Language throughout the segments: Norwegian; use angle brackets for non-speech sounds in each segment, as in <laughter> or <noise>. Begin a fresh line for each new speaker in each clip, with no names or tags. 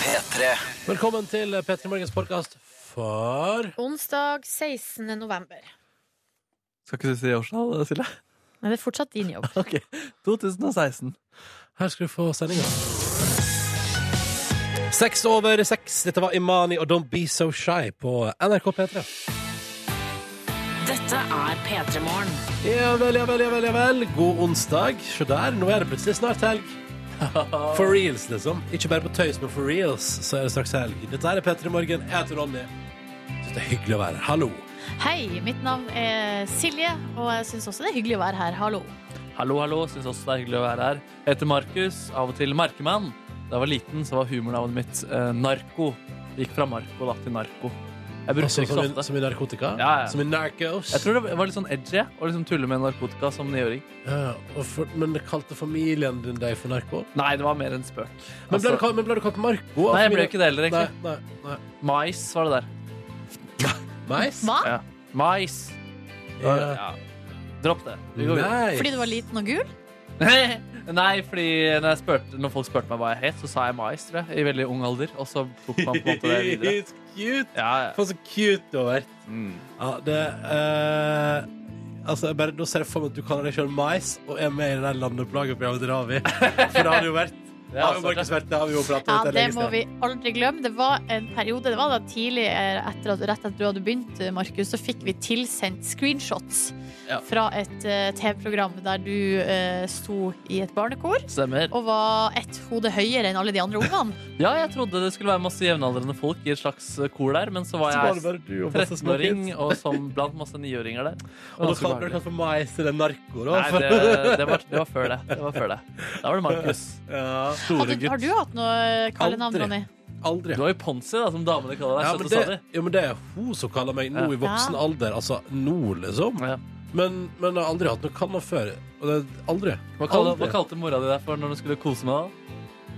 P3.
Velkommen til P3 Morgens podkast for
Onsdag 16. november.
Skal ikke du si årstall, Silje?
Men det er fortsatt din jobb.
Ok, 2016.
Her skal du få sendinga. Seks over seks. Dette var Imani og Don't Be So Shy på NRK P3.
Dette er P3 Morgen.
Ja vel, ja vel, ja vel. ja vel God onsdag. Se der, nå er det plutselig snart <laughs> helg. For reals, liksom. Ikke bare på tøys, men for reals, så er det straks helg. Dette her er P3 Morgen. Jeg heter Ronny. Syns det er hyggelig å være her. Hallo.
Hei, mitt navn er Silje, og jeg syns også det er hyggelig å være her. Hallo.
Hallo, hallo. Syns også det er hyggelig å være her. Jeg heter Markus, av og til Markemann. Da jeg var liten, så var humornavnet mitt eh, Narko. Det Gikk fra Marko da til Narko. Jeg brukte
Altså,
det ikke
som,
så
i,
ofte.
som i narkotika?
Ja, ja.
Som i narcos?
Jeg tror det var litt sånn edgy å liksom tulle med narkotika som niåring.
Ja, og for, men kalte familien din deg for narko?
Nei, det var mer en spøk.
Men ble,
Altså,
du, kalt- men ble du kalt Marco?
Nei, jeg ble ikke det heller,
Nei,
egentlig.
nei, nei.
Mais var det der.
Mais?
Hva?
Ja. Mais.
Ja.
Ja. Dropp det. Vi går videre.
Nei.
Fordi du var liten og gul?
<laughs> Nei, fordi når, jeg spurte, når folk spurte meg hva jeg het, så sa jeg mais, tror jeg. I veldig ung alder. Og så tok man på en måte det <laughs> videre.
It's cute.
Ja, ja.
Faen, så cute du har vært.
Mm.
Ja, det eh, Altså, jeg bare, Nå ser jeg for meg at du kaller deg sjøl Mais og er med i det der landeplageprogrammet til Ravi. For det har du
<laughs>
vært. Det har
altså
jo Markus vært, det har vi jo pratet
Ja,
om.
det må vi aldri glemme. Det var en periode, det var da tidlig eh, etter at, rett etter du hadde begynt, eh, Markus, så fikk vi tilsendt screenshots
Ja.
fra et eh, TV-program der du eh, sto i et barnekor
Stemmer.
og var ett hode høyere enn alle de andre ungene.
Ja, jeg trodde det skulle være masse jevnaldrende folk i et slags eh, kor der, men så var
Så var det
jeg
bare du og masse små
13-åring
kids.
og som blant masse
<laughs>
niåringer der.
Og da
Ganske
kaller du
behagelig.
deg for Mais eller narko, da.
Nei,
for-
det,
<laughs>
det, var, det var før det. Det var før det. Da var det Markus.
Ja,
Har
store
du, har
gutt.
du hatt noe kallenavn,
Aldri.
Ronny?
Aldri.
Du var jo Ponsi, da, som damene kaller deg.
Ja, men
Søte
det,
Sally.
jo, men det er hun som kaller meg nå i voksen
Ja.
alder. Altså nå, liksom.
Ja.
Men, men jeg har aldri hatt noe kallenavn før. Og det, aldri.
Hva, kalte,
Aldri.
hva kalte mora di deg for når du skulle kose med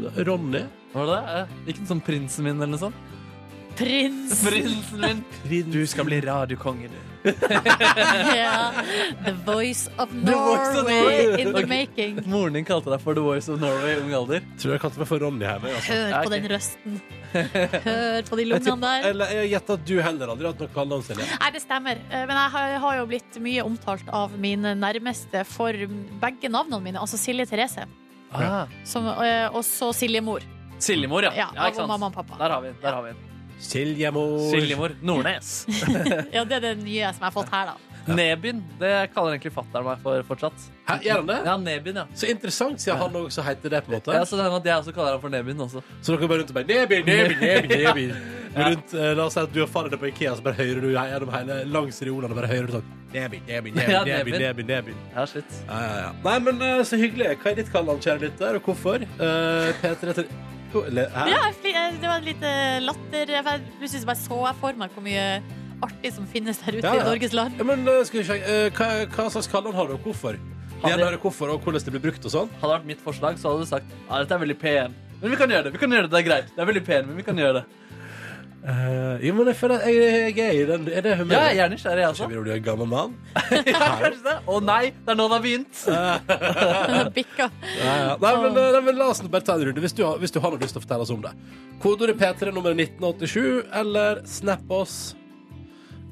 deg?
Ronny.
Var det det? Eh, Ikke sånn prinsen min eller noe sånt?
Prins!
Prinsen
<laughs>
min! Du skal bli radiokonge, du.
Ja. The Voice of
Voice of
Norway in the
Ok.
making.
Moren din kalte deg for The Voice of Norway i ung alder.
Tror jeg kalte meg for Ronny her. men altså.
Hør
Ja,
på
ok.
den røsten. Hør på de
Jeg
lungene
tipper-
der.
Eller jeg gjetter at du heller aldri har hatt noe kallenavn, Silje.
Nei, det stemmer. Eh, Men jeg har- har jo blitt mye omtalt av mine nærmeste for begge navnene mine. Altså Silje Therese
Ah.
som, eh, og så Silje Mor.
Siljemor, ja.
Ja,
ikke
av
sant?
mamma og pappa.
Der har vi den. der har vi den.
Siljemor.
Siljemor. Nordnes.
Ja, det er det nye som jeg har fått her, da.
Nebyen. Det kaller egentlig fatter'n meg for fortsatt.
Hæ, gjør han det?
Ja, Nebyen, ja.
Så interessant, siden han også heter det. på en måte
ja så det hender at jeg også kaller han for Nebyen også.
Så dere bare rundt og bare Nebi, Nebi, Nebi,
<laughs>
Nebi. Men Rundt, eh, la oss si at du og faren din på Ikea, så bare hører du gjennom hele langs reolene bare hører du sånn Nebi, Nebi, Nebi,
Ja,
Nebi,
Nebi.
Nebi, Nebi.
Ja, shit.
Ja, ja, ja. Nei, men eh, så hyggelig. Hva er ditt kallenavn, kjære lytter, og hvorfor? Eh, P3 til Ko- eller, hæ?
Ja, jeg fli- eh, det var en liten latter. Jeg bare- Plutselig så bare så jeg for meg hvor mye artig som finnes der ute
Ja, ja.
i Norges land.
<laughs> Ja, men eh, skal vi sjekke eh, hva, hva slags kallenavn har du, og hvorfor?
Har
Gjerne
det-
høre hvorfor, og hvordan det blir brukt og sånn.
Hadde det vært mitt forslag, så hadde du sagt ja, dette er veldig pen. Men vi kan gjøre det. vi kan gjøre Det det er greit. Det er veldig pen, men vi kan gjøre det.
Eh, jo, men jeg føler at jeg, jeg er i den Er det humøret?
Ja, jeg er nysgjerrig, jeg
Kanskje
også.
jeg vil bli en gammel mann?
<laughs> Kanskje det? Å nei, det er nå det har begynt.
Bikka.
Ja, ja. Nei, men, eh, nei, men la oss nå bare ta en runde, hvis du, har, hvis du har noe lyst til å fortelle oss om det. Kodeordet P3 nummer 1987, eller snap oss.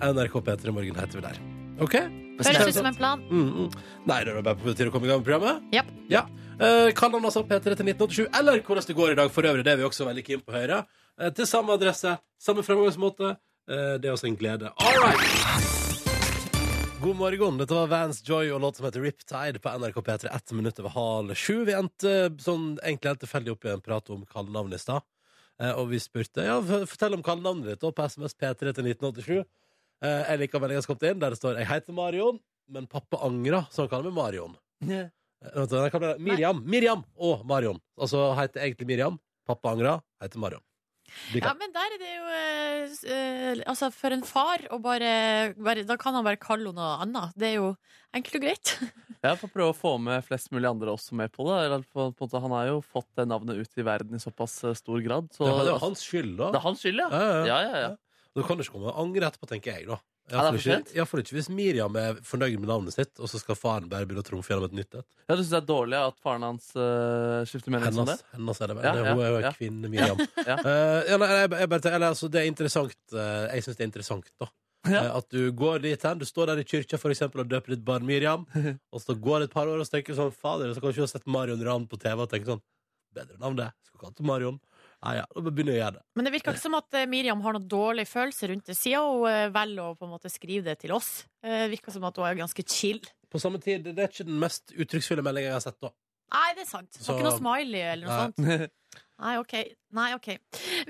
NRK P3 Morgen heter vi der. OK?
Høres ut som en plan.
Mm, mm. Nei, det er bare på tide å komme i gang med programmet.
Japp.
Ja. Eh, Kall han altså P3 til 1987, eller hvordan det går i dag for øvrig. Det er vi også veldig keen på å høre. Eh, Til samme adresse, samme fremgangsmåte. Eh, Det er også en glede. All right! God morgen. Dette var Vans Joy og låt som heter Riptide på NRK P3 ett minutt over halv sju. Vi endte sånn egentlig helt tilfeldig opp i en prat om kallenavn i stad. Eh, Og vi spurte ja, f- fortell om kallenavnet ditt da, på SMS P3 til 1987. Eh, Jeg liker meldinga som kom inn, der det står 'Jeg heter Marion, men pappa angrer', så han kaller meg Marion. Eh, vent, jeg kan bare- Miriam, Miriam og Marion. Altså heter egentlig Miriam. Pappa angra, heter Marion. De
Ja,
kan-
men der er det jo eh, s- eh, Altså, for en far å bare, bare Da kan han bare kalle henne noe annet. Det er jo enkelt og greit. <laughs>
Jeg får prøve å få med flest mulig andre også med på det. Eller på, på en måte, han har jo fått det navnet ut i verden i såpass eh, stor grad. Så,
Det er jo hans skyld, da.
Det er hans skyld, ja.
Ja, ja, ja.
Ja, ja, ja.
Da kan du ikke komme og angre etterpå, tenker jeg, da. Ja, for
Er det for
ikke,
sent?
ja, for ikke hvis Miriam er fornøyd med navnet sitt, og så skal faren bare begynne å trumfe gjennom et nytt et.
Ja, du syns det er dårlig at faren hans eh, skifter mening som det?
Hennes, hennes er det bare.
Ja,
det,
ja,
hun er jo en
ja.
kvinne, Miriam.
<laughs> Ja.
Eh, ja, nei, jeg, jeg bare, tenker- eller, altså, det er interessant. eh, jeg syns det er interessant, da.
Ja.
Eh, at du går dit hen, du står der i kyrkja for eksempel, og døper ditt barn
<laughs>
Miriam, og så går det et par år og så tenker du sånn Fader, så kan ikke du ha sett Marion Ran på TV og tenker sånn Bedre navn, det. Skal kalle det Marion. Ja, ja, da begynner jeg å gjøre det.
Men det virker ikke som at eh, Miriam har noen dårlig følelse rundt det, siden hun eh, velger å på en måte skrive det til oss. Eh, Det virker som at hun er ganske chill.
På samme tid, det er ikke den mest uttrykksfulle meldinga jeg har sett, da.
Nei, det er sant. Hun
Så-
har ikke noe smiley eller noe
Nei.
sånt. Nei, ok. Nei, ok.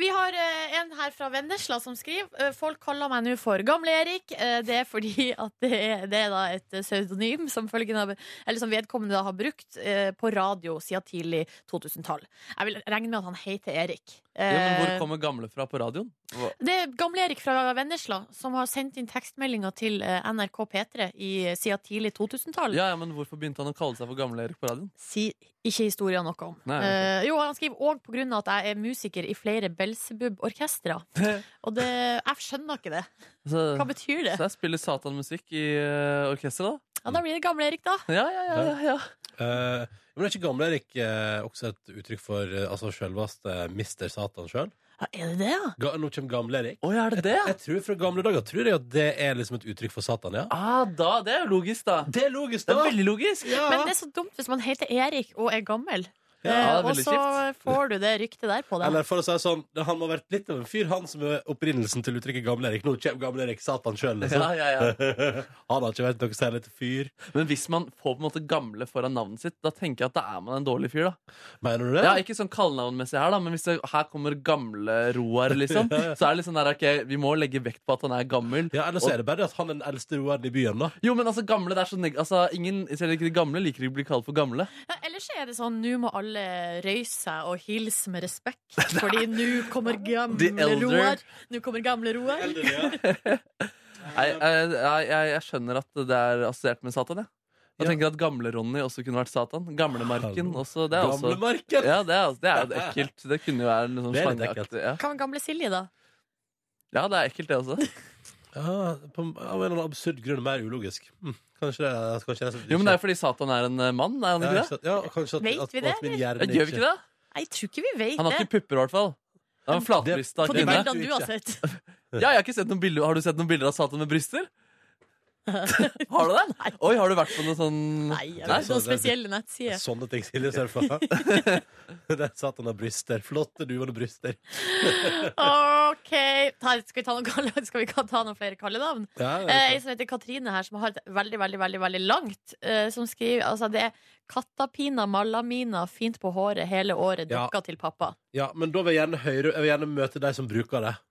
Vi har eh, en her fra Vennesla som skriver eh, Folk kaller meg nå for Gamle-Erik. Eh, det er fordi at det er, det er da et eh, pseudonym som, følgen av, eller som vedkommende da har brukt eh, på radio siden tidlig 2000-tall. Jeg vil regne med at han heter Erik.
Ja, men hvor
Eh,
kommer gamle fra på radioen? Hva-
Det er Gamle-Erik fra Vennesla som har sendt inn tekstmeldinger til eh, NRK P3 i, siden tidlig 2000-tall.
Ja, ja, men Hvorfor begynte han å kalle seg for Gamle-Erik på radioen?
Si ikke historien noe om.
Nei,
Eh, jo, han skriver òg på grunn av at jeg er musiker i flere
<laughs>
Belsebub-orkestre. Og det, jeg skjønner ikke det.
Så,
Hva betyr det?
så jeg spiller satanmusikk i uh, orkesteret,
Ja, Da blir det Gamle-Erik, da.
da. Ja, ja, ja, ja, ja.
Eh, men det er ikke gamle Erik eh, også et uttrykk for eh, altså sjølveste Mister Satan sjøl?
Ja, er det det, ja?
Ga, nå kommer gamle Erik.
Å, ja, er det det? ja?
Jeg tror Fra gamle dager tror jeg at det er liksom et uttrykk for Satan, ja.
Ah, da, det er jo logisk, da.
Det er logisk,
Det
da!
er veldig logisk.
Ja.
Men det er så dumt hvis man heter Erik og er gammel.
Ja,
Eh,
det er
og
veldig
så <laughs> får du det ryktet der på deg.
Eller for å si det sånn, det- han må ha vært litt av en fyr, han som er opprinnelsen til uttrykket gamle Erik. Nå kommer gamle Erik Satan sjøl,
Ja,
liksom.
ja, ja.
han har ikke vært noe særlig til fyr.
Men hvis man får på en måte gamle foran navnet sitt, da tenker jeg at da er man en dårlig fyr. da
Mener du det?
Ja, Ikke sånn kallenavnmessig her, da men hvis det, her kommer gamle Roar, <laughs> liksom, så er det liksom der, ok, vi må legge vekt på at han er gammel.
Ja, Eller så er det bare det at han er den eldste roeren i byen,
<laughs>
da.
Jo, men altså, gamle, det er så neg altså, ingen, Selv ikke de gamle liker å bli kalt for gamle.
Ja, ellers er det sånn nå må alle røyse seg og hilse med
<laughs>
respekt, fordi nå kommer gamle
The elder.
Roar. Nå kommer gamle Roar.
Jeg, jeg, jeg, jeg, jeg skjønner at det er assosiert med Satan. Jeg, jeg
Ja.
tenker at gamle-Ronny også kunne vært Satan. Gamlemarken også. Det er også
Gamlemarken!
altså. ja, det er, altså, det er jo ekkelt. Det kunne jo være liksom
Det er litt
slangeaktig. Ja.
Hva med gamle Silje, da?
ja, det er ekkelt, det også.
Ja, på, av en eller annen absurd grunn mer ulogisk. Hm, Kanskje det er kanskje det
Jo, men det er fordi Satan er en eh, mann, er han
ja,
ikke
ikke
det?
sant? ja, kanskje at,
Vet
at,
vi det,
at min hjerne
Ja, Gjør vi ikke det?
Nei, Jeg tror ikke vi vet
Han har
det.
ikke pupper, i hvert fall. Han har en flatbrista
På de
det
kvinne.
vet du
bildene du har
ikke.
sett.
Ja, jeg har, ikke sett noen bilder. har du sett noen bilder av Satan med
<laughs>
bryster? Har du det?
Nei.
Oi, har du vært på noe sånn
<laughs> Nei,
Nei,
jeg vet, noen
så det-
spesielle nettsider.
Sånne ting Silje ser for
<laughs>
<laughs> Der satt han av bryster. Flotte, duvende bryster.
OK. Her, skal, vi ta noen, kalle- <laughs> skal vi ikke ta noen flere kallenavn?
Ja, det
Eh,
er
Ei som heter Katrine her, som har et veldig, veldig veldig, veldig langt, eh, som skriver altså det er Kattapina malamina, fint på håret hele året,
Ja.
dokka til pappa.
Ja, men da vil jeg gjerne, høre, jeg vil gjerne møte de som bruker det.
Ja,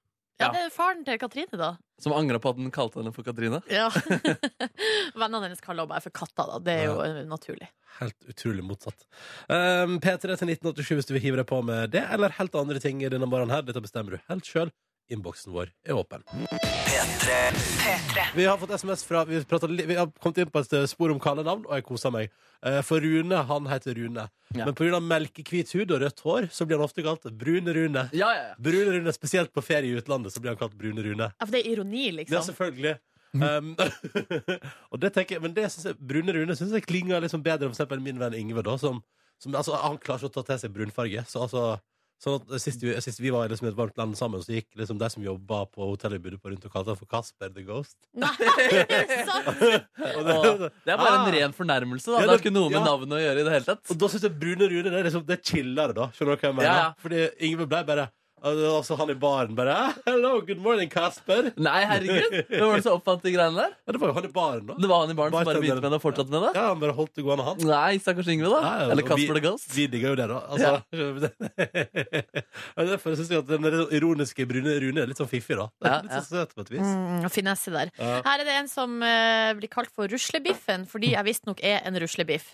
Ja.
det er faren til Katrine, da.
Som angra på at den kalte henne for Katrine?
Ja. <laughs> Vennene hennes kaller henne bare for Katta, da. Det er jo eh, naturlig.
Helt utrolig motsatt. Um, P3 til 1987 hvis du vil hive deg på med det, eller helt andre ting denne morgenen her. Dette bestemmer du helt sjøl. Innboksen vår er åpen. Vi har fått SMS fra Vi, pratet li- vi har kommet inn på et eh, spor om kallenavn, og jeg koser meg. Eh, For Rune, han heter Rune.
Ja.
Men pga. melkehvit hud og rødt hår, så blir han ofte kalt Brune Rune.
Ja, ja, ja.
Brune Rune, Spesielt på ferie i utlandet så blir han kalt Brune Rune.
Ja, for det er ironi,
Ja,
liksom.
selvfølgelig. Um, <laughs> og det tenker jeg, men det synes jeg, Brune Rune syns jeg klinger liksom bedre enn for eksempel min venn Yngve. da som, som, altså, Han klarer ikke å ta til seg brunfarge. Så, altså, sånn at sist, vi- sist vi var i liksom, et varmt land sammen, så gikk liksom de som jobba på hotellet vi bodde på, rundt og kalte han for Casper the Ghost.
Nei, <laughs> sant?
Og,
Åh,
det,
det er bare
Ah.
en ren fornærmelse. Da.
Ja,
det har
det-
ikke noe med
ja.
navnet å gjøre i det hele tatt.
og da syns jeg Brune Rune det er liksom, det er chillere, da. Skjønner du hva jeg mener?
Ja, ja.
Fordi Yngve ble bare Altså Han i baren bare Hello, good morning, Casper.
Nei,
<laughs>
herregud! Hvem var det som oppfant de greiene der?
Ja, det var jo han i baren, da.
Det var han i baren som bare begynte med det og fortsatte med det?
Ja, Han bare holdt det gående, han.
Nei, stakkars Yngve, da.
Ja, ja,
Eller
og
Casper
vi-
the Ghost.
Vi digger jo det, da. <laughs> Altså, Og Derfor syns jeg at den der ironiske Brune Rune er litt sånn fiffig, da. <laughs> Det
Ja,
er litt så søt på et vis.
Mm, finesse der.
Ja.
Her er det en som eh, blir kalt for ruslebiffen, fordi jeg visstnok er en ruslebiff.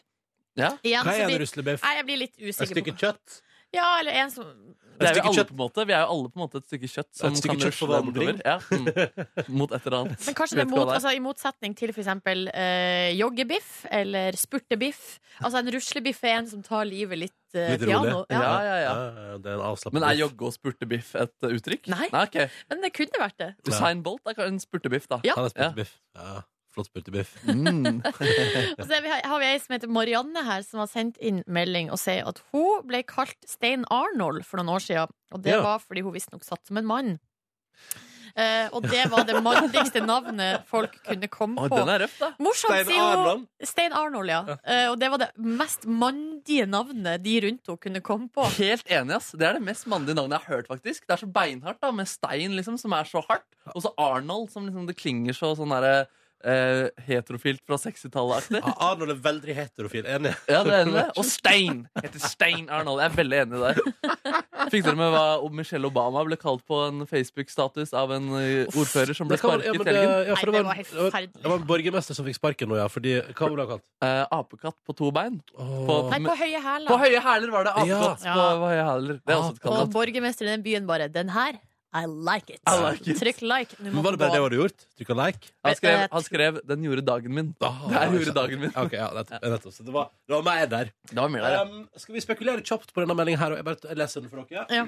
Ja.
Igjen,
Hva
så
er en
blir-
ruslebiff?
Nei, jeg blir litt
Et
usikker
stykke
på
kjøtt?
Ja, eller en som
Det er
Et
vi,
stykke
alle
kjøtt.
på en måte. vi er jo alle på en måte et stykke kjøtt som
Et stykke
kan
kjøttforvandling.
rusle
<laughs>
bortover. Ja, mm. Mot et eller annet.
Men kanskje
Vet
det er
hva
mot, altså, i motsetning til f.eks. Eh, joggebiff eller spurtebiff. Altså en ruslebiff er en som tar livet litt eh,
Litt
piano.
rolig.
Ja.
Ja, ja, ja.
Det er en avslappet
Men er
biff.
jogge og spurtebiff et uh, uttrykk?
Nei.
ok.
Men det kunne vært det.
Usain Bolt er en spurtebiff, da.
Ja.
Han er spurtebiff. Ja. Flott spurtebiff.
Mm.
Og så er vi- har vi ei som heter Marianne her, som har sendt inn melding og sier at hun ble kalt Stein Arnold for noen år siden. Og det
Ja.
var fordi hun visstnok satt som en mann. Eh, og det var det
<laughs>
mandigste navnet folk kunne komme
Å,
på.
den er røff, da.
Morsomt, sier hun. Stein Arnold, ja. Eh, og det var det mest mandige navnet de rundt henne kunne komme på.
<laughs> Helt enig, ass. Det er det mest mandige navnet jeg har hørt, faktisk. Det er så beinhardt, da, med Stein, liksom, som er så hardt. Og så Arnold, som liksom det klinger så sånn derre eh, heterofilt fra
<laughs>
60-tallet-aktig.
Ja, Arnold er veldig heterofil. Enig.
Ja, det er enig. Og Stein! Heter Stein Arnold. Jeg er veldig enig der. Fikk dere med hva Michelle Obama ble kalt på en Facebook-status av en eh, ordfører som ble
Det kan man-
sparket i
men
helgen?
det- ja, for
Nei,
det
det var helt
det var-
forferdelig.
Det var en borgermester som fikk sparken nå, ja. Fordi, hva ble han kalt?
Eh, apekatt på to bein.
Åh.
Nei, på høye hæler.
På høye hæler var det apekatt
Ja.
på høye hæler. Det er også et
Og
kallenavn.
borgermesteren i den byen bare Den her, I like it.
I like it.
Trykk like. Nå
Men
må
var det
du
bare det du
gå.
hadde gjort? Trykka like?
Han skrev, han skrev 'Den gjorde dagen min'.
Ah,
Det her
ja,
gjorde
sant.
dagen min.
Ok, ja, nettopp. nettopp. Så det var, det var mer der.
Det var mer der, ja.
Um, skal vi spekulere kjapt på denne meldingen her? Og jeg bare leser den for dere.
Ja.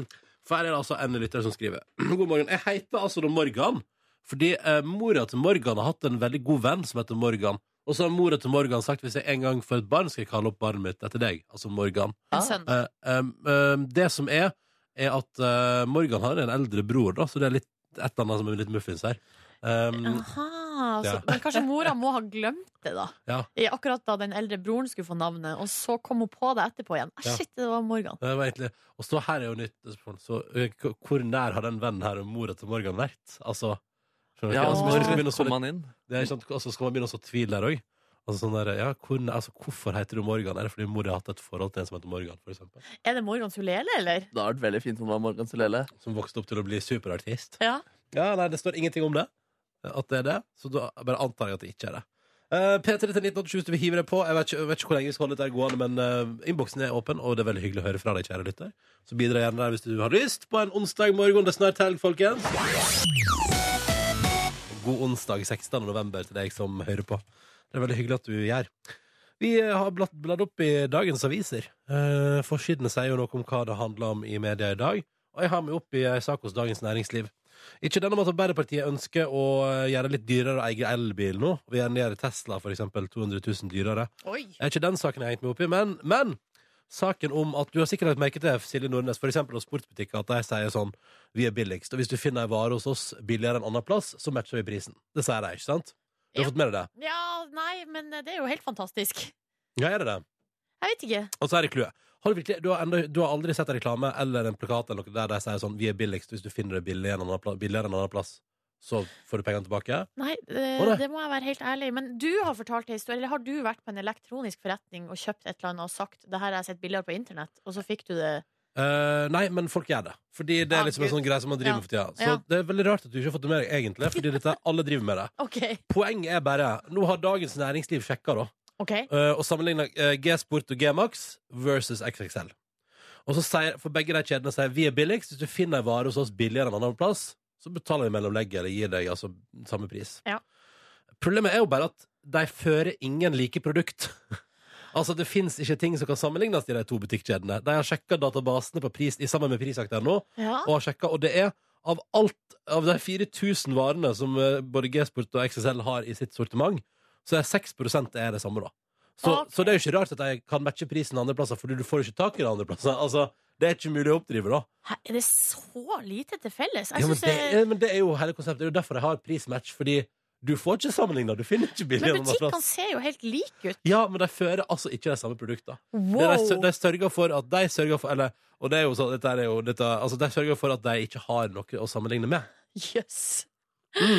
<clears throat> For her er det altså en lytter som skriver <clears throat> God morgen, jeg heter altså da Morgan Fordi eh, mora til Morgan har hatt en veldig god venn som heter Morgan Og så har mora til Morgan sagt Hvis jeg en gang får et barn skal jeg kalle opp barnet mitt etter deg Altså Morgan
En sønn.
Eh, em, em, Det som er, er at eh, Morgan har en eldre bror da Så det er litt, et eller annet som er litt muffins her Em,
Aha, så,
Um, Ja.
Men kanskje mora må ha glemt det, da.
Ja.
I Akkurat da den eldre broren skulle få navnet, og så kom hun på det etterpå igjen. Ah,
Ja.
Shit, det var Morgan.
det var egentlig, og så her er jo nytt spørsmål Så eh, k- hvor nær har den vennen her og mora til Morgan vært? Altså, skjønner dere?
Ja,
Altså, hvis du skal
Når
begynne å
kom
så litt-
han inn?
Det er ikke sant, altså skal man begynne å så tvil der òg? Altså sånn der, ja, hvor, altså hvorfor heter du Morgan? Er det fordi mor har hatt et forhold til en som heter Morgan? For eksempel,
Er det Morgans Hulele, eller?
Det hadde vært veldig fint om det var Morgan Solele.
som vokste opp til å bli superartist?
Ja.
Ja, nei, Det står ingenting om det. eh, At det er det. Så da bare antar jeg at det ikke er det. Eh, P3 til 1987 hvis du vil hive deg på. Jeg vet ikke, jeg vet ikke hvor lenge vi skal holde dette gående, men eh, innboksen er åpen, og det er veldig hyggelig å høre fra deg, kjære lytter. Så bidra gjerne der hvis du har lyst på en onsdag morgen. Det er snart helg, folkens. God onsdag 16. november til deg som hører på. Det er veldig hyggelig at du gjør. Vi eh, har blatt, bladd opp i dagens aviser. Eh, forsidene sier jo noe om hva det handler om i media i dag. Og jeg har meg opp i en sak hos Dagens Næringsliv. Ikke den om at Arbeiderpartiet ønsker å eh, gjøre det litt dyrere å eie elbil nå. Vi gjerne gjøre Tesla for eksempel 200 000 dyrere.
Oi.
Det er ikke den saken jeg har hengt meg opp i, men, men saken om at du har sikkert lagt merke til Silje Nordnes, for eksempel hos sportsbutikker, at de sier sånn Vi er billigst. Og hvis du finner en vare hos oss billigere enn annen plass, så matcher vi prisen. Det sier de, ikke sant? Du har
Ja.
fått med deg det?
Ja, nei, men det er jo helt fantastisk.
Ja, er det det?
Jeg vet ikke.
Og så er det clouet. Har du, virkelig, du, har enda, du har aldri sett en reklame eller en plakat eller noe der de sier sånn Vi er billigst. Hvis du finner det billigere enn annen plass, billigere enn annen plass så får du pengene tilbake.
Nei,
Å,
eh,
nei.
det må jeg være helt ærlig. Men du har fortalt en historie. Eller har du vært på en elektronisk forretning og kjøpt et eller annet og sagt det her har jeg sett billigere på internett, og så fikk du det
Eh, nei, men folk gjør det. Fordi det
Ah,
er liksom en
Gud.
sånn greie som man driver med for tida. Så
Ja.
det er veldig rart at du ikke har fått det med deg, egentlig. Fordi dette, alle driver med det.
OK.
Poenget er bare Nå har Dagens Næringsliv sjekka, da.
ok
eh, og sammenligna G-Sport og G-Max versus XXL. Og så sier, For begge de kjedene sier vi er billigst. Hvis du finner en vare hos oss billigere enn en annen plass, så betaler vi mellomlegget eller gir deg altså samme pris.
Ja.
Problemet er jo bare at de fører ingen like produkt. <laughs> altså Det fins ikke ting som kan sammenlignes i de to butikkjedene. De har sjekka databasene på pris, i sammen med prisjakt.no,
Ja.
og har sjekket, og det er av alt Av de 4000 varene som eh, både G-Sport og XSL har i sitt sortiment, så er 6 er det samme, da. Så,
Ok.
så det er jo ikke rart at de kan matche prisen andre plasser, fordi du får ikke tak i det andre plasser. <laughs> Altså, det er ikke mulig å oppdrive, da.
Hæ, er det så lite til felles? Jeg
Ja, men,
synes
det
det
er, men det er jo hele konseptet. Det er jo derfor jeg har prismatch, fordi du får ikke sammenligna. Du finner ikke billig
Men
en annen
butikkene
plass.
ser jo helt like ut.
Ja, men de fører altså ikke de samme produktene. Det er De,
Wow!
de sørger for at de sørger for Eller, og det er jo sånn, dette er jo dette, Altså, de sørger for at de ikke har noe å sammenligne med.
Jøs. Nei,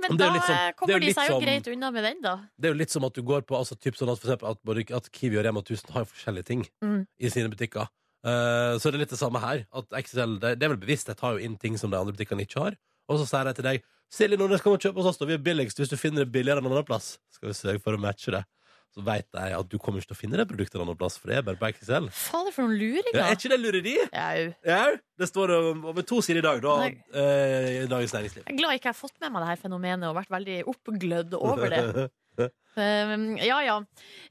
men
Mm. Men det er
da
jo litt sånn-
eh,
det er
kommer
jo
de
litt
seg jo
sånn-
greit unna med den, da.
Det er jo litt som at du går på altså, typ sånn at, for eksempel, at, både, at Kiwi og Rema 1000 har forskjellige ting
Mm.
i sine butikker. Eh, så det er litt det samme her. At XL, det, det er vel bevisst, de tar jo inn ting som de andre butikkene ikke har. Og så sier de til deg Silje Nordnes, kom og kjøp hos oss, da. Vi er billigst hvis du finner det billigere enn en annen plass. Skal vi sørge for å matche det. så veit de at du kommer ikke til å finne det produktet noe plass, for det er bare på XXL.
Fader, for noen
Ja, er
luringer.
ikke det lureri?
Jau.
Ja, det står om- over to sider i dag, da.
Nei.
eh, I Dagens Næringsliv.
Jeg er glad jeg ikke har fått med meg det her fenomenet og vært veldig
<laughs>
oppglødd over det. Um, ja, ja.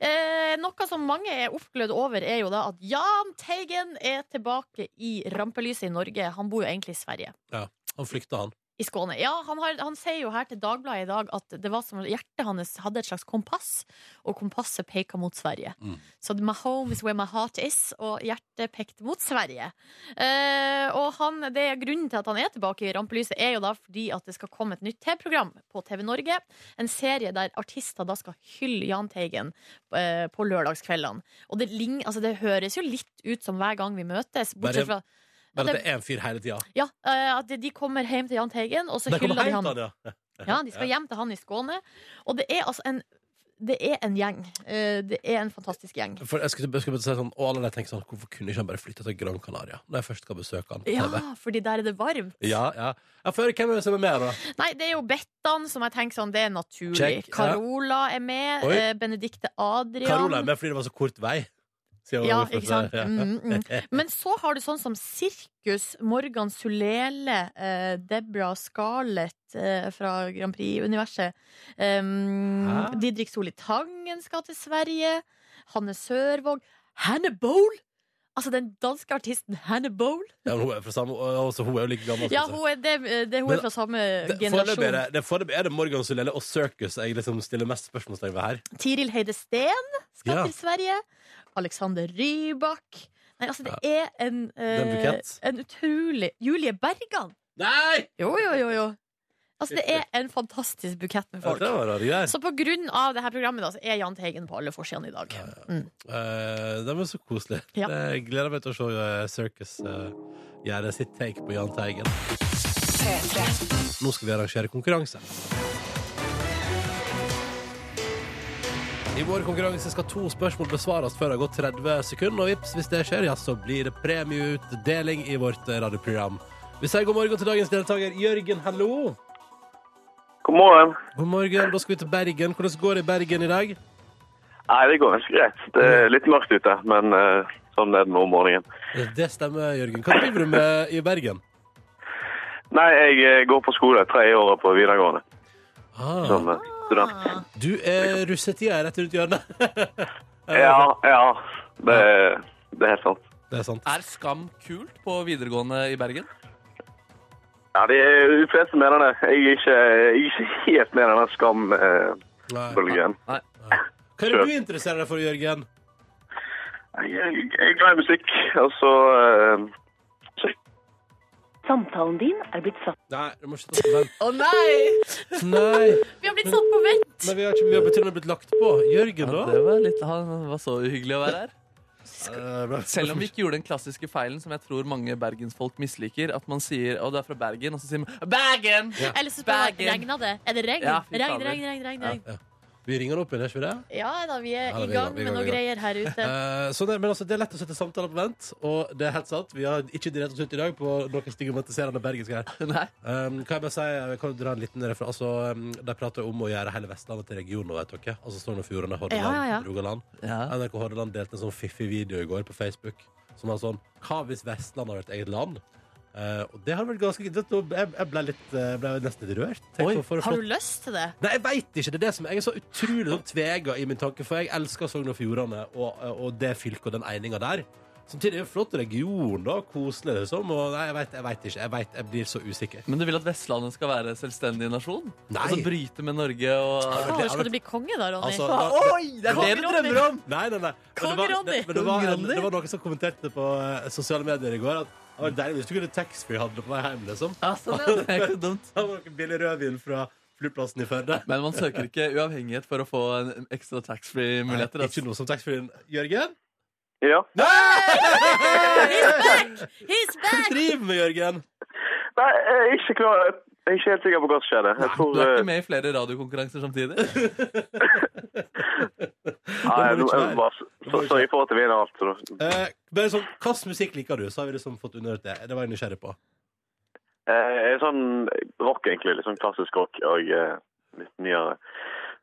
Eh, noe som mange er oppglødd over, er jo da at Jahn Teigen er tilbake i rampelyset i Norge. Han bor jo egentlig i Sverige.
Han flykta, han.
I Skåne. Ja, han, har, han sier jo her til Dagbladet i dag at det var som om hjertet hans hadde et slags kompass, og kompasset peka mot Sverige.
Mm.
Så my home is where my heart is, og hjertet pekte mot Sverige. Eh, og han, det er grunnen til at han er tilbake i rampelyset, er jo da fordi at det skal komme et nytt TV-program på TV Norge. En serie der artister da skal hylle Jahn Teigen eh, på lørdagskveldene. Og det, lign- altså, det høres jo litt ut som hver gang vi møtes, bortsett fra
Bare
Ja,
at
det-
det er en fyr hele tida.
ja, eh, at de kommer hjem til Jahn Teigen, og så
De kommer
hyller de
hjem
han.
til han, ja.
Ja, de skal
Ja.
hjem til han i Skåne. Og det er altså en det er en gjeng. Eh, Det er en fantastisk gjeng.
For jeg skulle, jeg skulle bare si sånn, og alle de tenker sånn Hvorfor kunne ikke han bare flytte til Gran Canaria når jeg først skal besøke han på
Ja,
TV?
fordi der er det varmt.
Ja, ja. ja for hvem er det som er med, da?
Nei, det er jo Bettan som jeg tenker sånn, det er naturlig.
Check, ja.
Carola er med.
Oi.
eh, Benedicte Adrian.
Carola er med fordi det var så kort vei. Siden hun
Ja,
var fra-
ikke
<laughs>
sant?
Ja.
Mm, mm. Men så har du sånn som Sirkus, Morgan Sulele, eh, Deborah Scarlett eh, fra Grand Prix-universet. Um,
Hæ?
Didrik Soli Tangen skal til Sverige. Hanne Sørvåg. Hanne Bowl! Altså den danske artisten Hanne Bowl.
Ja, men hun er fra samme og- også, Hun er jo like gammel.
Ja,
som seg.
hun er, det, det, hun
Men
er fra samme
Det- foreløpig er
generasjon.
det- det- Foreløpig er det Morgan Sulele og Circus jeg liksom stiller mest spørsmålstegn ved her.
Tiril Heide Steen skal
Ja.
til Sverige. Alexander Rybak. Nei, altså, det er en,
er en
eh,
bukett.
en utrolig Julie Bergan!
Nei!
Jo, jo, jo, jo. Altså, det er en fantastisk bukett med
Ja,
folk.
det var rare greier.
Så på grunn av det her programmet da, så er Jahn Teigen på alle forsidene i dag. Mm.
Eh, det var så koselig.
Ja.
Jeg gleder meg til å se eh, Circus eh, gjøre sitt take på Jahn Teigen. Nå skal vi arrangere konkurranse. I vår konkurranse skal to spørsmål besvares før det har gått 30 sekunder. Og vips, hvis det skjer, ja, så blir det premieutdeling i vårt eh, radioprogram. Vi sier god morgen til dagens deltaker Jørgen, hallo.
God morgen.
God morgen, da skal vi til Bergen. Hvordan går det i Bergen i dag?
Nei, det går ganske greit. Det er litt mørkt ute, men eh, sånn er det nå om morgenen.
Eh, Det stemmer, Jørgen. Hva driver du med i Bergen?
Nei, jeg eh, går på skole tredje året på videregående
Ah,
som eh, student.
Ah.
du er russetida er rett rundt hjørnet.
Ja, ja. Det, det er helt sant.
<laughs> Det er sant.
Er skam kult på videregående i Bergen?
Ja, de, de fleste mener det. Jeg er ikke, jeg er ikke helt med i denne skambølgen.
Nei.
Nei.
Hva er det du interesserer deg for, Jørgen?
Jeg, jeg, jeg er glad i musikk, og så eh,
Samtalen din er blitt satt
Nei, du må ikke ta på
Å nei!
den. Nei.
Vi har blitt satt på vent!
Men vi har, ikke, vi har til og med blitt lagt på.
Ja,
Jørgen, da?
det var litt, han var så uhyggelig å være her.
Eh,
Selv om vi ikke gjorde den klassiske feilen som jeg tror mange bergensfolk misliker. At man sier 'Å, du er fra Bergen', og så sier man 'Bergen'!
Ja.
Eller så spør jeg,
Bergen.
regna det? Er det regn?
Ja, fy
regn,
fader.
regn, regn, regn, regn.
Ja. Vi ringer han opp igjen, er ikke vi det?
Ja da, vi er
Ja, da,
i
vi er i
gang
gang, vi er i
med
gang,
noe
vi er i
greier her ute.
Eh, så det, men altså, det er lett å sette samtaler på vent, og det er helt sant. Vi har ikke direkt oss ut i dag på noe stigmatiserende bergensk her.
<laughs> Nei.
Um, kan jeg bare si, jeg kan dra en liten refer... Altså, um, de prater jo om å gjøre hele Vestlandet til region nå, vet dere. Altså Sogn og Fjordane, Hordaland,
Ja, ja, ja.
Rogaland.
Ja.
NRK Hordaland delte en sånn fiffig video i går på Facebook som var sånn Hva hvis Vestland hadde vært eget land? Eh, og det har vært ganske det, Jeg jeg ble, litt, eh, ble nesten litt rørt. Tenk
Oi,
på for å
Har
få
du lyst til det?
Nei, jeg veit ikke. Det er det som jeg er så utrolig sånn tvega i min tanke, for jeg elsker Sogn og Fjordane og, og det fylket og den eininga der. Samtidig er det en flott region, da. Koselig, liksom. Og nei, jeg veit jeg vet ikke. Jeg, vet, jeg blir så usikker.
Men du vil at Vestlandet skal være selvstendig nasjon?
Nei.
Altså bryte med Norge og
men
Fader,
det er
skal
vel-
du bli konge da, Ronny?
Altså, da-
Oi! Det er det du drømmer om!
Nei, nei, nei. Men
Kong
det var,
Ronny.
det, men det var,
Kong
en,
Ronny.
det var noen som kommenterte det på eh, sosiale medier i går. At det var deilig hvis du kunne taxfree-handle på vei hjem. Liksom. <laughs>
Ja, sånn, ja. <laughs> Det er ikke dumt.
Da var det noen billig rødvin fra flyplassen i Førde.
Men man søker ikke uavhengighet for å få en ekstra taxfree-muligheter. altså.
Ikke noe som taxfree-en. Jørgen?
ja.
He's back!
Driv med Jørgen!
Nei, jeg er ikke klar. Jeg er ikke helt sikker på hva som skjedde. Jeg tror
Du er
eh,
ikke med i flere radiokonkurranser samtidig?
Nei,
Det må du
nå
ikke
er jeg
være.
bare så-
Det må du
så
ikke
sørger for at jeg vinner alt. så da-
Eh, bare sånn, Hvilken musikk liker du? Så har vi liksom fått underhørt det. Det var jeg nysgjerrig på.
Eh, jeg er sånn rock, egentlig. Litt sånn klassisk rock og eh, litt nyere.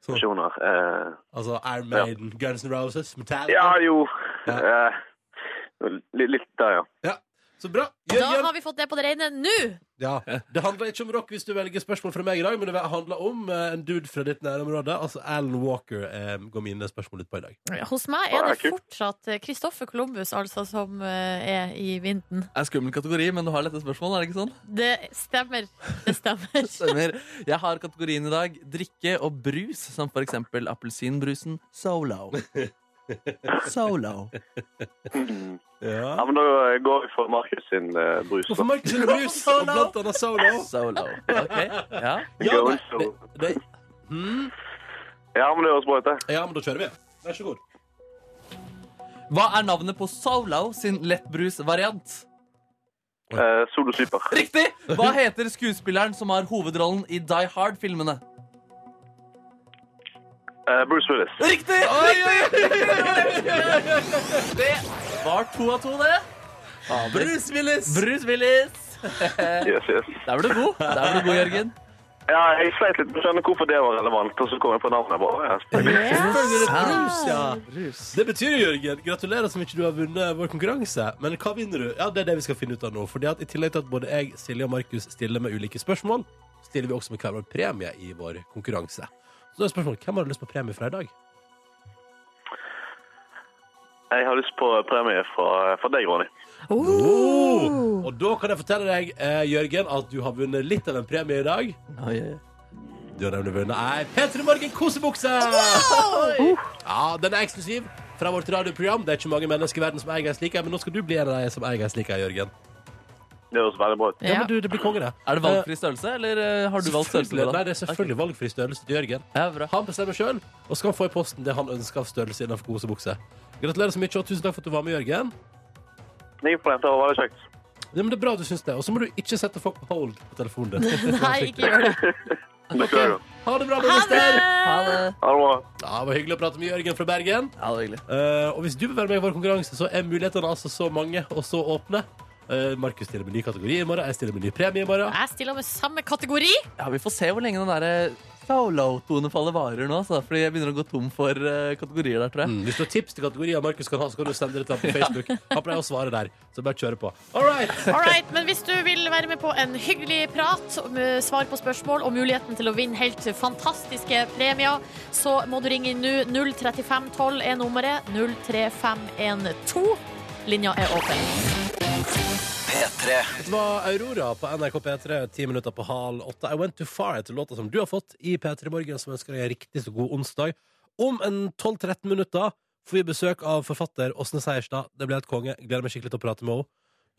personer. Eh,
Altså Iron Maiden, Guns N' Roses, Metallica.
ja, jo.
Ja.
Eh, litt, litt der, ja.
Så bra.
Da
Jørgen,
har vi fått det på det rene nå!
Ja. <laughs> Det handler ikke om rock hvis du velger spørsmål fra meg i dag, men det handler om eh, en dude fra ditt nærområde. Altså Alan Walker eh, går mine spørsmål ut på i dag.
Hos meg
Ja,
er
det
det
er kult.
fortsatt Kristoffer Columbus altså, som eh, er i vinden.
er en skummel kategori, men du har lette spørsmål, er det ikke sånn?
Det stemmer. Det stemmer.
<laughs>
Stemmer. Jeg har kategorien i dag drikke og brus, som for eksempel appelsinbrusen Solo. Solo.
ja. Men da går vi for Markus sin eh, brus.
Og for Markus sin brus, og blant annet solo.
Solo. Ok, ja.
Ja,
Going
nei, det, det, mm,
Ja, men det høres bra ut, det.
ja, men da kjører vi. Vær så god.
Hva er navnet på Solo sin lettbrusvariant?
Eh, Solo Super.
Riktig! Hva heter skuespilleren som har hovedrollen i Die Hard-filmene?
Eh, Bruce Willis.
Riktig! Riktig! Det var to av to, det. Bruce Willis. Bruce Willis.
Yes, yes.
Der var du god, Der var du god, Jørgen.
Ja, jeg sleit litt med å skjønne hvorfor det var relevant, og så kom jeg på navnet. bare. Ja.
Selvfølgelig er det
Sant.
brus, ja. Det betyr jo, Jørgen, gratulerer så mye du har vunnet vår konkurranse. Men hva vinner du? Ja, Det er det vi skal finne ut av nå. Fordi at I tillegg til at både jeg, Silje og Markus stiller med ulike spørsmål, stiller vi også med hver vår premie i vår konkurranse. Så da er spørsmålet, Hvem har du lyst på premie fra i dag?
Jeg har lyst på premie fra, fra deg, Ronny.
Oh! Og da kan jeg fortelle deg, eh, Jørgen, at du har vunnet litt av en premie i dag. Du har nemlig vunnet ei P3 Morgen kosebukse! Ja, Den er eksklusiv fra vårt radioprogram. Det er ikke mange mennesker i verden som eier en slik en, men nå skal du bli en av de som eier en slik en, Jørgen.
Det høres veldig bra ut.
Ja, men du, det blir konge, det.
Er det valgfri størrelse, eller eh, har du valgt størrelse? på
Eh, Selvfølgelig- Nei,
det?
det er selvfølgelig valgfri størrelse til Jørgen.
Ja, bra.
Han bestemmer sjøl, og så kan han få i posten det han ønsker av størrelse innenfor kosebukse. Gratulerer så mye, og tusen takk for at du var med, Jørgen.
Ingen problem, det var veldig kjekt.
Ja, men det er bra at du syns det. Og så må du ikke sette folk på hold på telefonen din.
Nei, ikke gjør det.
Det skal jeg gjøre.
Ha det bra,
Ha det!
minister!
Ha det.
Ha det bra.
Ja, det var hyggelig å prate med Jørgen fra Bergen.
Ja, det var hyggelig.
Eh, og hvis du vil være med i vår konkurranse, så er mulighetene altså så mange og så åpne. Eh, Markus stiller med ny kategori i morgen. Jeg stiller med ny premie i morgen.
Jeg stiller med samme kategori.
Ja, Vi får se hvor lenge den der solo-tonefallet varer nå. Så, fordi jeg begynner å gå tom for eh, kategorier der, tror jeg.
Mm. Hvis du har tips til kategorier Markus kan ha, så kan du sende det til ham på Facebook. Han pleier å svare der, så bare kjøre på. All right!
All right, men hvis du vil være med på en hyggelig prat, med svar på spørsmål og muligheten til å vinne helt fantastiske premier, så må du ringe inn nå. 03512 er nummeret. 03512. Linja er åpen.
Det var Aurora på NRK P3, ti minutter på hal åtte. I Went Too Far etter låta som du har fått i P3 Morgen, som ønsker deg en riktig så god onsdag. Om en 12-13 minutter får vi besøk av forfatter Åsne Seierstad. Det ble et konge. Gleder meg skikkelig til å prate med henne.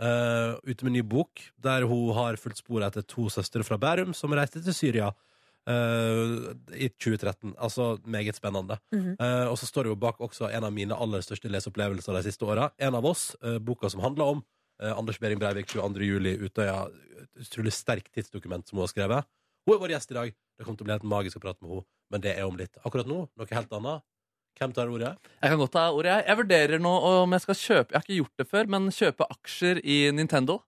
Eh, ute med en ny bok, der hun har fulgt sporet etter to søstre fra Bærum som reiste til Syria eh, i 2013. Altså meget spennende.
Mhm.
Eh, og så står det jo bak også en av mine aller største leseopplevelser de siste åra. En av oss, eh, boka som handler om eh, Anders Behring Breivik 22. juli, Utøya. Et Utrolig sterkt tidsdokument som hun har skrevet. Hun er vår gjest i dag. Det kommer til å bli helt magisk å prate med henne, men det er om litt. Akkurat nå, noe helt annet. Hvem tar ordet?
Jeg kan godt ta ordet, jeg. Jeg vurderer nå om jeg skal kjøpe Jeg har ikke gjort det før, men kjøpe aksjer i Nintendo.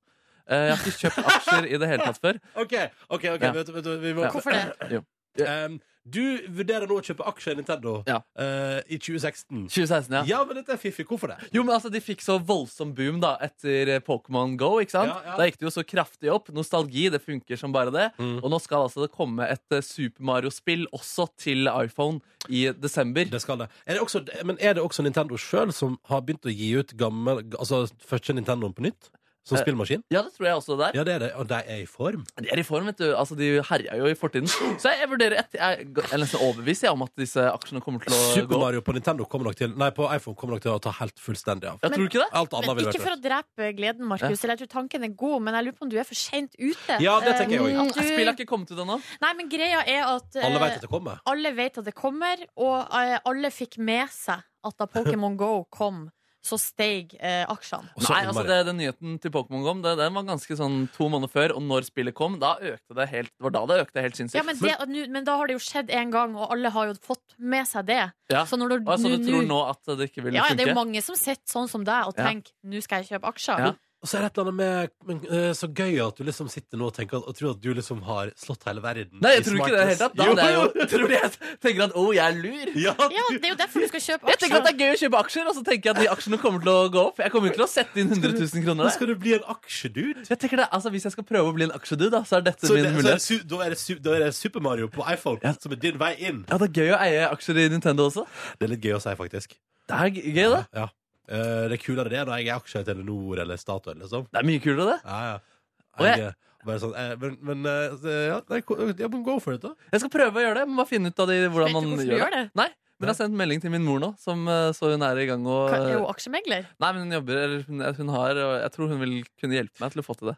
Eh, Jeg har ikke kjøpt aksjer i det hele tatt før.
OK, ok, ok,
Ja.
vet, du- vet, du, vi må
Ja.
Hvorfor
<clears throat>
det?
Um, du vurderer nå å kjøpe aksjer i Nintendo
Ja.
eh, i 2016.
2016, ja.
Ja, men dette er fiffig. Hvorfor det?
Jo, men altså, De fikk så voldsom boom da etter eh, Pokémon Go. ikke sant?
Ja, Mm. ja.
Da gikk det jo så kraftig opp. Nostalgi det funker som bare det. Og nå skal altså det komme et eh, Super Mario-spill også til iPhone i desember.
Det skal det. Er det også, men er det også Nintendo sjøl som har begynt å gi ut gammel Altså første Nintendoen på nytt? Som
Eh.
spillmaskin?
Ja, det tror jeg også det er.
Ja, det er det. Og de er i form?
De er i form, vet du. Altså, De herja jo i fortiden. Så jeg, jeg vurderer et, jeg, jeg er nesten overbevist jeg, om at disse aksjene kommer til å
Super
gå.
Mario på Nintendo kommer nok til Nei, på iPhone kommer nok til å ta helt fullstendig av.
Jeg tror du ikke det?
Alt annet
Men
vil
ikke
være
for å drepe gleden, Markus. Eller jeg tror tanken er god, men jeg lurer på om du er for seint ute.
Ja, det tenker jeg
Eh,
også.
at du-
Spillet har ikke kommet ut ennå.
Nei, men greia er at eh,
Alle vet at det kommer.
alle vet at det kommer, og eh, alle fikk med seg at da Pokémon Go kom, så steig eh, aksjene.
Og så
Nei, altså
innmari.
det, Den nyheten til Pokémon kom, det, den var ganske sånn to måneder før. Og når spillet kom, da økte det helt Det var da det økte helt sinnssykt.
Ja, men, det, at nu- men da har det jo skjedd en gang, og alle har jo fått med seg det.
Ja.
Så når du,
Og altså,
nu-
du tror
nu-
nå at det ikke vil
ja, ja,
funke?
det er jo mange som sitter sånn som deg og
Ja.
tenker nå skal jeg kjøpe aksjer.
Ja.
Og så er det et eller annet med men, eh, Så gøy at du liksom sitter nå og tenker at- og tror at du liksom har slått hele verden.
Nei,
i
jeg tror ikke det i det hele tatt. Da
smartness.
hadde jeg jo tror jeg tenker at å, jeg er lur.
Jo, ja,
Ja, det er jo derfor du skal kjøpe
Jeg tenker at
aksjer.
det er gøy å kjøpe aksjer, og så tenker jeg at de aksjene kommer til å gå opp. Jeg kommer jo ikke til å sette inn 100 000 kroner
Nå
der.
skal du bli en aksjedude.
Jeg tenker det, altså Hvis jeg skal prøve å bli en aksjedude, da, så er dette
Så, det,
min
så er det,
mulighet.
su- da, er det, su- da er det Super Mario på iPhone
Ja.
som er din vei inn.
Ja, Det er gøy å eie aksjer i Nintendo også.
Det er litt gøy å si, faktisk.
Det er g- gøy, det.
Ja. Eh, det er kulere det når jeg er aksjer i Telenor eller Statoil, liksom.
Det er mye kulere, det.
Ja, ja.
Og
Jeg,
jeg-
eh, bare sånn, eh, men men eh, så- ja, nei, ko- ja, men go for it, da.
Jeg skal prøve å gjøre det. Jeg må bare finne ut av de, hvordan
Vet du
man
hvorfor du
gjør det.
gjør det?
Nei, men jeg har sendt melding til min mor nå, som eh, så hun er i gang og
Ka- Jo, aksjemegler.
Nei, men hun jobber, eller hun, hun har Og jeg tror hun vil kunne hjelpe meg til å få til det.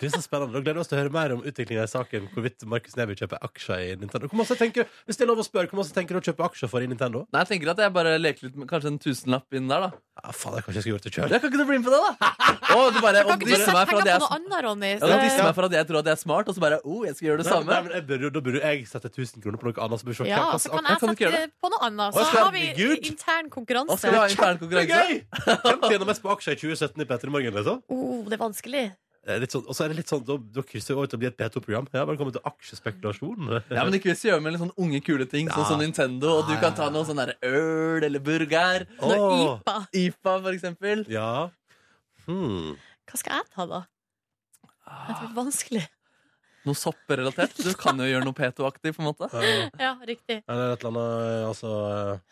Det er så spennende. Da gleder vi oss til å høre mer om utviklingen i saken. Hvorvidt Markus Neby kjøper aksjer i Nintendo. Hvor masse tenker, hvis det er lov å spørre, hvor masse tenker du å kjøpe aksjer for i Nintendo?
Nei, jeg tenker at jeg bare leker litt med kanskje en tusenlapp inn der, da.
Ja, faen, jeg kanskje jeg skulle gjort det sjøl.
Jeg kan ikke du bli med på det, da? Å, du bare
Kan
og
ikke <laughs> du
disser
sette
meg for
penger
at
på
jeg
noe annet, Ronny?
ja, de disser
Så-
meg for at jeg tror at jeg er smart, og så bare oh, jeg skal gjøre det samme.
Da burde jeg sette 1000 kroner på noe annet. Så burde vi se hva-
Ja,
hva-
så kan
hva-
jeg
kan du
sette
ikke gjøre
det på noe annet.
Å,
Så
skal-
har vi
Gud.
intern
Nå skal vi ha
konkurranse.
intern
Det er
konkurranse.
gøy! Hvem tjener mest på aksjer i 2017 i P3 Morgen, liksom?
Oh, det er vanskelig.
Det er litt sånn, og så er det litt sånn, da, da krysser vi over til å bli et P2-program. Ja, velkommen til aksjespekulasjon.
Ja, men ikke hvis vi gjør med litt sånn unge, kule ting,
Ja.
sånn som Nintendo, og du
Ja,
kan
ja,
ta
ja.
noe sånn der øl eller burger.
Noe
Åh,
IPA.
IPA, for eksempel.
ja. Hmm.
Hva skal jeg ta, da? Det er vanskelig.
Noe sopperelatert. Du kan jo gjøre noe P2-aktig, på en måte.
Ja.
Ja, riktig.
Eller et eller annet Altså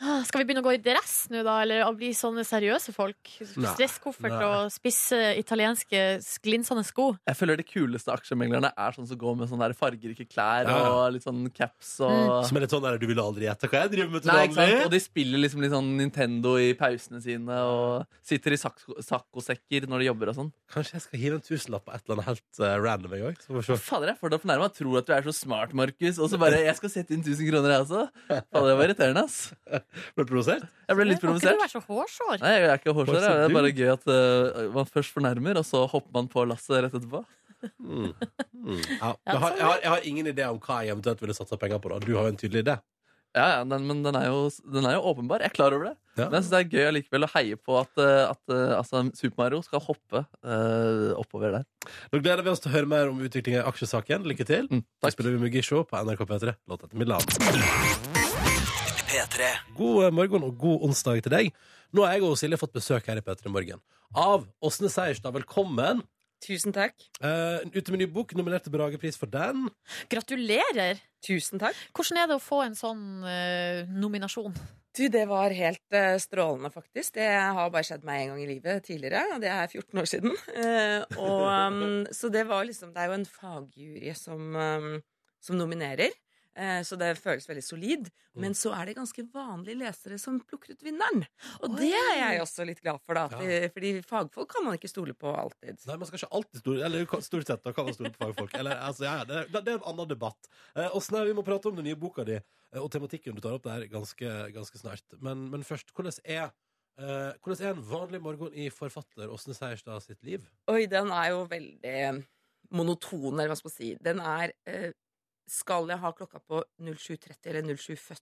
Ah, Skal vi begynne å gå i dress nå, da? Eller å bli sånne seriøse folk?
Nei.
Stresskoffert
Nei.
og spisse italienske glinsende sko.
Jeg føler de kuleste aksjemeglerne er sånn som går med sånne der fargerike klær
Ja, ja.
og litt sånn caps og
Som er litt sånn der, du ville aldri gjette hva jeg driver med til
Nei, ikke sant? Og
vanlig.
de spiller liksom litt sånn Nintendo i pausene sine og sitter i sakko- saccosekker når de jobber og sånn.
Kanskje jeg skal hive en tusenlapp på et eller annet helt eh, random en gang. Så <laughs> får vi se.
Fader, jeg får det fornærma. Tror at du er så smart, Markus. Og så bare 'Jeg skal sette inn 1000 kroner, jeg også'. Fader, det var irriterende, ass.
Ble du provosert?
Jeg ble litt
Kan ikke du
provosert.
være så hårsår?
Nei, jeg er ikke hårsår.
Hva sa
Det er
du?
bare gøy at eh, man først fornærmer, og så hopper man på lasset rett etterpå.
Mm. Mm. Ja. Jeg, har, jeg, har, jeg har ingen idé om hva jeg eventuelt ville satsa penger på. da Du har jo en tydelig idé.
Ja, ja, den, men den er, jo, den er jo åpenbar. Jeg er klar over det.
Ja.
Men jeg synes det er gøy allikevel å heie på at, eh, at eh, altså, Super Mario skal hoppe eh, oppover der.
Nå gleder vi oss til å høre mer om utviklingen i aksjesaken. Lykke til.
Mm,
Da
takk.
spiller vi Mugisho på NRK P3. Låt etter Milan. God eh, morgen og god onsdag til deg. Nå har jeg og Silje fått besøk her i P3 Morgen av Åsne Seierstad. Velkommen.
Tusen takk.
Eh, ute med ny bok, nominert til Bragepris for den.
Gratulerer!
Tusen takk.
Hvordan er det å få en sånn eh, nominasjon?
Du, det var helt eh, strålende, faktisk. Det har bare skjedd meg en gang i livet tidligere, og det er 14 år siden. <laughs> Eh, og, um, så det var liksom Det er jo en fagjury som, um, som nominerer, eh, så det føles veldig solid. Men så er det ganske vanlige lesere som plukker ut vinneren. Og det er jeg også litt glad for, da. at
Ja.
de- Fordi fagfolk kan man ikke stole på alltid.
Nei, man skal ikke alltid stole Eller kan- stort sett, da kan man stole på fagfolk. Eller, altså, ja, ja, det, det, det er en annen debatt. Eh, og Snau, vi må prate om den nye boka di eh, og tematikken du tar opp der, ganske, ganske snart. Men, men først, hvordan er, eh, hvordan er en vanlig morgen i forfatter Åsne Seierstad sitt liv?
Oi, den er jo veldig eh, monoton, eller hva skal man si. Den er eh, Skal jeg ha klokka på 07.30 eller 07.40?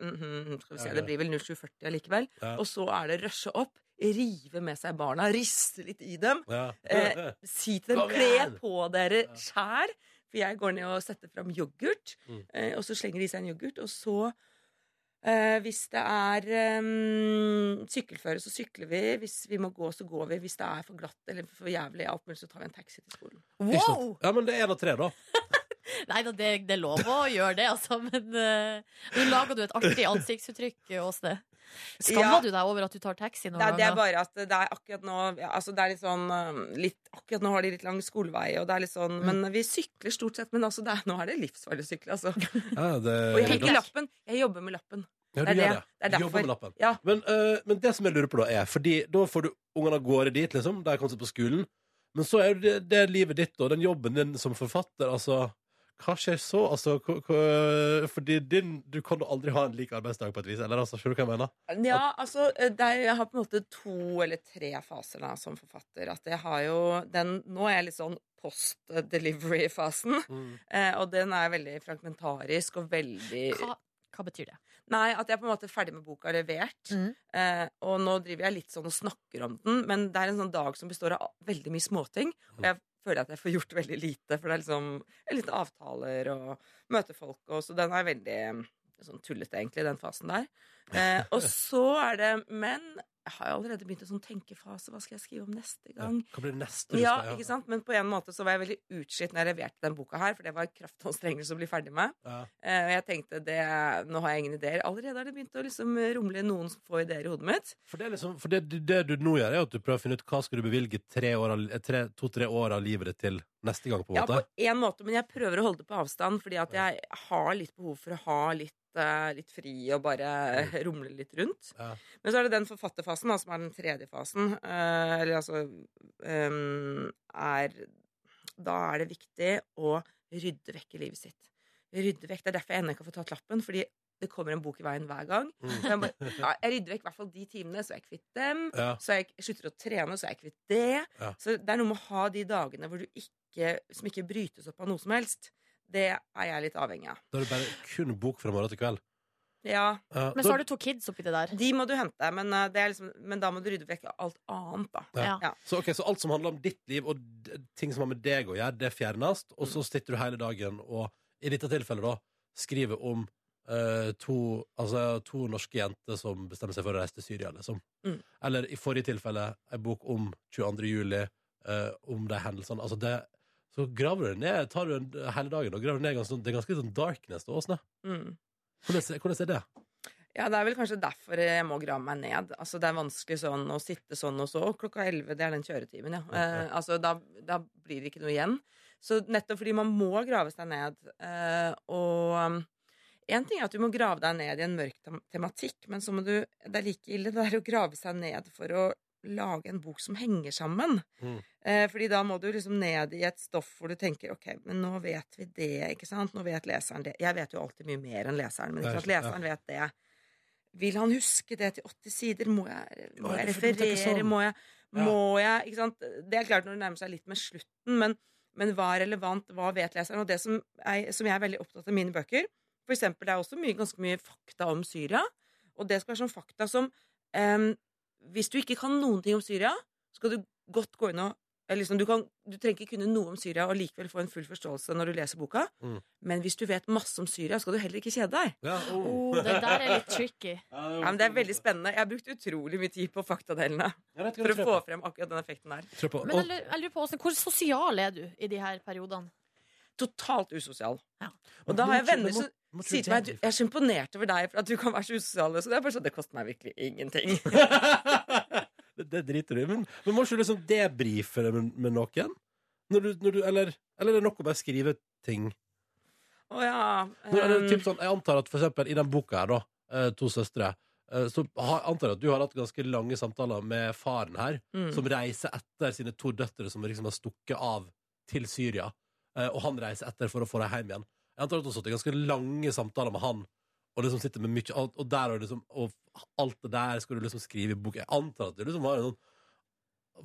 Mhm, skal vi
Ja,
se,
ja.
det blir vel 07.40 allikevel.
Ja.
Og så er det rushe opp, rive med seg barna, riste litt i dem.
<laughs> Ja.
Eh, Si til dem
Kom
kle
igjen!»
på dere
Ja.
skjær. For jeg går ned og setter fram yoghurt,
Mm.
eh, og så slenger de seg en yoghurt. Og så, eh, hvis det er eh, sykkelføre, så sykler vi. Hvis vi må gå, så går vi. Hvis det er for glatt eller for jævlig, alt mulig, så tar vi en taxi til skolen.
Ikke sant?
Wow!
Ja, men det er en av tre, da.
Nei da, det, det er lov å gjøre det, altså, men eh, nå lager du et artig ansiktsuttrykk, Åsne. Skammer
Ja.
du deg over at du tar taxi noen
Nei, det er
ganger?
bare at det er akkurat nå ja, Altså det er litt sånn um, litt, Akkurat nå har de litt lang skolevei, og det er litt sånn Men vi sykler stort sett, men altså det er, nå er det livsfarlig å sykle, altså.
Ja, det,
Og jeg
ja, du
fikk lappen. Jeg jobber med lappen.
gjør
det er
det.
det. Det er
Du jobber
derfor.
med lappen.
Ja.
Men, eh, men det som jeg lurer på da er Fordi da får du ungene av gårde dit liksom Der kom seg på skolen Men så er jo det, det er livet ditt og den jobben din som forfatter Altså, hva skjer så? Altså, hva- hva- fordi din Du kan jo aldri ha en lik arbeidsdag på et vis Eller altså, skjønner du hva jeg mener?
Ja, altså det er, Jeg har på en måte to eller tre faser da som forfatter. At jeg har jo den Nå er jeg litt sånn post-delivery-fasen, eh, og den er veldig fragmentarisk og veldig
Hva, Hva betyr det?
Nei, at jeg på en måte er ferdig med boka levert.
Mm.
Eh, og nå driver jeg litt sånn og snakker om den, men det er en sånn dag som består av veldig mye småting. Og jeg føler at jeg får gjort veldig lite, for det er liksom det er litt avtaler og møte folk og Så den er veldig eh, sånn tullete, egentlig, den fasen der. Eh, og så er det Men jeg har jo allerede begynt en sånn tenkefase. Hva skal jeg skrive om neste
Ja.
gang?
Hva blir det neste du
Ja,
skal
ikke sant? Men på en måte så var jeg veldig utslitt når jeg leverte den boka her, for det var kraftanstrengelse å bli ferdig med.
Ja.
Eh, Og jeg tenkte det, nå har jeg ingen ideer. Allerede har det begynt å liksom rumle noen som får ideer i hodet mitt.
For, det, er liksom, for det, det du nå gjør, er at du prøver å finne ut hva skal du bevilge to-tre år, av- eh, tre- to-tre år av livet ditt til neste gang, på en
Ja, på
måte.
en måte, men jeg prøver å holde det på avstand, fordi at jeg har litt behov for å ha litt eh, Litt fri og bare eh, <laughs> rumle litt rundt.
Mm. Ja.
Men så er det den forfatterfasen, da, som er den tredje fasen. eh, eller altså ehm, er, Da er det viktig å rydde vekk i livet sitt. Rydde vekk, Det er derfor jeg ennå ikke har fått tatt lappen, fordi det kommer en bok i veien hver gang.
Mm.
Så Jeg, bare, ja, jeg rydder vekk i hvert fall de timene, så er jeg kvitt dem.
Ja.
Så jeg slutter å trene, så er jeg kvitt det.
Ja.
Så det er noe med å ha de dagene hvor du ikke, som ikke brytes opp av noe som helst. Det er jeg litt avhengig av.
Da er det bare kun bok fra morgen til kveld.
Ja,
Ja,
Men
da-
så har du to kids oppi det der.
De må du hente, men, eh, det er liksom, men da må du rydde vekk alt annet, da.
Ja.
Ja.
Så, ok, så alt som handler om ditt liv og d- ting som har med deg å gjøre, det fjernes, og så sitter du hele dagen og i dette tilfellet da, skriver om eh, to, altså, to norske jenter som bestemmer seg for å reise til Syria, liksom.
Mm.
Eller i forrige tilfelle, en bok om 22. juli, eh, om de hendelsene. Altså det, så graver du ned, tar du en, hele dagen og graver ned ganske, sånn- det er ganske sånn darkness da, Åsne.
Mm.
Hvordan, hvordan er det?
Ja, det er vel kanskje derfor jeg må grave meg ned. Altså, det er vanskelig sånn å sitte sånn og så. Å, Klokka elleve, det er den kjøretimen, ja. Eh, altså, da, da blir det ikke noe igjen. Så nettopp fordi man må grave seg ned, eh, og Én ting er at du må grave deg ned i en mørk tem- tematikk, men så må du Det er like ille det er å grave seg ned for å lage en bok som henger sammen.
Mm.
Eh, fordi da må du liksom ned i et stoff hvor du tenker OK, men nå vet vi det, ikke sant? Nå vet leseren det. Jeg vet jo alltid mye mer enn leseren, men
Det er
ikke sant?
sant,
leseren vet det. Vil han huske det til 80 sider? Må jeg, må
Å,
jeg
det er fordi du tenker
referere?
sånn.
Må jeg,
Ja.
må jeg ikke sant? Det er klart når det nærmer seg litt med slutten, men, men hva er relevant? Hva vet leseren? Og det som, er, som jeg er veldig opptatt av i mine bøker For eksempel, det er også mye, ganske mye fakta om Syria. Og det skal være sånn fakta som em, Hvis du ikke kan noen ting om Syria, skal du godt gå inn og eller liksom, du, kan, du trenger ikke kunne noe om Syria og likevel få en full forståelse når du leser boka.
Mm.
Men hvis du vet masse om Syria, skal du heller ikke kjede deg.
Ja, oh.
Det der er litt tricky.
Ja, men Det er veldig spennende. Jeg har brukt utrolig mye tid på faktadelene for å få frem akkurat den effekten der.
Men jeg lurer- jeg lurer på, Åsne, hvor sosial er du i de her periodene?
Totalt usosial. Og da har jeg venner som sier til meg du, jeg er så imponert over deg for at du kan være så usosial. Så det er bare sånn, det koster meg virkelig ingenting.
<laughs> det, det driter du i. Men, men må ikke du liksom debrife det med, med noen? Når du, når du, eller, eller er det nok å bare skrive ting?
Å ja.
Når, eller,
ehm,
typ sånn, jeg antar at for eksempel i den boka her, da, eh, To søstre, eh, så har, antar jeg at du har hatt ganske lange samtaler med faren her,
mm.
som reiser etter sine to døtre som liksom har stukket av til Syria, eh, og han reiser etter for å få dem hjem igjen. Jeg antar at du har sittet i ganske lange samtaler med han, og liksom sitter med mye alt, og der har du liksom, og alt det der skal du liksom skrive i bok. Jeg antar at du liksom har en sånn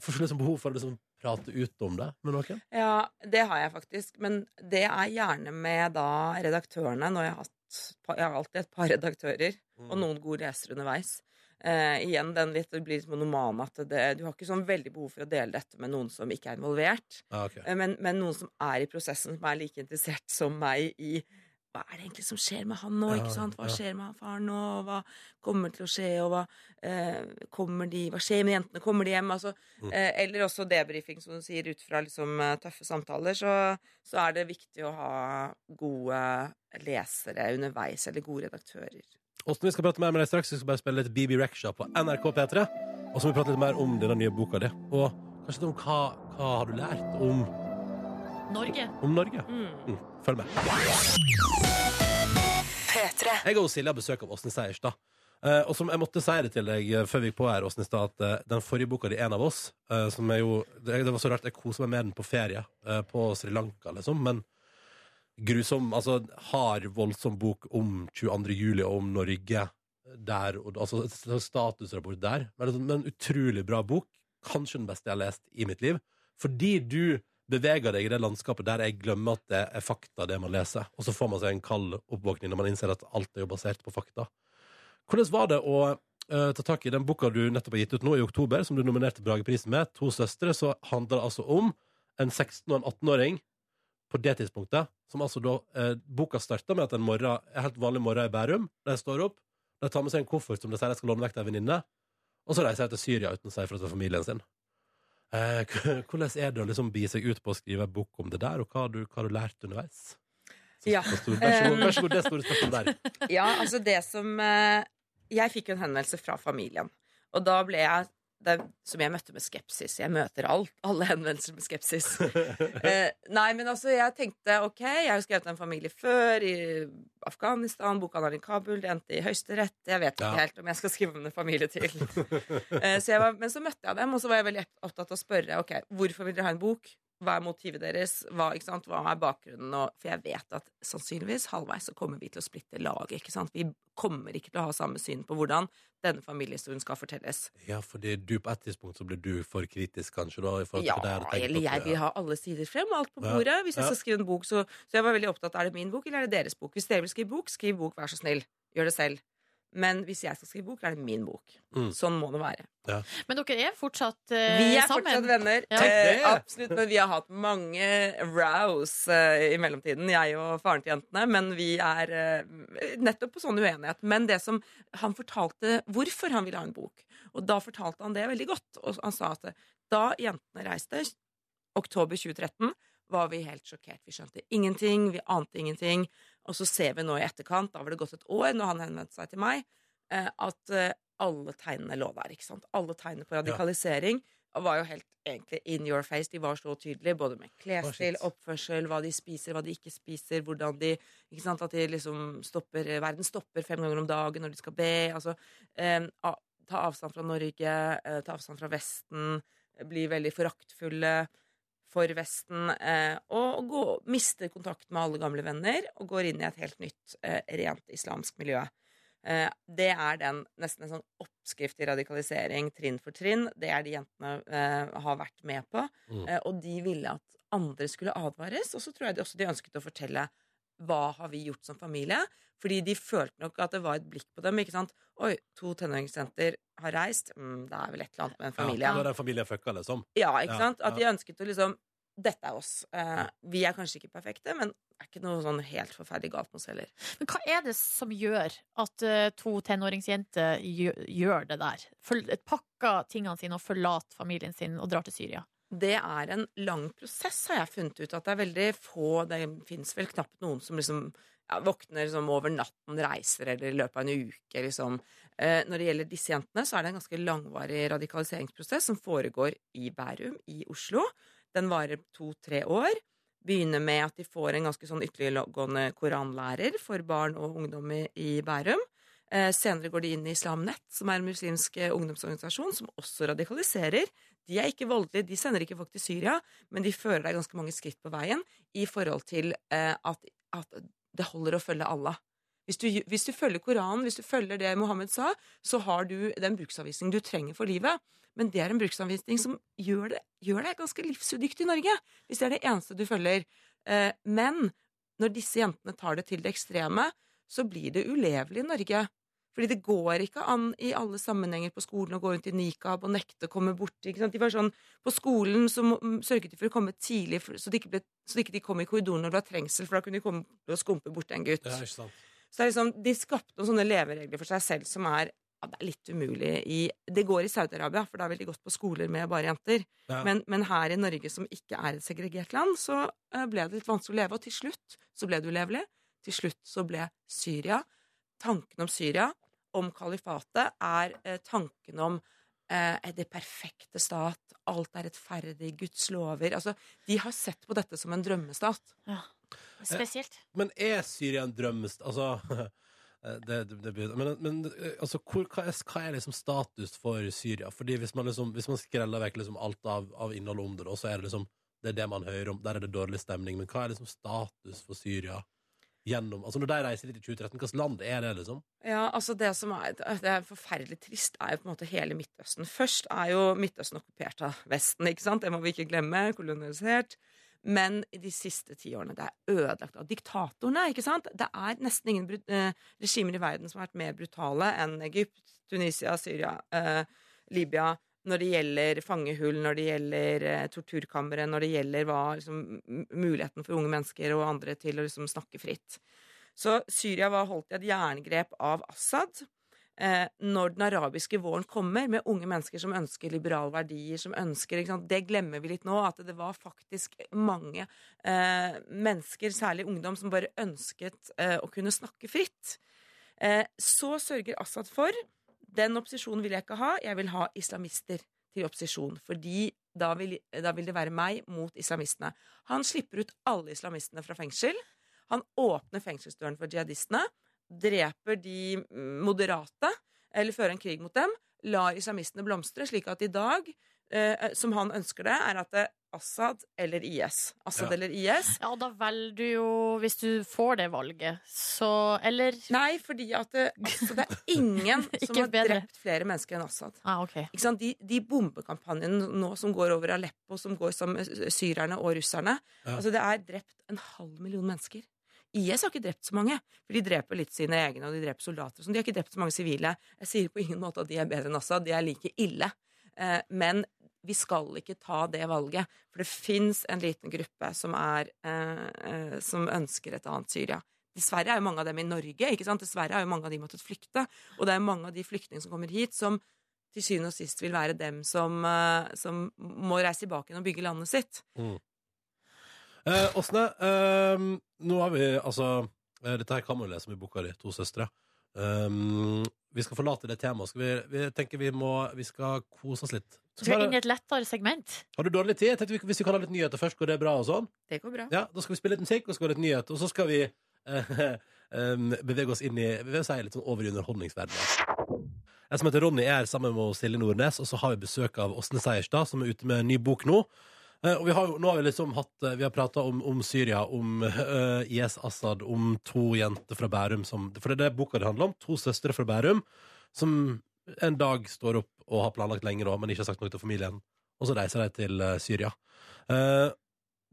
Får liksom behov for å liksom prate ut om det med noen.
Ja, det har jeg faktisk. Men det er gjerne med da redaktørene. Når jeg har hatt Jeg har alltid et par redaktører,
Mm.
og noen gode lesere underveis. Eh, igjen den litt Det blir litt monoman at det, du har ikke sånn veldig behov for å dele dette med noen som ikke er involvert.
Ja, ok.
Eh, Men, men noen som er i prosessen, som er like interessert som meg i hva er det egentlig som skjer med han nå?
Ja,
ikke sant? Hva
ja.
skjer med han faren nå? og Hva kommer til å skje? Og hva, eh, kommer de, hva skjer med jentene? Kommer de hjem? Altså,
Mm.
eh, eller også debrifing, som du sier, ut fra liksom, eh, tøffe samtaler. Så, så er det viktig å ha gode lesere underveis, eller gode redaktører.
<laughs> Åsten, vi skal prate mer med deg straks. Vi skal bare spille litt BB Rexha på NRK P3. Og så må vi prate litt mer om denne nye boka di. Og kanskje litt om hva, hva har du lært om,
Norge?
om Norge. Mm, Følg med. Jeg og Silje har besøk av Åsne Seierstad. Eh, og som jeg måtte si det til deg eh, før vi gikk på her, Åsne, i stad, at eh, den forrige boka di, 'En av oss', eh, som er jo det, det var så rart, jeg koser meg med den på ferie eh, på Sri Lanka, liksom, men grusom, altså hard, voldsom bok om 22. juli og om Norge der, og, altså et slags statusrapport altså, der. Men, det er sånn- men en utrolig bra bok. Kanskje den beste jeg har lest i mitt liv. Fordi du beveger deg i det landskapet der jeg glemmer at det er fakta, det man leser. Og så får man seg en kald oppvåkning når man innser at alt er jo basert på fakta. Hvordan var det å eh, ta tak i den boka du nettopp har gitt ut nå, i oktober, som du nominerte Brageprisen med, To søstre, så handler det altså om en 16- og en 18-åring på det tidspunktet, som altså da eh, Boka starter med at en morgen, en helt vanlig morgen i Bærum, de står opp, de tar med seg en koffert som de sier de skal låne vekk til en venninne, og så reiser de til Syria uten å si fra til familien sin. Eh, k- hvordan er det å liksom bie seg ut på å skrive en bok om det der, og hva har du, hva har du lært underveis? Så-
Ja.
så stor- Vær så god, vær så god, det store spørsmålet der.
Ja, altså det som eh, Jeg fikk jo en henvendelse fra familien. Og da ble jeg det, Som jeg møtte med skepsis. Jeg møter alt, alle henvendelser med skepsis. Eh, nei, men altså, jeg tenkte ok, jeg har jo skrevet en familie før, i Afghanistan, boka handler i Kabul, det endte i Høyesterett, jeg vet ikke
Ja.
helt om jeg skal skrive om en familie til. Eh, så jeg var, men så møtte jeg dem, og så var jeg veldig opptatt av å spørre ok, hvorfor vil dere ha en bok? Hva er motivet deres? Hva, ikke sant? Hva er bakgrunnen? Og, for jeg vet at sannsynligvis halvveis så kommer vi til å splitte laget. Ikke sant? Vi kommer ikke til å ha samme syn på hvordan denne familiehistorien skal fortelles.
Ja, fordi du på et tidspunkt så blir du for kritisk, kanskje, da, i forhold til
Ja,
det jeg hadde tenkt
eller
at
jeg
du-
vil ha alle sider frem, alt på
Ja,
bordet. Hvis jeg
ja.
skal skrive en bok, så, så jeg var veldig opptatt av er det min bok eller er det deres bok. Hvis dere vil skrive bok, skriv bok, vær så snill. Gjør det selv. Men hvis jeg skal skrive bok, er det min bok.
Mm.
Sånn må det være.
Men dere er fortsatt eh,
Vi er
sammen.
fortsatt venner.
Ja.
Eh,
Tenk
absolutt. Men vi har hatt mange rows eh, i mellomtiden, jeg og faren til jentene. Men vi er eh, nettopp på sånn uenighet. Men det som han fortalte hvorfor han ville ha en bok, og da fortalte han det veldig godt. Og han sa at da jentene reiste, oktober 2013, var vi helt sjokkert. Vi skjønte ingenting, vi ante ingenting. Og så ser vi nå i etterkant, da var det gått et år, når han henvendte seg til meg, eh, at eh, alle tegnene lå der. ikke sant? Alle tegnene på radikalisering var jo helt egentlig in your face. De var så tydelige, både med klesstil,
Å, shit.
oppførsel, hva de spiser, hva de ikke spiser, hvordan de ikke sant, At de liksom stopper Verden stopper fem ganger om dagen når de skal be. altså eh, a- Ta avstand fra Norge, eh, ta avstand fra Vesten, bli veldig foraktfulle for Vesten eh, og gå, mister kontakt med alle gamle venner og går inn i et helt nytt, eh, rent islamsk miljø. Eh, det er den nesten en sånn oppskrift i radikalisering trinn for trinn. Det er de jentene eh, har vært med på.
Mm.
Eh, og de ville at andre skulle advares. Og så tror jeg de også de ønsket å fortelle hva har vi gjort som familie? Fordi de følte nok at det var et blikk på dem. ikke sant? Oi, to tenåringsjenter har reist. Mm, det er vel et eller annet med den familien.
Ja, da er den familien fucka, liksom.
Ja, ikke
Ja,
sant? At de ønsket å liksom Dette er oss. Eh, vi er kanskje ikke perfekte, men er ikke noe sånn helt forferdelig galt med oss heller.
Men hva er det som gjør at eh, to tenåringsjenter gjør, gjør det der? Føl- pakker tingene sine og forlater familien sin og drar til Syria?
Det er en lang prosess, har jeg funnet ut. At det er veldig få Det fins vel knapt noen som liksom ja, våkner liksom over natten, reiser eller i løpet av en uke, liksom. Eh, når det gjelder disse jentene, så er det en ganske langvarig radikaliseringsprosess som foregår i Bærum, i Oslo. Den varer to-tre år. Begynner med at de får en ganske sånn ytterliggående koranlærer for barn og ungdom i, i Bærum. Eh, senere går de inn i Islam Nett, som er en muslimsk eh, ungdomsorganisasjon som også radikaliserer. De er ikke voldelige, de sender ikke folk til Syria, men de fører deg ganske mange skritt på veien i forhold til eh, at, at det holder å følge Allah. Hvis du, hvis du følger Koranen, hvis du følger det Mohammed sa, så har du den bruksanvisningen du trenger for livet. Men det er en bruksanvisning som gjør, det, gjør deg ganske livsudyktig i Norge, hvis det er det eneste du følger. Eh, men når disse jentene tar det til det ekstreme, så blir det ulevelig i Norge. Fordi det går ikke an i alle sammenhenger på skolen å gå rundt i nikab og nekte å komme borti. Ikke sant? De var sånn, På skolen så må- mm, sørget de for å komme tidlig, for, så, de ikke ble, så de ikke de kom i korridoren når det var trengsel, for da kunne de komme og skumpe borti en gutt.
Det er ikke sant.
Så det er liksom, de skapte noen sånne leveregler for seg selv som er ja, det er litt umulig i Det går i Saudi-Arabia, for da vil de gått på skoler med bare jenter.
Ja.
Men, men her i Norge, som ikke er et segregert land, så eh, ble det litt vanskelig å leve. Og til slutt så ble det ulevelig. Til slutt så ble Syria Tanken om Syria, om kalifatet, er eh, tanken om eh, det perfekte stat. Alt er rettferdig, Guds lover Altså, de har sett på dette som en drømmestat.
Spesielt.
Men er Syria en drømmest... Altså <laughs> eh, det, det, det, blir- men men eh, altså, hvor, hva, er, hva er liksom status for Syria? Fordi Hvis man, liksom, hvis man skreller vekk liksom alt av, av innholdet om det, da, så er det liksom det er det man hører om. Der er det dårlig stemning. Men hva er liksom status for Syria gjennom Altså Når de reiser dit i 2013, hvilket land er det, liksom?
Ja, altså Det som er, det er forferdelig trist, er jo på en måte hele Midtøsten. Først er jo Midtøsten okkupert av Vesten, ikke sant? det må vi ikke glemme. Kolonisert. Men i de siste ti årene det er ødelagt av diktatorene. ikke sant? Det er nesten ingen brut- eh, regimer i verden som har vært mer brutale enn Egypt, Tunisia, Syria, eh, Libya. Når det gjelder fangehull, når det gjelder eh, torturkamre, når det gjelder hva, liksom, m- muligheten for unge mennesker og andre til å liksom, snakke fritt. Så Syria var holdt i et jerngrep av Assad. Eh, når den arabiske våren kommer, med unge mennesker som ønsker liberale verdier som ønsker, ikke sant? Det glemmer vi litt nå, at det var faktisk mange eh, mennesker, særlig ungdom, som bare ønsket eh, å kunne snakke fritt. Eh, så sørger Assad for Den opposisjonen vil jeg ikke ha. Jeg vil ha islamister til opposisjon. Fordi da vil, da vil det være meg mot islamistene. Han slipper ut alle islamistene fra fengsel. Han åpner fengselsdøren for jihadistene, dreper de moderate, eller fører en krig mot dem, lar islamistene blomstre, slik at i dag, eh, som han ønsker det, er at det er Assad eller IS. Assad
Ja.
eller IS.
Ja, da velger du jo, hvis du får det valget, så Eller
Nei, fordi at det,
<laughs>
altså, det er ingen som
Ikke
har
bedre.
drept flere mennesker enn Assad.
ah, OK.
Ikke sant? De, de bombekampanjene nå som går over Aleppo, som går som syrerne og russerne
Ja.
altså Det er drept en halv million mennesker. IS har ikke drept så mange, for de dreper litt sine egne, og de dreper soldater. og sånn. De har ikke drept så mange sivile. Jeg sier på ingen måte at de er bedre enn Assad, de er like ille. Eh, men vi skal ikke ta det valget, for det fins en liten gruppe som, er, eh, eh, som ønsker et annet Syria. Dessverre er jo mange av dem i Norge. ikke sant? Dessverre har jo mange av de måttet flykte. Og det er jo mange av de flyktningene som kommer hit, som til syvende og sist vil være dem som, eh, som må reise tilbake igjen og bygge landet sitt.
Eh, Åsne, eh, nå har vi altså eh, Dette her kan man lese om i boka di, To søstre. Um, vi skal forlate det temaet. Skal vi, vi tenker vi må Vi skal kose oss litt.
Så skal vi inn i et lettere segment.
har du dårlig tid? Jeg tenkte vi, Hvis vi kan ha litt nyheter først, går det bra? og sånn?
Det går bra.
Ja, Da skal vi spille litt musikk, og så skal det litt nyhet. Og så skal vi eh, <laughs> em, bevege oss inn i vi vil si litt sånn over i underholdningsverdenen. Jeg som heter Ronny, er her sammen med Silje Nordnes, og så har vi besøk av Åsne Seierstad, som er ute med en ny bok nå. Eh, og vi har, jo- nå har vi liksom hatt eh, Vi har prata om, om Syria, om <laughs> eh, IS Assad, om to jenter fra Bærum som For det er det boka det handler om. To søstre fra Bærum som en dag står opp og har planlagt lenge, da, men ikke har sagt noe til familien. Og så reiser de til eh, Syria. Eh,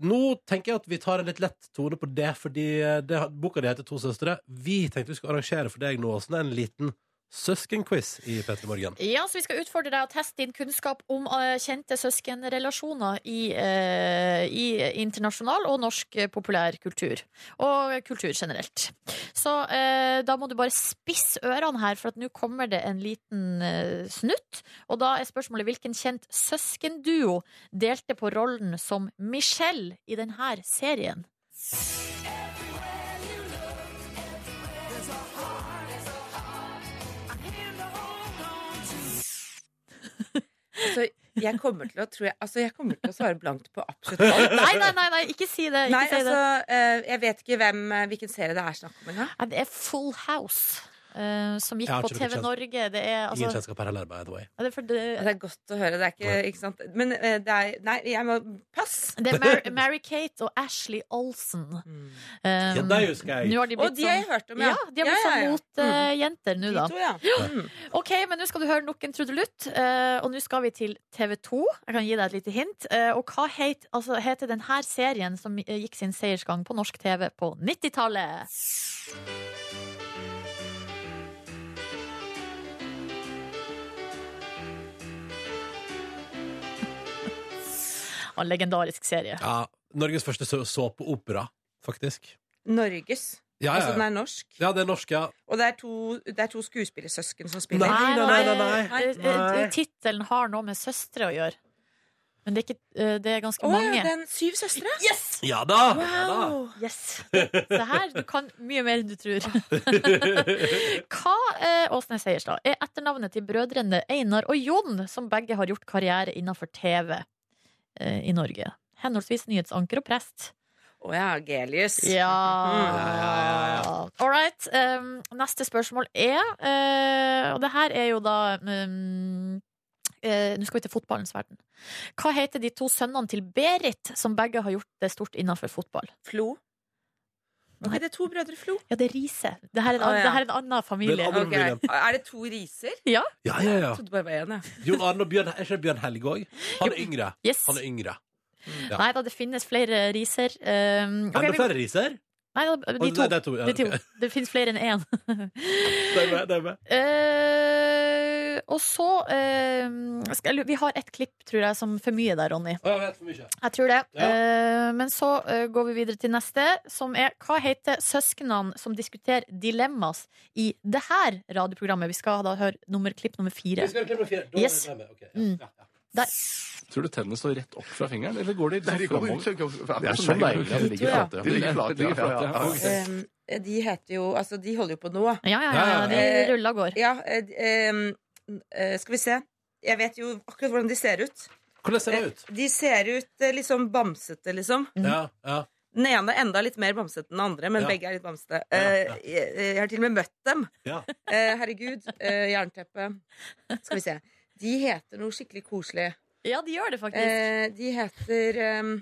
nå tenker jeg at vi tar en litt lett tone på det, fordi eh, det, boka di heter To søstre. Vi tenkte vi skulle arrangere for deg nå Åsne, en liten søskenquiz i P3 Morgen.
Ja, så Vi skal utfordre deg og teste din kunnskap om eh, kjente søskenrelasjoner i, eh, i internasjonal og norsk eh, populær kultur. Og kultur generelt. Så eh, da må du bare spisse ørene her, for at nå kommer det en liten eh, snutt. Og da er spørsmålet hvilken kjent søskenduo delte på rollen som Michelle i denne serien?
Altså, jeg kommer til å, tror jeg, altså, jeg kommer til å svare blankt på absolutt alt.
Nei, nei, nei, nei ikke si det! Ikke
Nei,
si
altså,
det.
eh, jeg vet ikke hvem, eh, hvilken serie det er snakk om engang.
Nei, Det er Full House. eh, som gikk
Jeg har
på
ikke noe
TV
kjent-
Norge. Det er, altså,
Ingen kjennskap her heller, by the way.
Ja, Det er, for det,
Det er godt å høre. Det er ikke, ikke sant? Men eh, det er Nei, jeg må Pass!
det er Mar Mary-Kate og Ashley Olsen. Um,
Ja, det husker jeg.
nå har de
Og
blitt
de har jeg hørt om,
sånn ja,
ja.
de har blitt
Ja, ja, ja.
sånn motjenter nå,
De
da.
to, ja. Mm.
Ok, men nå skal du høre nok en trudelutt, eh, og nå skal vi til TV 2. Jeg kan gi deg et lite hint. Eh, og hva het, altså, heter denne serien som eh, gikk sin seiersgang på norsk TV på 90-tallet? Og <laughs> En legendarisk serie.
Ja, Norges første så- såpeopera, faktisk.
Norges.
Ja,
Altså, den
ja.
er norsk.
ja, det er norsk, ja.
Og det er to, det er to skuespillersøsken som spiller.
Nei, nei, nei, nei,
nei.
Eh, eh, Tittelen har noe med søstre å gjøre. Men det er, ikke, eh, det er ganske
Å
mange.
ja, den Syv søstre?
Yes!
Ja da! Ja, da.
Yes. Det, det her, du kan mye mer enn du tror. Hva, eh, Åsne Seierstad, er etternavnet til brødrene Einar og Jon, som begge har gjort karriere innenfor TV eh, i Norge? Henholdsvis nyhetsanker og prest.
Å ja, Gelius. Mm.
Ja All right. Um, neste spørsmål er eh, Og det her er jo da um, eh, Nå skal vi til fotballens verden. Hva heter de to sønnene til Berit, som begge har gjort det stort innenfor fotball?
Flo. Ok, det er to brødre Flo.
Ja, det er Riise. Det her er en,
Å,
an-
ja.
det her er en annen familie.
Det er en annen-
Ok. Er det to riser?
<laughs> Ja, ja, ja.
Jeg trodde bare det var én, jeg.
Jon Arne og Bjørn Er ikke det Bjørn Helge òg? Han er yngre.
Yes.
Han er yngre. Ja.
Nei da, det finnes flere Riiser. Um, ok,
Enda
vi-
flere riser?
Nei da, de
Å,
to.
nei, det er to. Ja,
De to.
ok.
Det finnes flere enn én.
Det er med, det er med.
Eh, og så eh, skal jeg, lu- Vi har ett klipp, tror jeg, som for mye der, Ronny.
Å, jeg vet for mye.
Jeg tror det.
Ja.
Eh, men så eh, går vi videre til neste, som er Hva heter søsknene som diskuterer dilemmas i det her radioprogrammet? Vi skal da høre nummer, klipp nummer fire.
Vi skal til nummer fire. Da er
Yes.
det med, ok. Ja,
Mm.
ja, ja.
Der.
Tror du tennene står rett opp fra fingeren, eller går de
Nei, de
sånn
går
framover?
ikke
Det er så deilig at de ligger
ja.
flate.
altså, De ligger flate,
De ligger
ja,
flate,
ja,
ja.
ja.
Ok.
Em, Ehm, eh, de heter jo Altså, de holder jo på nå.
Ja, ja, ja.
Ja, ja,
De
ja.
ruller og går.
Ja, eh, em, eh, skal vi se. Jeg vet jo akkurat hvordan de ser ut.
Hvordan ser det ut?
De ser ut eh, litt sånn bamsete, liksom.
Eh, Mm.
Ja, ja.
Den ene enda litt mer bamsete enn den andre, men
Ja.
begge er litt bamsete.
Ja,
Eh,
ja.
jeg, jeg har til og med møtt dem.
Ja.
Eh, herregud. Eh, jernteppe. Skal vi se. De heter noe skikkelig koselig.
Ja, de gjør det faktisk.
Eh, de heter em,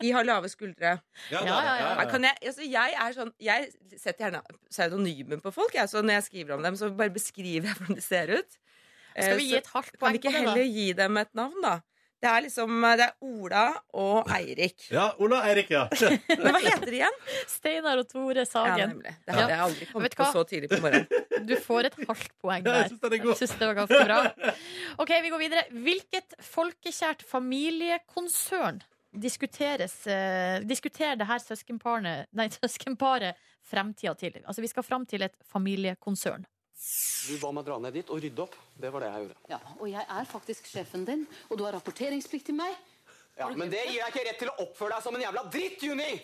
De har lave skuldre.
Ja,
Ja, ja, ja.
Nei, Kan jeg, altså jeg, er sånn, jeg setter gjerne pseudonymen på folk. Jeg, så når jeg skriver om dem, så bare beskriver jeg hvordan de ser ut. Eh,
Skal vi gi
så
et halvt
kan
poeng
vi ikke
på det, da?
heller gi dem et navn, da? Det er liksom eh, Det er Ola og Eirik.
Ja, Ola og Eirik, ja.
<laughs> Men hva heter de igjen?
Steinar og Tore
Ja,
Sagen.
nemlig. Det hadde jeg aldri
Vet
kommet
du hva?
på så tidlig på morgenen.
Du får et halvt poeng
Ja,
der.
jeg synes den er god.
Jeg synes det var ganske bra. Ok, vi går videre. Hvilket folkekjært familiekonsern diskuteres eh, Diskuterer det her søskenparene- nei, <laughs> søskenparet fremtida til? Altså, vi skal fram til et familiekonsern.
Du ba meg dra ned dit og rydde opp. Det var det jeg gjorde.
Ja, og jeg er faktisk sjefen din, og du har rapporteringsplikt til meg.
Ja, Men det gir deg ikke rett til å oppføre deg som en jævla dritt, Juni!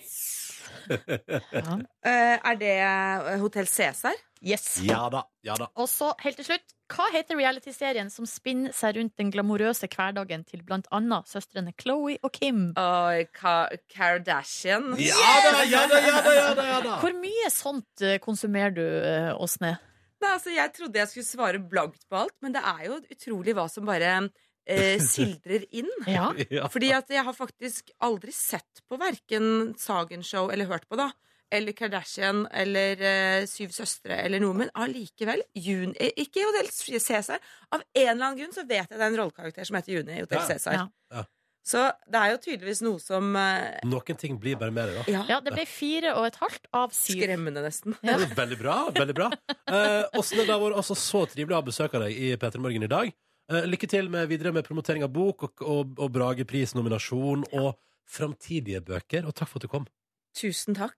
Eh, er det eh, Hotell Cæsar?
Yes.
Ja da. Ja da.
Og så, helt til slutt, hva heter realityserien som spinner seg rundt den glamorøse hverdagen til blant annet søstrene Chloé og Kim?
Og Ka Kardashian?
Ja da, ja da, ja da, ja da, ja da.
Hvor mye sånt eh, konsumerer du, eh, Åsne?
Nei, altså, jeg trodde jeg skulle svare blankt på alt, men det er jo utrolig hva som bare
<laughs>
eh, sildrer inn.
Ja.
Ja.
Fordi at jeg har faktisk aldri sett på verken Sagen Show eller hørt på, da. Eller Kardashian eller eh, Syv søstre eller noe. Men allikevel, Juni eh, Ikke i Hotell Cæsar. Av en eller annen grunn så vet jeg det er en rollekarakter som heter Juni i Hotell
Ja.
Cæsar.
Ja.
Ja.
Så det er jo tydeligvis noe som eh,
Noen ting blir bare mer, da.
Ja,
ja, det ble fire og et halvt av syv.
skremmende, nesten.
Ja.
Det er <laughs> Veldig bra. veldig bra eh, Åsne, det har vært altså så trivelig å ha besøk av deg i P3 Morgen i dag. Eh, lykke til med videre med promotering av bok og, og, og Bragepris-nominasjon og framtidige bøker. Og takk for at du kom.
Tusen takk.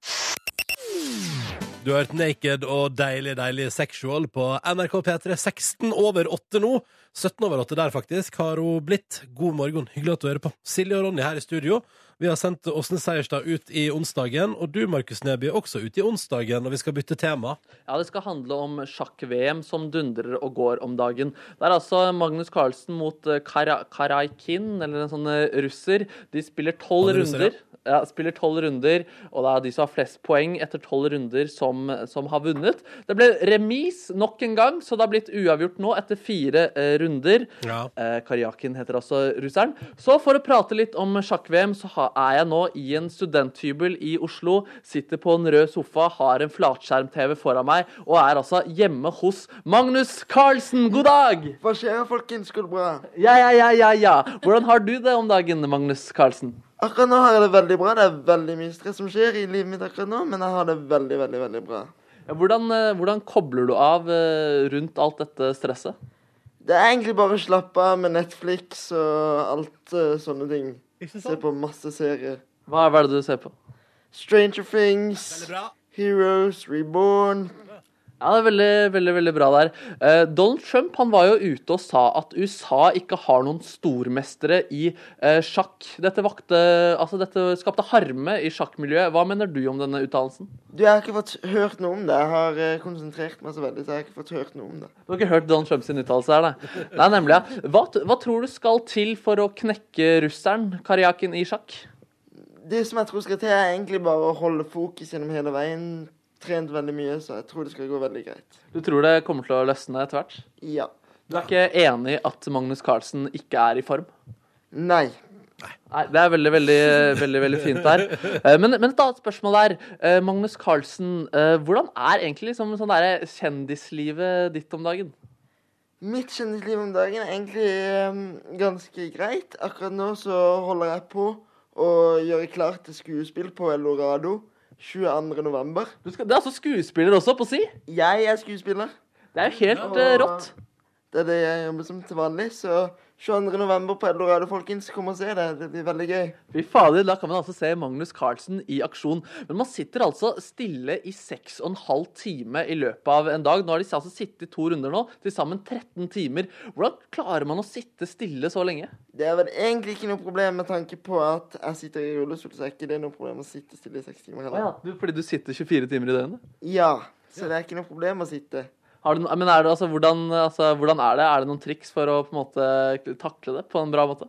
Du har hørt Naked og Deilig, deilig sexual på NRK P3. 16 over 8 nå. 17 over 8 der, faktisk, har hun blitt. God morgen, hyggelig at du hører på. Silje og Ronny her i studio. Vi har sendt Åsne Seierstad ut i onsdagen, og du, Markus Neby, er også ut i onsdagen, og vi skal bytte tema.
Ja, det skal handle om sjakk-VM som dundrer og går om dagen. Det er altså Magnus Carlsen mot eh, Kara Karaikin, eller en sånn eh, russer. De spiller tolv
Han er russer,
runder. Ja, spiller 12 runder, og det er de som har flest poeng etter tolv runder, som, som har vunnet. Det ble remis nok en gang, så det har blitt uavgjort nå etter fire eh, runder.
Ja.
Eh, Karjakin heter altså russeren. Så for å prate litt om sjakk-VM, så ha, er jeg nå i en studenthybel i Oslo. Sitter på en rød sofa, har en flatskjerm-TV foran meg, og er altså hjemme hos Magnus Carlsen. God dag!
Hva skjer, folkens? Går det bra?
Ja, ja, ja, ja, ja. Hvordan har du det om dagen, Magnus Carlsen?
Akkurat nå har jeg det veldig bra. Det er veldig mye stress som skjer i livet mitt akkurat nå, men jeg har det veldig, veldig, veldig bra.
Ja, Hvordan, eh, hvordan kobler du av eh, rundt alt dette stresset?
Det er egentlig bare å slappe av med Netflix og alt eh, sånne ting. Se på masse serier.
Hva hva er det du ser på?
Stranger Things, Heroes, Reborn.
Ja, det er veldig, veldig, veldig bra der. Eh, Donald Trump han var jo ute og sa at USA ikke har noen stormestere i eh, sjakk. Dette, vakte, altså, dette skapte harme i sjakkmiljøet. Hva mener du om denne uttalelsen?
Du, jeg har ikke fått hørt noe om det. Jeg har eh, konsentrert meg så veldig, så jeg har ikke fått hørt noe om det.
Du har ikke hørt Donald Trump sin uttalelse her, nei? Nei, nemlig. ja. Hva, t- hva tror du skal til for å knekke russeren, Karjakin, i sjakk?
Det som jeg tror skal til, er egentlig bare å holde fokus gjennom hele veien. Trent veldig mye, så jeg tror det skal gå veldig greit.
Du tror det kommer til å løsne etter hvert?
Ja.
Du er ikke enig i at Magnus Carlsen ikke er i form?
Nei.
Nei, Det er veldig, veldig veldig, veldig fint der. Eh, Men, men et annet spørsmål der. Eh, Magnus Carlsen, eh, hvordan er egentlig liksom, sånn derre kjendislivet ditt om dagen?
Mitt kjendisliv om dagen er egentlig eh, ganske greit. Akkurat nå så holder jeg på å gjøre klart til skuespill på Elorado 22. november.
Du skal, det er altså skuespiller også, på si.
Jeg er skuespiller.
Det er jo helt eh, rått.
Det er det jeg jobber som til vanlig. Så 22. november på Elorado, folkens. Kom og se det. Det blir veldig gøy.
Fy fader, da kan man altså se Magnus Carlsen i aksjon. Men man sitter altså stille i seks og en halv time i løpet av en dag. Nå har de altså sittet i to runder nå, til sammen 13 timer. Hvordan klarer man å sitte stille så lenge?
Det er vel egentlig ikke noe problem med tanke på at jeg sitter i rullestol, så er ikke det noe problem å sitte stille i seks timer
Å ja,
heller.
du, fordi du sitter 24 timer i døgnet?
Ja, så det er ikke noe problem å sitte.
Har du, no- men er det, altså, hvordan, altså, hvordan er det? Er det noen triks for å på en måte takle det på en bra måte?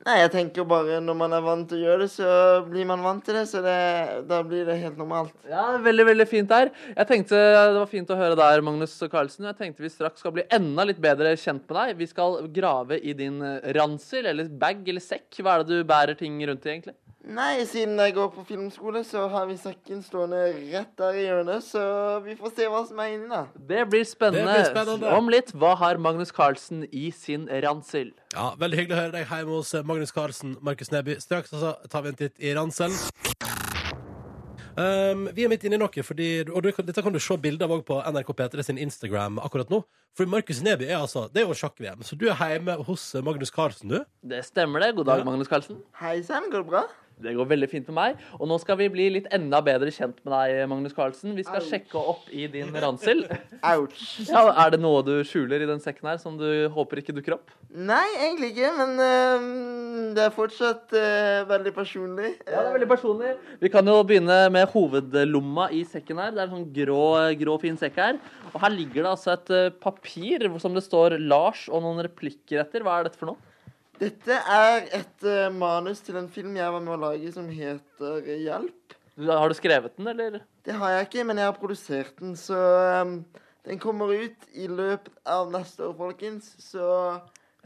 Nei, jeg tenker bare når man er vant til å gjøre det, så blir man vant til det, så det, da blir det helt normalt.
Ja, veldig, veldig fint der. Jeg tenkte Det var fint å høre der, Magnus Carlsen. Jeg tenkte vi straks skal bli enda litt bedre kjent med deg. Vi skal grave i din eh, ransel eller bag eller sekk. Hva er det du bærer ting rundt i, egentlig?
Nei, siden jeg går på filmskole, så har vi sekken stående rett der i hjørnet, så vi får se hva som er inni da.
Det blir spennende.
Det blir spennende.
Om litt, hva har Magnus Carlsen i sin ransel?
Ja, Veldig hyggelig å høre deg hjemme hos eh, Magnus Carlsen, Markus Neby. Straks altså, tar vi en titt i ranselen. Um, vi er midt inne i noe, fordi, og du, kan- dette kan du se bilder av også på NRK P3 sin Instagram akkurat nå. For Markus Neby er altså Det er jo sjakk-VM, så du er hjemme hos eh, Magnus Carlsen, du.
Det stemmer det. God dag,
Ja.
Magnus Carlsen.
Hei sann, går det bra?
Det går veldig fint med meg. Og nå skal vi bli litt enda bedre kjent med deg, Magnus Carlsen. Vi skal
Au.
sjekke opp i din ransel.
Ouch.
Ja, er det noe du skjuler i den sekken her som du håper ikke dukker opp?
Nei, egentlig ikke, men øhm, det er fortsatt øh, veldig personlig. Eh,
Ja, det er veldig personlig. Vi kan jo begynne med hovedlomma i sekken her. Det er en sånn grå, grå fin sekk her. Og her ligger det altså et eh, papir som det står Lars og noen replikker etter. Hva er dette for noe?
Dette er et øh, manus til en film jeg var med å lage som heter Hjelp.
Du- Har du skrevet den, eller?
Det har jeg ikke, men jeg har produsert den, så øhm, den kommer ut i løpet av neste år, folkens. Så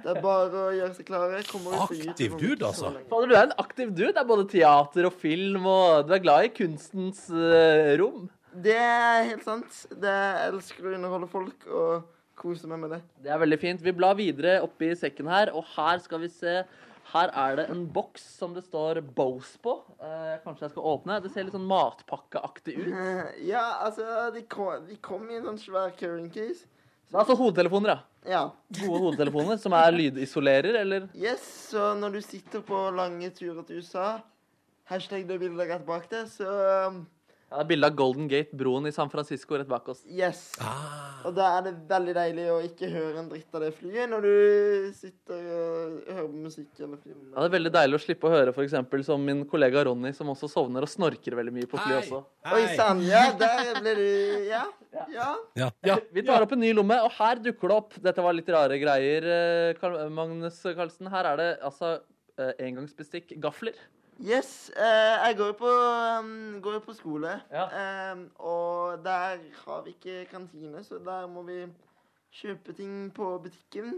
det er bare å gjøre seg klare. Kommer ut på YouTube
Aktiv
om
dude,
ikke så
altså.
lenge.
Fader, du er en aktiv dude. Det er både teater og film, og du er glad i kunstens eh, rom.
Det er helt sant. Det jeg elsker å underholde folk og kose meg med det.
Det er veldig fint. Vi blar videre oppi sekken her, og her skal vi se. Her er det en boks som det står Bose på. Eh, kanskje jeg skal åpne? Det ser litt sånn matpakkeaktig ut.
Eh, Ja, altså, de kom, de kom i en sånn svær carrying case.
Det er altså hodetelefoner, ja.
Ja.
Gode hodetelefoner som er lydisolerer, eller?
Yes, så når du sitter på lange turer til USA, hashtag det bildet rett bak deg, så um,
Ja, det er bilde av Golden Gate-broen i San Francisco rett bak oss.
yes.
Ah.
Og da er det veldig deilig å ikke høre en dritt av det flyet når du sitter og hører på musikk eller film.
Ja, det er veldig deilig å slippe å høre for eksempel, som min kollega Ronny, som også sovner og snorker veldig mye på fly også.
Oi sann, ja, der ble du
<laughs>
Ja. ja.
Ja, ja.
Vi tar opp en ny lomme, og her dukker det opp. Dette var litt rare greier, eh, Karl Magnus Carlsen. Her er det altså eh, engangsbestikk, gafler.
Yes. eh, jeg går jo på, um, går jo på skole,
Ja.
Em, og der har vi ikke kantine, så der må vi kjøpe ting på butikken.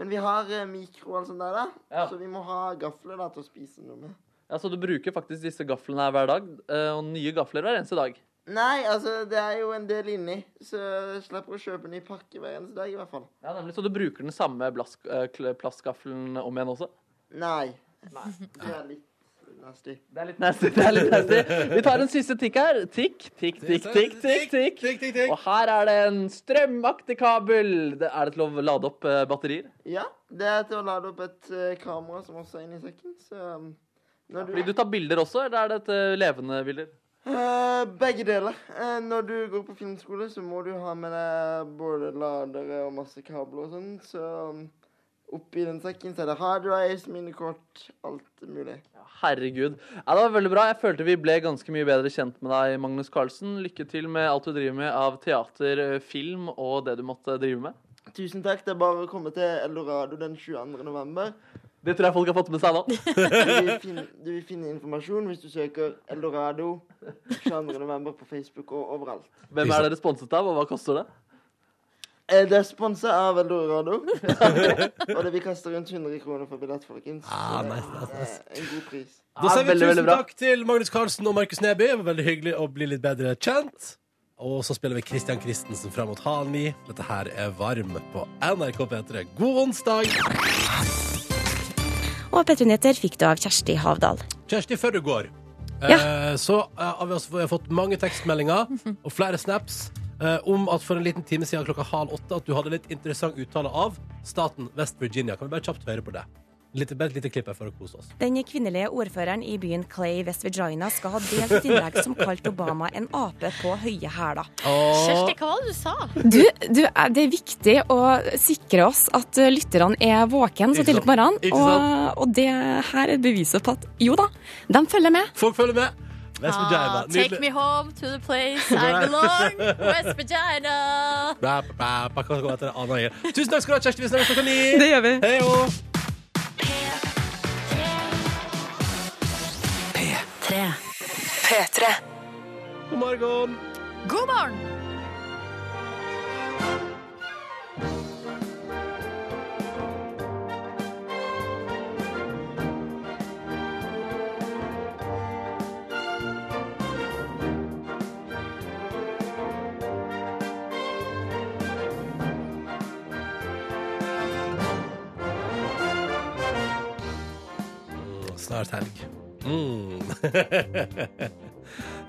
Men vi har eh, mikro og alt sånt der, da.
Ja.
så vi må ha gafler da, til å spise noe med.
Ja, så Altså, du bruker faktisk disse gaflene her hver dag, eh, og nye gafler hver eneste dag.
Nei, altså, det er jo en del inni, så jeg slipper å kjøpe ny pakke hver eneste dag, i hvert fall.
Ja, nemlig. Så du bruker den samme blask- eh, kl- plastgaffelen om igjen også?
Nei. Det er litt nasty.
Det er litt nasty. <laughs> det er litt nasty. Vi tar en siste tikk her. Tikk, tikk, tikk, tikk, tikk. tikk.
tikk, tikk, tikk.
Og her er det en strømaktig kabel. Det er det til å lade opp eh, batterier?
Ja, det er til å lade opp et eh, kamera som også er inni sekken, så um, når
Fordi du tar bilder også, eller er det et eh, levende bilder?
Eh, begge deler. Eh, når du går på filmskole, så må du ha med deg både ladere og masse kabler og sånn. Så um, oppi den sekken så er det hard drives, minikort, alt mulig.
Herregud. Ja, det var veldig bra. Jeg følte vi ble ganske mye bedre kjent med deg, Magnus Carlsen. Lykke til med alt du driver med av teater, eh, film og det du måtte drive med.
Tusen takk. Det er bare å komme til Eldorado den 22. november.
Det tror jeg folk har fått med seg nå.
Du
<laughs>
vil finne, du vil finne informasjon hvis du søker Eldorado 22. november på Facebook og overalt.
Hvem er det sponset av, og hva koster det?
Eh, Det er sponset av Eldor Radio. <laughs> og det vi kaster rundt 100 kroner for billett, folkens.
Ah,
Så det
nice, nice,
er
nice.
En god pris.
Da sier vi
veldig, veldig
tusen
bra.
takk til Magnus Carlsen og Markus Neby. Det var Veldig hyggelig å bli litt bedre kjent. Og så spiller vi Christian Christensen fram mot halv ni. Dette her er Varm på NRK P3. God onsdag!
Og P3-nyheter fikk du av Kjersti Havdal.
Kjersti, før du går,
Ja.
eh, så eh, har vi også vi har fått mange tekstmeldinger og flere snaps eh, om at for en liten time siden klokka halv åtte at du hadde litt interessant uttale av staten West Virginia. Kan vi bare kjapt høre på det? Litt, bare et lite klipp her for å kose oss.
Den kvinnelige ordføreren i byen Clay i West Virginia skal ha delt et innlegg som kalte Obama en ape på høye hæler.
Kjersti, hva var det du sa?
Du, du, eh, det er viktig å sikre oss at eh, lytterne er våken så
Ikke
tidlig på morgenen.
Ikke
Og,
sant?
og det her er beviset på at jo da, de følger med.
Folk følger med. West Virginia.
Ah, take me home to the place I belong.
<laughs>
West Virginia.
Bæ, bæ, bæ, bæ, hva går etter det andre greier. Tusen takk skal du ha, Kjersti. Vi snakkes klokka ni.
Det gjør vi.
Hei jo. God morgen.
God morgen.
Snart helg. Mm. <laughs>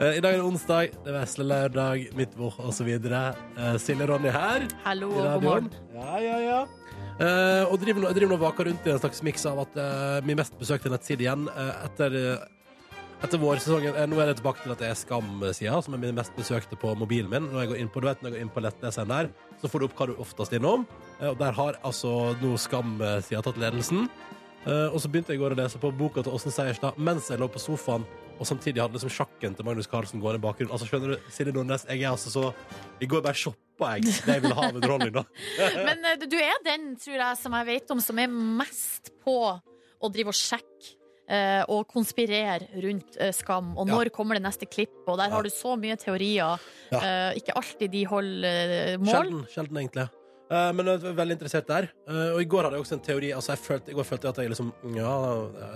Eh, I dag er det onsdag, det er vesle lørdag, midtvår osv. Eh, Silje Ronny her.
Hallo
i
og god
radioen.
morgen.
Ja, ja, ja. Eh, og driver nå driver nå og vaker rundt i en slags miks av at eh, min mest besøkte nettside igjen eh, etter eh, etter vårsesongen eh, Nå er det tilbake til at det er Skam-sida, som er min mest besøkte på mobilen min. Når jeg går inn på, du vet, når jeg går inn på nettleseren der, så får du opp hva du oftest er innom. Eh, Og der har altså nå Skam-sida tatt ledelsen. Eh, Og så begynte jeg i går å lese på boka til Åsen Seierstad mens jeg lå på sofaen, og samtidig hadde liksom sjakken til Magnus Carlsen gående i bakgrunnen. Altså, skjønner du, Silje Nordnes, jeg er altså så I går bare shoppa jeg det jeg ville ha av underholdning, da.
Men eh, du er den, tror jeg, som jeg vet om, som er mest på å drive og sjekke. eh, Og konspirere rundt eh, Skam. Og
Ja.
når kommer det neste klipp? Og der har du så mye teorier.
Ja.
eh, Ikke alltid de holder eh, <laughs> mål.
Sjelden, sjelden egentlig. Eh, men jeg var veldig interessert der. Eh, og i går hadde jeg også en teori. Altså jeg følte, I går følte jeg at jeg liksom Ja,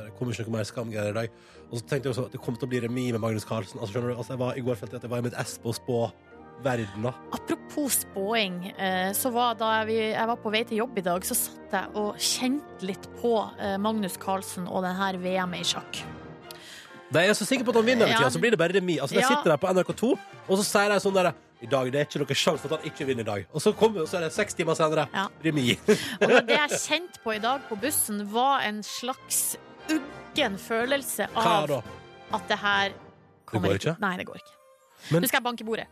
det kommer ikke noe mer skamgreier i dag. Og så tenkte jeg også at det kom til å bli remis med Magnus Carlsen. Altså, skjønner du? Altså, jeg var, I går følte jeg at jeg var i mitt ess på å spå verden, da.
Apropos spåing, eh, så var da vi, jeg var på vei til jobb i dag, så satt jeg og kjente litt på eh, Magnus Carlsen og den her VM i sjakk.
Nei, jeg er så sikker på at han vinner, hele
Ja.
tiden, så blir det bare remis. Altså, jeg
Ja.
sitter der på NRK2, og så sier de sånn derre I dag det er ikke noen sjanse for at han ikke vinner i dag. Og så kommer og så er det seks timer senere.
Ja.
<laughs> Remis.
Og det- det jeg kjente på i dag på bussen, var en slags uggen følelse
Hva
av
da?
at det her kommer
går
ikke.
ikke?
Nei, det går ikke.
Men-
Nå skal jeg banke i bordet.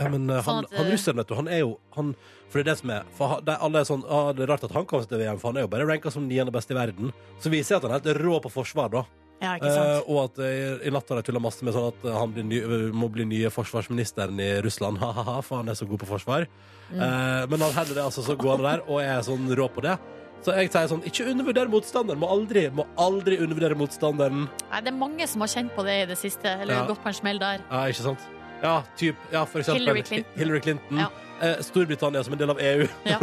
Ja, men eh, han,
Sånn at,
han
eh,
russeren, vet du, han er jo han, For det er det som er for han, det, er alle er sånn, ah, det er rart at han kom til VM, for han er jo bare ranka som niende best i verden. Så viser jeg at han er helt rå på forsvar, da.
Ja, ikke sant?
Eh, og at eh, i natt har de tulla masse med sånn at eh, han blir ny, må bli nye forsvarsministeren i Russland. Ha-ha-ha, for han er så god på forsvar.
Mm.
Eh, men han heller det altså så gående der, og er sånn rå på det. Så jeg sier sånn, ikke undervurder motstanderen. Må aldri, må aldri undervurdere motstanderen.
Nei, det er mange som har kjent på det i det siste, eller
Eh, Ja.
gått på en smell der.
Ja, ikke sant? Ja, typ, ja, for eksempel
Hillary Clinton.
Hillary Clinton.
Ja.
Eh, Storbritannia som en del av E EU.
Ja.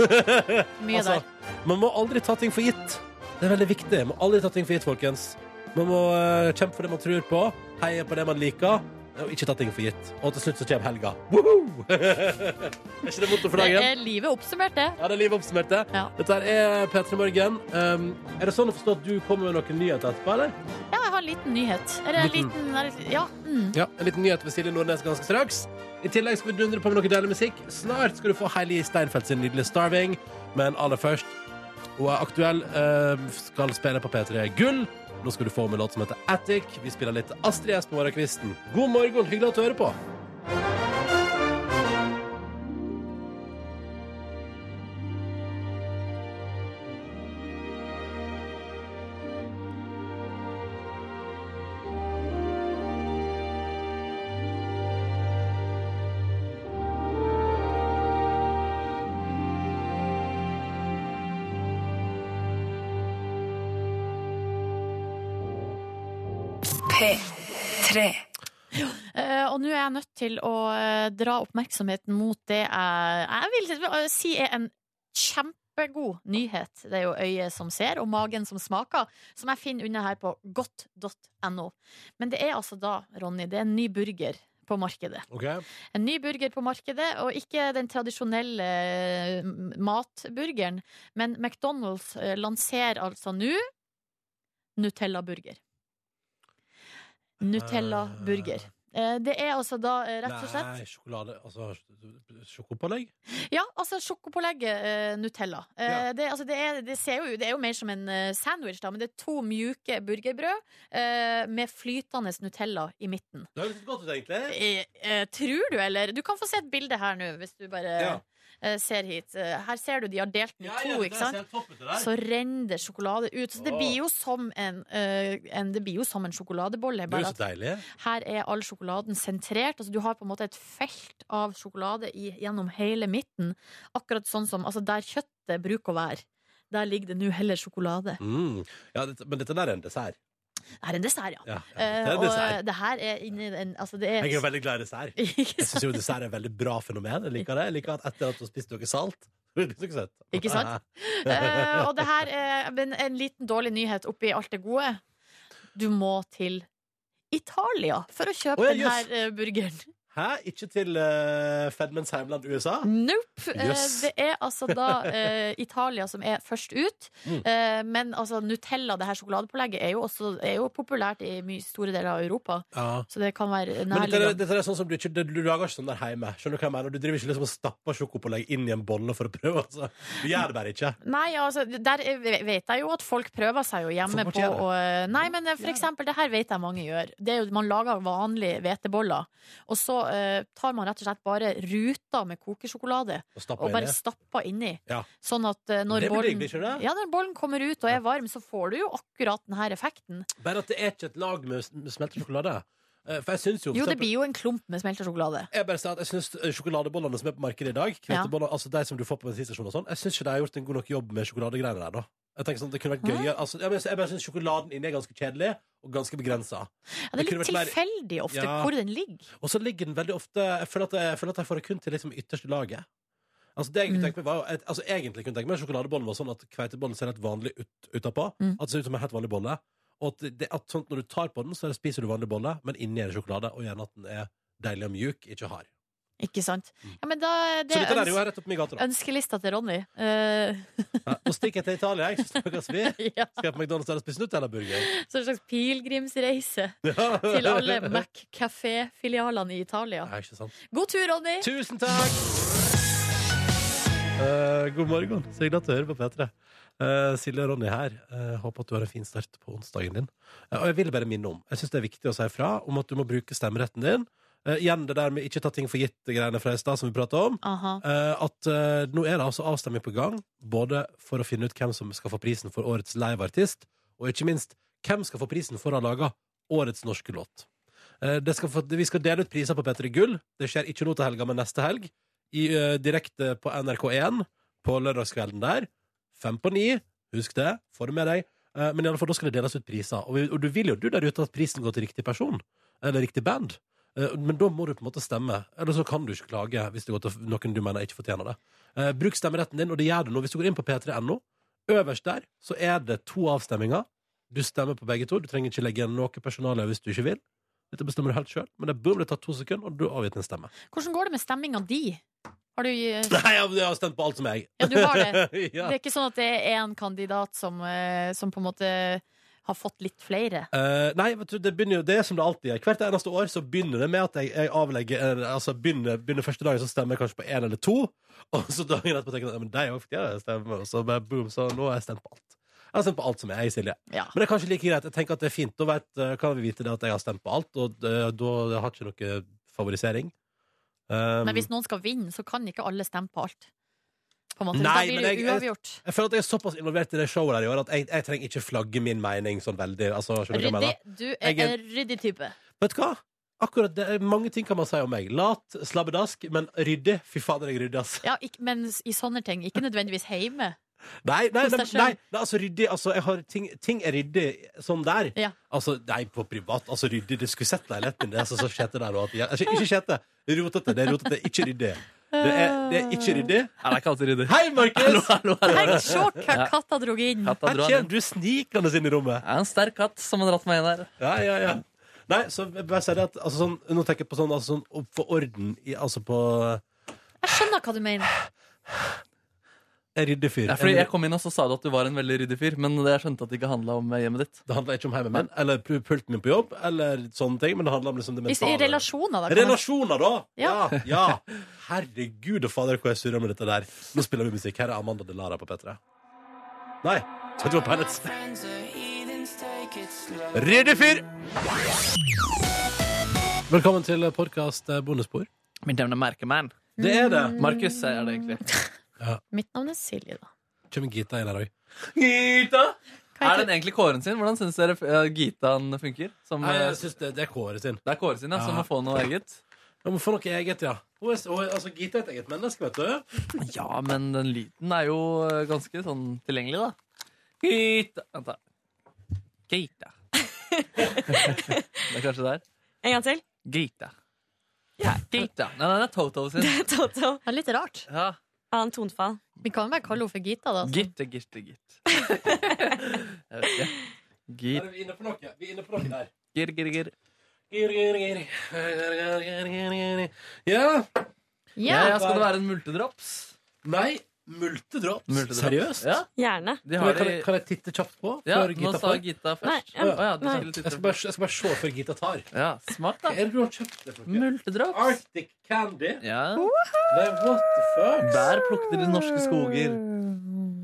Mye
<laughs> Altså, man må aldri ta ting for gitt. Det er veldig viktig. Man må aldri ta ting for gitt, folkens. Man må eh, kjempe for det man tror på, heie på det man liker, og ikke ta ting for gitt. Og til slutt så kommer helga. Woho! <laughs> er ikke det motto for
der. Det
dagen?
er livet oppsummert, det.
Ja, det er livet oppsummert, det.
Ja.
Dette her er P3 Morgen. Um, er det sånn å forstå at du kommer med noen nyheter etterpå, eller?
Ja, jeg har en liten nyhet. Eller en
Liten.
liten eller- Ja. Mm.
Ja, En liten nyhet ved Silje Nordnes ganske straks. I tillegg skal vi dundre på med noe deilig musikk. Snart skal du få Heili Steinfeld sin nydelige 'Starving', men aller først Hun er aktuell, eh, skal spille på P3 Gull. Nå skal du få med en låt som heter 'Attic'. Vi spiller litt Astrid S på morgenkvisten. God morgen, hyggelig at du hører på.
Eh, og nå er jeg nødt til å eh, dra oppmerksomheten mot det jeg, jeg vil eh, si er en kjempegod nyhet. Det er jo øyet som ser, og magen som smaker, som jeg finner under her på godt.no. Men det er altså da, Ronny, det er en ny burger på markedet.
Ok.
En ny burger på markedet, og ikke den tradisjonelle eh, matburgeren, men McDonald's eh, lanserer altså nå Nutella-burger. Nutella-burger. Eh, Det er altså da eh, rett og slett
Nei, sjokolade Altså sjokopålegg?
Ja, altså sjokopålegget eh, Nutella. Eh, det, altså, det, er, det, ser jo, det er jo mer som en eh, sandwich, da, men det er to mjuke burgerbrød eh, med flytende Nutella i midten.
Det høres litt godt ut, egentlig.
Eh, eh, tror du, eller? Du kan få se et bilde her nå, hvis du bare
Ja.
eh, ser hit. Eh, her ser du de har delt den i
Ja, ja,
to,
det der
ikke sant?
ser topp ut, det der.
Så renner det sjokolade ut. Så det blir jo som en, eh, en, det blir jo som en sjokoladebolle.
Det er
bare
jo
at
så deilig.
her er all sjokoladen sentrert. Altså, du har på en måte et felt av sjokolade i, gjennom hele midten. Akkurat sånn som altså, der kjøttet bruker å være. Der ligger det nå heller sjokolade.
Mm. Ja, dette, men dette der er en dessert.
Det er en dessert, ja.
Ja, ja,
Eh,
det er en
og
dessert.
det her er inni en altså, det
Jeg er veldig glad i dessert.
<laughs>
Jeg syns jo dessert er et veldig bra fenomen. Jeg liker det. Jeg liker at etter at du har spist noe salt blir det noe søtt.
Ikke sant? Eh, og det her er men en liten dårlig nyhet oppi alt det gode. Du må til Italia for å kjøpe
Å, ja,
denne
jøss.
eh, burgeren.
Hæ? Ikke til uh, Fedmens heimland USA?
Nope. Eh,
Jøss.
Det er altså da eh, Italia som er først ut.
Mm.
Eh, men altså Nutella, det her sjokoladepålegget, er jo, også, er jo populært i mye store deler av Europa.
Ja.
Så det kan være
Men dette, er-
nærliggende.
dette er sånn som du ikke du, du lager ikke sånn der hjemme. Skjønner Du hva jeg mener? Du driver ikke liksom og stapper sjokopålegg inn i en bolle for å prøve. Altså. Du gjør det bare ikke.
Nei, altså, der er- vet jeg jo at folk prøver seg jo hjemme
Folk
på
gjør det.
å Nei, men eh, for eksempel, det her vet jeg mange gjør. Det er jo, Man lager vanlige hveteboller, og så eh, tar man rett og slett bare ruter med kokesjokolade
Og stapper
og bare
inni.
stapper inni.
Ja.
Sånn at eh, når
Det blir digg,
bollen,
blir ikke det?
ja, når bollen kommer ut og er varm, så får du jo akkurat den her effekten.
Bare at det er ikke et lag med, s- med smeltet sjokolade. Eh, For jeg syns jo for
Jo, det
eksempel-
blir jo en klump med smelta sjokolade.
Jeg bare sier at jeg synes eh, sjokoladebollene som er på markedet i dag, kveiteboller, altså de som du får på bensinstasjonen og sånn, jeg syns ikke de har gjort en god nok jobb med sjokoladegreiene der, da. Jeg tenker sånn, det kunne vært gøyere altså, Jeg bare, jeg bare syns sjokoladen inni er ganske kjedelig og ganske begrensa.
Ja, det er litt tilfeldig ofte hvor den ligger.
Og så ligger den veldig ofte Jeg føler at jeg, jeg, føler at jeg får det kun til liksom ytterste laget. Altså det jeg
Mm.
kunne tenkt meg var jo et- altså Egentlig kunne jeg tenkt meg at sjokoladebollen var sånn at kveitebollen ser helt vanlig ut utapå.
Mm.
At det ser ut som en helt vanlig bolle. Og at, det, at sånn, når du tar på den, så spiser du vanlig bolle, men inni er det sjokolade, og gjerne at den er deilig og mjuk, ikke hard.
Ikke sant? Ja, men da, det
Så dette der er jo
øns-
rett opp min gate, da.
ønskelista til Ronny. Eh, <laughs>
Ja, Nå stikker jeg til Italia, jeg. Så snakkes vi. Skal jeg på McDonald's der og spise Nutella-burger?
så en slags pilegrimsreise
Ja.
<laughs> til
<laughs>
alle Mac-kafé-filialene i Italia.
Nei, ikke sant.
God tur, Ronny!
Tusen takk! Eh, god morgen. Så hyggelig at du hører på P3. Eh, Silje og Ronny her. Eh, håper at du har en fin start på onsdagen din. Eh, og jeg vil bare minne om Jeg synes det er viktig å si fra om at du må bruke stemmeretten din. Eh, igjen det der med ikke ta ting for gitt-greiene fra i stad, som vi prata om.
Aha.
Eh, at eh, nå er det altså avstemning på gang, både for å finne ut hvem som skal få prisen for årets liveartist, og ikke minst hvem skal få prisen for å ha laga årets norske låt. Eh, det skal få, vi skal dele ut priser på P3 Gull. Det skjer ikke nå til helga, men neste helg. I, eh, direkte på NRK1 på lørdagskvelden der. Fem på ni. Husk det. Få det med deg. Eh, men i alle fall, da skal det deles ut priser. Og, vi, og du vil jo du der ute at prisen går til riktig person. Eller riktig band. Eh, Men da må du på en måte stemme. Eller så kan du ikke klage hvis det går til noen du mener ikke fortjener det. Eh, Bruk stemmeretten din, og det gjør du nå. Hvis du går inn på p3.no, øverst der, så er det to avstemninger. Du stemmer på begge to. Du trenger ikke legge igjen noe personale hvis du ikke vil. Dette bestemmer du helt sjøl, men det burde ta to sekunder, og du har avgitt en stemme. <laughs>
Hvordan går det med stemminga di? Har du eh,
Nei, jeg jeg har stemt på alt som er jeg. <laughs>
Ja, du har det.
Ja.
Det er ikke sånn at det er én kandidat som, eh, som på en måte har fått litt flere.
Eh, nei, vet du, det begynner jo Det er som det alltid er. Hvert eneste år så begynner det med at jeg, jeg avlegger eh, Altså begynner, begynner første dagen, så stemmer jeg kanskje på én eller to. <laughs> Og så dagen etterpå tenker jeg ja, men de òg fortjener å stemme. Og så bare boom, så nå har jeg stemt på alt. Jeg har stemt på alt som er jeg, Silje. Men det er kanskje like greit. Jeg tenker at det er fint. Da vet, eh, kan vi vite det at jeg har stemt på alt, og eh, da har jeg ikke noe favorisering. Um,
Men hvis noen skal vinne, så kan ikke alle stemme på alt. På en måte.
Nei,
da
men
blir det
jeg-
jo uavgjort.
Jeg føler at jeg er såpass involvert i det showet der i år at jeg, jeg trenger ikke flagge min mening sånn veldig. Altså, skjønner du hva jeg
Ryddig.
mener?
Du
Jeg
er
er-
en ryddig type.
Vet du hva? Akkurat det, er Mange ting kan man si om meg. Lat, slabbedask, men ryddig. altså. Fy fader, jeg rydder, ass. <laughs>
Ja, ikk- men i sånne ting. Ikke nødvendigvis hjemme.
Nei, nei,
Kos
nei,
deg selv.
nei, nei altså ryddig altså, jeg har ting, ting er ryddig sånn der.
Ja.
Altså, nei, på privat. Altså ryddig. Du skulle sett leiligheten min. Det er altså så skjete der nå. at jeg- Altså, ikke skjete. Rotete. Det er rotete. Ikke ryddig. Det er, det er ikke ryddig.
Nei, det er ikke alltid ryddig.
Hei, Markus!
Hallo, hallo, hallo.
Tenk, se hva katta drog inn.
Katta dro han inn.
Du er snikende inn i rommet.
Jeg er en sterk katt som har dratt meg inn her.
Ja, ja, ja. Nei, så jeg bare sier det at altså, sånn, Nå tenker jeg på sånn, altså, sånn å få orden i Altså på
Jeg skjønner hva du mener.
En ryddig fyr.
Ja, fordi jeg kom inn og så sa du at du var en veldig ryddig fyr, men jeg skjønte at det ikke handla om hjemmet ditt.
Det handla ikke om hjemmet mitt, eller pu- pulten min på jobb, eller sånne ting, men det handla om liksom det
I,
mentale.
I relasjoner, da. kan man-
Relasjoner, da!
Ja.
Ja. ja. Herregud og fader, hvor jeg surrer med dette der. Nå spiller vi musikk. Her er Amanda Delara på P3. Nei, skal ikke være Pellets. Ryddig fyr! Velkommen til eh, podkast Bondespor.
Mitt navn er Merkemann.
Det er det.
Mm.
Markus er det egentlig.
Mitt navn er Silje, da.
Kommer Gita inn her òg?
Gita!
Hva
Er den egentlig kåren sin? Hvordan syns dere eh, Gitaen funker? Som,
Nei, jeg
eh,
synes det, det er Kåre sin.
det er Kåre sin, ja, som
Ja.
må få noe eget.
Jeg må få noe eget, ja. Hun er, hun er, altså, Gita er et eget menneske, vet du.
Ja, men den lyden er jo eh, ganske sånn tilgjengelig, da. Gita Vent, da. <laughs> Gita. det er kanskje der?
En gang til.
Gita. Gita. Nei, nei, det er Toto sin.
Toto.
Det er litt rart.
Ja.
Annet tonefall.
Vi kan jo bare kalle henne for Gita, da. altså. så-
Gitte, gitte, gitt. Jeg vet ikke.
Er
Gir,
vi inne på noe? Vi er inne på noe der.
gir, gir, gir.
Gir, gir, gir. Gir, gir, gir, gir, gir. Ja.
Ja, ja, skal det være en multedrops?
Nei, multedrops.
Multedrops.
Seriøst?
Ja.
Gjerne.
De
Kan,
har
jeg, kan, jeg,
det-
kan jeg titte kjapt på?
ja,
før
nå
Gita
sa
får?
Gita
Nei,
først.
ja,
Å, ja, du
nei.
skulle
Jeg
titte
skal, bare, jeg skal bare se før Gita tar.
Ja, smart,
Hva
da.
er det du har kjøpt? Det, for noe?
Multedrops.
Arctic Candy?
Ja.
Nei, what the fuck?
Bær plukket i de norske skoger.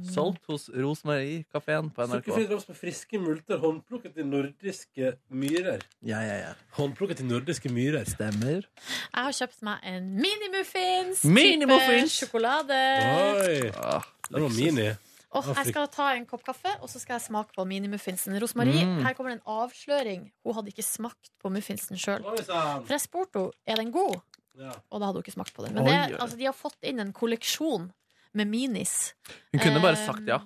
Solgt hos Rosmarie-kafeen på NRK.
Sukkerfri drops med friske multer håndplukket i nordiske myrer.
Ja, ja, ja.
Håndplukket i nordiske myrer.
Stemmer.
Jeg har kjøpt meg en mini-muffins.
Mini-muffins!
type Sjokolade.
Oi!
Ah,
Det var
luksus.
mini.
Og jeg skal ta en kopp kaffe, og så skal jeg smake på mini-muffinsen. Rosmarie,
Mm.
her kommer det en avsløring. Hun hadde ikke smakt på muffinsen sjøl.
Oi sann!
For jeg spurte henne er den god,
Ja.
og da hadde hun ikke smakt på den. Men
Oi,
det,
oi.
altså, de har fått inn en kolleksjon med minis.
Hun kunne bare
Eh,
sagt ja.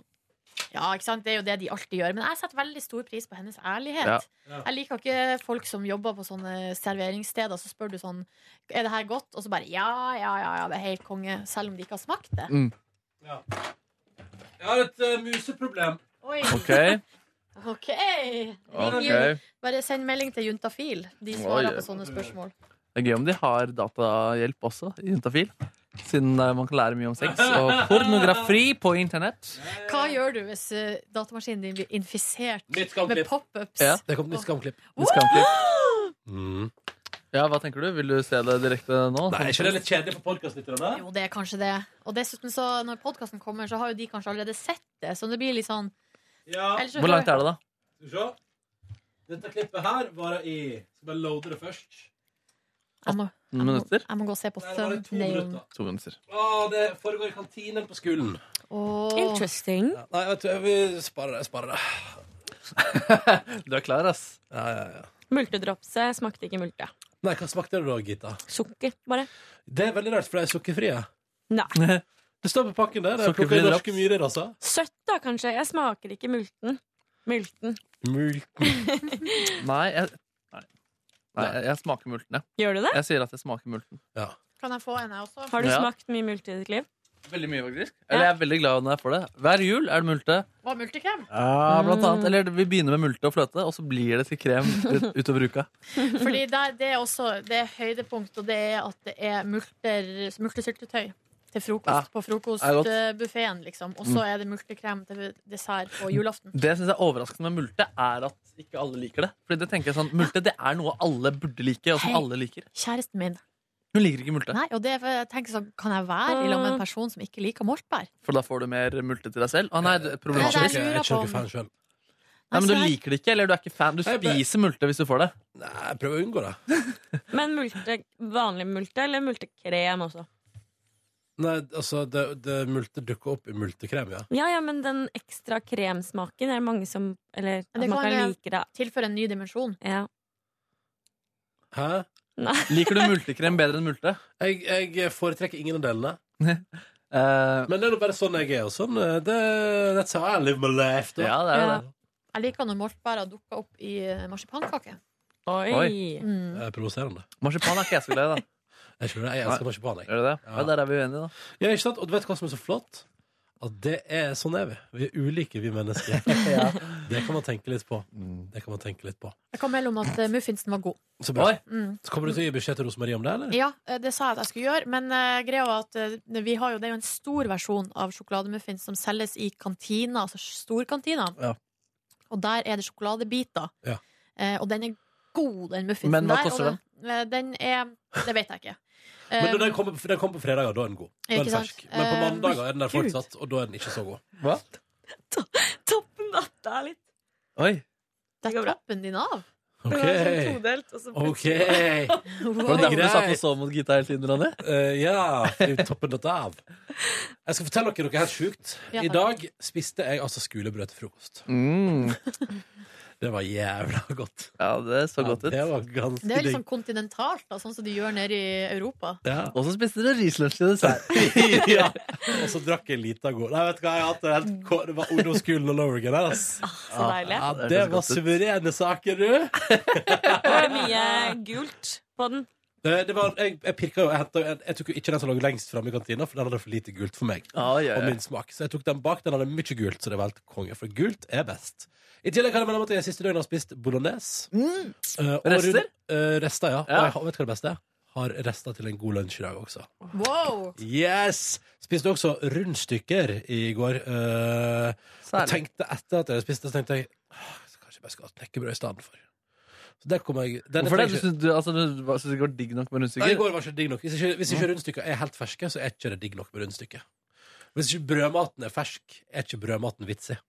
Ja, ikke sant? Det er jo det de alltid gjør. Men jeg setter veldig stor pris på hennes ærlighet.
Ja.
Ja.
Jeg liker ikke folk som jobber på sånne serveringssteder. Så spør du sånn Er det her godt? Og så bare ja, ja, ja, ja det er helt konge. Selv om de ikke har smakt det.
Jeg har et eh, museproblem.
Oi.
OK.
Ok.
ok
Bare send melding til Juntafil. De
Oi.
svarer på sånne spørsmål.
Det er gøy om de har datahjelp også i Juntafil. Siden eh, man kan lære mye om sex og <laughs> pornografi på internett.
Hå gjør du hvis eh, datamaskinen din blir infisert
Nytt
med
skamklipp.
pop-ups?
Ja.
Det kom et nytt skamklipp.
Det skal ikke-
Mm.
Ja, hva tenker du? Vil du se det direkte nå?
Nei, er ikke det litt kjedelig for podkastlytterne?
Jo, det er kanskje det. Og dessuten, så når podkasten kommer, så har jo de kanskje allerede sett det. Så det blir litt sånn
Ja.
Hvor langt er det, da?
Skal vi se. Dette klippet her varer i Skal bare loade det først.
Jeg må, jeg må,
Minutter?
jeg må gå og se på
Nei, det var i to
thumbnailen.
minutter.
To minutter.
Å, det foregår i kantinen på skolen.
Åh.
Interesting.
Ja, nei, vet du, jeg vil spare det. Spare det.
Du er klar, ass.
Ja, ja, ja.
Multedropset smakte ikke multe.
Nei, hva smakte det da, Gita?
Sukker, bare.
Det er veldig rart, for de er sukkerfrie.
Nei.
<laughs> Det står på pakken der. Det er
Sukkerfri
plukket i
drops.
norske myrer, altså.
Søtt, da, kanskje. Jeg smaker ikke multen. Multen.
Nei, jeg, nei. nei jeg, jeg smaker multen, jeg.
Gjør du det?
Jeg sier at jeg smaker multen.
Kan jeg få en, jeg også?
Har du
Ja.
smakt mye multe i ditt liv?
Veldig mye, faktisk. Eller jeg er veldig glad når jeg får det. Hver jul er det multe.
Hva, multikrem?
Ja, blant annet. Eller vi begynner med multe og fløte, og så blir det til krem ut, utover uka.
Fordi det, er- det er også det er høydepunkt, og det er at det er multer, multesyltetøy til frokost
Ja.
på
Det er godt. Mm.
frokostbuffeen, liksom. Og så er det multekrem til dessert på julaften.
Det jeg synes er overraskende med multe, er at ikke alle liker det. Fordi det tenker jeg sånn, Multe det er noe alle burde like, og som
Hei.
alle liker.
Kjæresten min.
Hun liker ikke multe,
Nei, og det er, for jeg tenker sånn, kan jeg være i lag
Ah.
med en person som ikke liker moltbær?
for da får du mer multe til deg selv. Å nei, det er
Nei, det
problematisk.
er- jeg lurer
jeg
på
ikke
om-
fan selv.
Nei, men
så
du
her-
liker det ikke, eller du er ikke fan. Du
Nei, jeg ble-
spiser multe hvis du får det.
Nei, jeg prøver å unngå det.
Men multe, vanlig multe eller multekrem også?
Nei, altså, det, det multe dukker opp i multekrem, ja.
Ja, ja, men den ekstra kremsmaken er det mange som Eller at
det
man
kan
kan
jo-
like det.
Tilføre en ny dimensjon.
Ja.
Hæ?
Nei.
Liker du multekrem bedre enn multe?
Jeg, jeg foretrekker ingen av delene.
Eh,
Men det er nå bare sånn jeg er, og sånn eh, det, That's how I live my life, da.
Ja, det
er jo det. Jeg liker når moltbæra dukker opp i eh, marsipankake.
Oi.
Mm.
Det er Eh, provoserende.
Marsipan er ikke jeg så glad i, da.
Jeg tror det, jeg elsker marsipan. Jeg.
Gjør du det? Ja. Der er vi uenige, da.
Ja, ikke sant? Og du vet hva som er så flott? At det er sånn er vi. Vi er ulike, vi
<laughs>
mennesker. Det kan man tenke litt på.
Mm.
Det kan man tenke litt på.
Jeg kan melde om at eh, muffinsen var god.
Så bra.
Mm.
Så kommer du til å gi beskjed til Rosemarie om det, eller?
Ja, eh, det sa jeg at jeg skulle gjøre, men eh, greia var at eh, vi har jo, det er jo en stor versjon av sjokolademuffins som selges i kantina, altså storkantina.
Ja.
Og der er det sjokoladebiter.
Ja.
Eh, og den er god, den muffinsen
Men hva
der, og
koster den?
eh, Den er Det vet jeg ikke.
<laughs> Men
Eh,
når den kommer, for den kommer på fredager, da er den god. Da er
Ikke
den
sant?
fersk. Men på
Eh,
mandager er den der
Gud.
fortsatt, og da er den ikke så god.
Toppen av det er litt
Oi.
Der er toppen din av.
Ok. Det var sånn
todelt, og så
<laughs>
OK.
Var det derfor du satt og så mot Gita hele tiden, Ronny?
Eh, ja, fordi toppen datt av. Jeg skal fortelle dere noe helt sjukt.
Ja,
I
takk.
dag spiste jeg altså skulebrød til frokost.
Mm.
Det var jævla godt.
Ja, det så godt ut.
Det var ganske
Det er
digg.
<laughs>
liksom kontinentalt, da, sånn som de gjør nede i Europa.
Og så spiste dere rislunsj til <laughs> dessert.
ja. <laughs> Og så drakk jeg en liten god Nei, vet du hva, jeg har hatt det helt ko- Det var ungdomsskolen all over again. her, ass.
så deilig.
Ja,
Det
det
høres
var
godt ut.
suverene saker, du.
Var det mye gult på den?
Det, Eh, det var, jeg, jeg pirka jo jeg, hentet- jeg, jeg tok jo ikke den som lå lengst framme i kantina, for den hadde for lite gult for meg.
ja, ja.
Og min smak. Så jeg tok den bak. Den hadde mye gult, så det var helt konge. For gult er best. I tillegg kan jeg melde om at jeg siste døgnet har spist bolognese.
Mm.
Eh, og
Rester?
rund- eh, rester, ja.
Ja.
Og jeg, har- vet du hva det beste er? Har rester til en god lunsj i dag også.
Wow!
Yes! Spiste også rundstykker i går. eh, og
Særlig.
tenkte etter at jeg spiste, så tenkte jeg «Åh, så kanskje jeg bare skal ha knekkebrød i stedet for. Så der kom jeg den
Hvorfor
trenger
det? Du
ikke-
syns du, altså, du var- synes det går digg nok med
Nei, i går
rundstykker?
var ikke digg nok. Hvis ikke, hvis ikke rundstykker er helt ferske, så er ikke det digg nok med rundstykker. Hvis ikke brødmaten er fersk, er ikke brødmaten vitsig.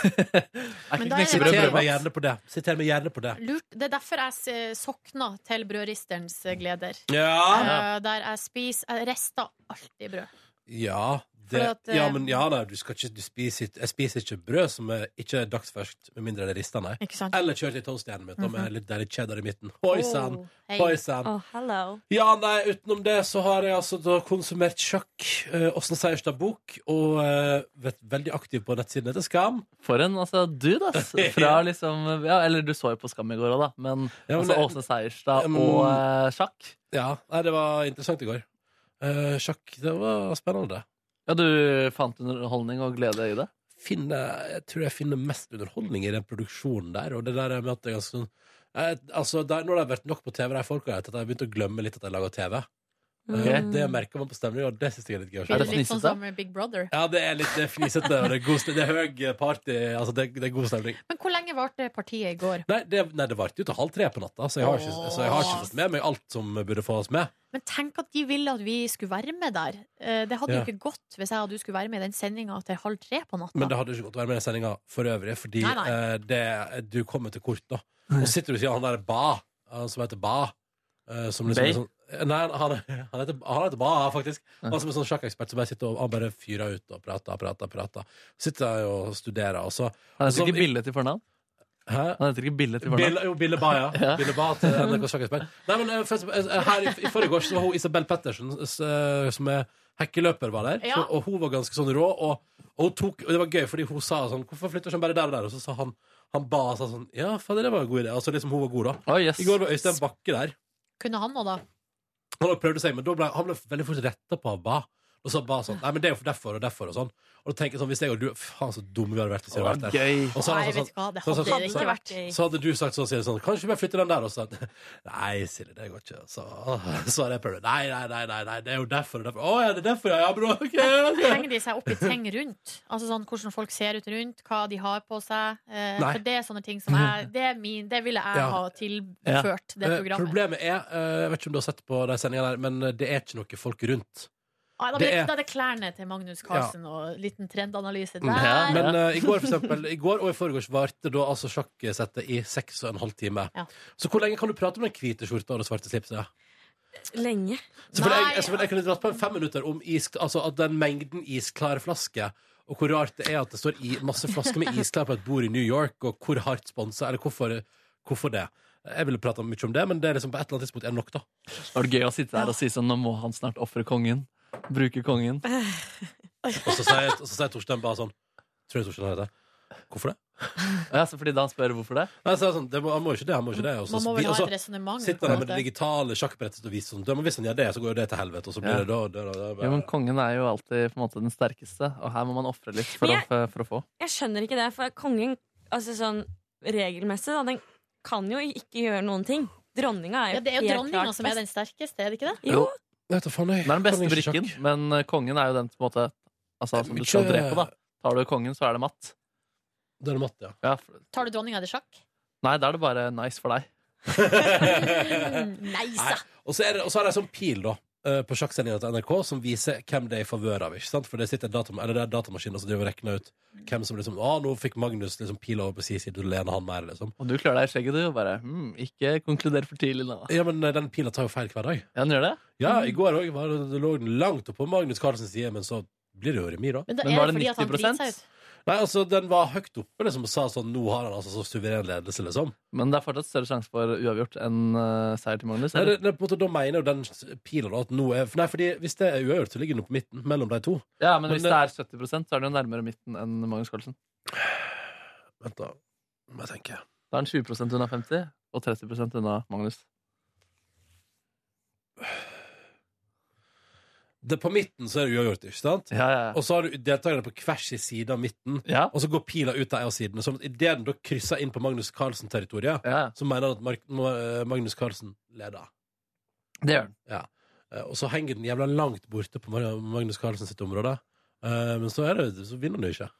Men da er det-
Siter meg gjerne på det. Siter meg gjerne på det.
Lurt. Det er derfor jeg se- sokna til brødristerens gleder.
Ja.
Eh, der jeg spiser Jeg rester alltid brød.
Ja, det,
Fordi at, eh,
ja men ja, nei, du skal ikke du spiser, ikke- Jeg spiser ikke brød som er, ikke er dagsferskt, med mindre det er rista, nei.
Ikke sant?
Eller kjørt i toastjernet mitt, da, med
Mhm.
litt deilig cheddar i midten. Hoi sann!
hei.
Hoi sann!
Å, hello.
Ja, nei, utenom det så har jeg altså da konsumert sjakk, eh, Åsne Seierstad bok, og eh, vært veldig aktiv på nettsiden etter Skam.
For en altså, dude,
<laughs>
ass. Fra liksom ja, Eller du så jo på Skam i går òg, da. Men,
Ja, men
altså,
det-
Åsne Seierstad
Ja, men-
og eh, sjakk
Ja, nei, det var interessant i går. Eh, sjakk, det var spennende.
Ja, du fant underholdning og glede i det?
finner, jeg tror jeg finner mest underholdning i den produksjonen der. Og det der med at det er ganske sånn jeg, altså, der, Når det har vært nok på TV, de folka der, at jeg har begynt å glemme litt at jeg lager TV.
Ok.
Eh, Det merker man på stemninga, og det syns jeg er litt gøy. å se.
Blir det litt sånn som Big Brother.
Ja, det er litt det er fnisete, og det er, god, stem- det er høy party. Altså, det, det er god stemning.
Men hvor lenge varte partiet i går?
Nei, det, nei, det varte jo til halv tre på natta, så jeg, har ikke, så jeg har ikke fått med meg alt som burde få oss med.
Men tenk at de ville at vi skulle være med der. Eh, Det hadde
Ja.
jo ikke gått hvis jeg og du skulle være med i den sendinga til halv tre på natta.
Men det hadde ikke godt å være med i sendinga for øvrig, fordi
Nei, nei.
eh, det, du kommer til kort, da. Og sitter du og sier han der Ba, han som heter Ba eh, som liksom
Bay?
er sånn, Nei, han, han, heter, han heter Ba, faktisk. Han som er sånn sjakkekspert som bare sitter og han bare fyrer ut og prater, prater, prater. Sitter der og studerer, og så og
Han heter
så-
ikke Bille til fornavn?
Hæ?
Han heter ikke Bille til fornavn?
Bille, jo, Bille Ba, ja.
<laughs> Ja.
Bille ba til NRK Sjakkekspert. Nei, men eh, først, eh, her i, I forrige år så var hun Isabel Pettersen, s- eh, som er hekkeløper, var der.
Ja.
Så, og hun var ganske sånn rå. Og, og, hun tok, og det var gøy, fordi hun sa sånn Hvorfor flytter hun bare der og der? Og så sa han han ba og sa sånn Ja, fader, det var en god idé. Altså liksom hun var god, da. I går var Øystein Bakke der.
Kunne han nå, da?
Altså, Han hadde prøvd å si, men da ble, han ble veldig fort retta på av Ba. Og så ba sånn, nei, men det er jo for derfor og derfor og sånn. Og da tenker jeg sånn, hvis jeg og du, faen så dumme vi hadde vært hvis vi hadde vært
Å,
der.
gøy.
Og så hadde han
Nei,
sånn-
vet du hva, det
så- så-
hadde det
så-
ikke vært.
Så, så hadde du sagt sånn, sier sånn, kanskje vi bare flytter den der også. <laughs> Nei, Silje, det går ikke. Så, <laughs> så hadde jeg prøvd, nei, nei, nei, nei, nei, det er jo derfor og derfor. Å, ja, det er derfor, ja, ja, bra, <laughs> ok. ok.
Henger de seg opp i ting rundt? Altså sånn Hvordan folk ser ut rundt, hva de har på seg. Eh,
Nei.
for det er sånne ting som jeg
<laughs>
Det, er min, det ville jeg
Ja.
ha tilført det
Eh,
programmet.
Problemet er, eh, jeg vet ikke om du har sett på de sendingene der, men eh, det er ikke noe folk rundt.
Ah, da,
det
blir,
er-
da er det klærne til Magnus Carlsen og liten trendanalyse der.
Men eh, i går for eksempel, i går og i forgårs varte da altså sjakksettet i seks og en halv time.
Ja.
Så hvor lenge kan du prate om den hvite skjorta og det svarte slipset?
Lenge.
Så for jeg, så for jeg kunne dratt på en fem minutter om is, altså at den mengden isklare flasker og hvor rart det er at det står i, masse flasker med isklær på et bord i New York, og hvor hardt sponsa, eller hvorfor, hvorfor det? Jeg ville prata mye om det, men det er liksom på et eller annet tidspunkt er det nok, da.
Var det gøy å sitte der og si sånn Nå må han snart ofre kongen. Bruker kongen.
<laughs>
Og så sier, og så sier Torstein bare sånn Tror jeg Torstein heter Hvorfor det?
Ja, så fordi da han spør hvorfor det?
Nei, så er det sånn, det må, han må jo ikke det, han må ikke det. Og så
Man må
altså, vi-
vel ha
og så
et resonemang, på
Sitter
en
han med det
måte.
digitale sjakkbrettet og viser sånn «Ja, men Hvis han gjør det, så går jo det til helvete, og så blir
Ja.
det da, da, da, da,
Jo, men kongen er jo alltid på en måte den sterkeste, og her må man ofre litt for,
Men jeg-
å, for å få.
Jeg skjønner ikke det, for kongen altså sånn regelmessig da, den kan jo ikke gjøre noen ting. Dronninga er jo
Ja, det er jo
helt
dronninga
klart
som er
best.
den sterkeste, er det ikke det?
Jo.
Det
er den beste
Kongen i
brikken, men eh, kongen er jo den på en måte Altså, som du skal
Ikke-
drepe, da. Tar du kongen, så er det matt.
Da er det matt, ja.
for,
Tar du dronninga i sjakk?
nei, da er det bare nice for deg.
Nei,
Nei. Og så er det, og så er det en sånn pil da eh, på sjakksendinga til NRK som viser hvem det er i favør av. ikke sant? For det sitter en datam eller det er datamaskiner som driver og regner ut hvem som liksom Å, nå fikk Magnus liksom pil over på si side, du lener han mer, liksom.
Og du klør deg i skjegget, du, og bare hm, Ikke konkluder for tidlig nå.
Ja, men eh, den pila tar jo feil hver dag.
Ja, den gjør det?
Ja, i går òg var det- det lå den langt oppe på Magnus Carlsens side, men så blir det jo remis, da.
Men da Men er var det det fordi at han 90%? driter seg ut?
Nei, altså, den var høyt oppe, liksom, og sa sånn Nå har han altså så suveren ledelse, liksom.
Men det er fortsatt større sjanse for uavgjort enn eh, seier til Magnus.
Nei,
eller?
det, det, er på en måte, da mener jo den pila da at nå er for Nei, fordi hvis det er uavgjort, så ligger den jo på midten mellom de to.
Ja, men, hvis det
eh,
er 70 så er det jo nærmere midten enn Magnus Carlsen.
Vent, da. Må jeg tenke.
Da er han 20 unna 50, og 30 unna Magnus.
det på midten så er det uavgjort, ikke sant? Og så har du deltakerne på hver sin side av midten, og så går pila ut av en av sidene. Sånn at idet den da krysser inn på Magnus Carlsen-territoriet, så mener han at Mark, Ma- Magnus Carlsen leder.
Det <laughs> gjør han.
Ja. Eh, Og så henger den jævla langt borte på Mar- Magnus Carlsen sitt område. Eh, Men så, er det, så vinner han jo ikke.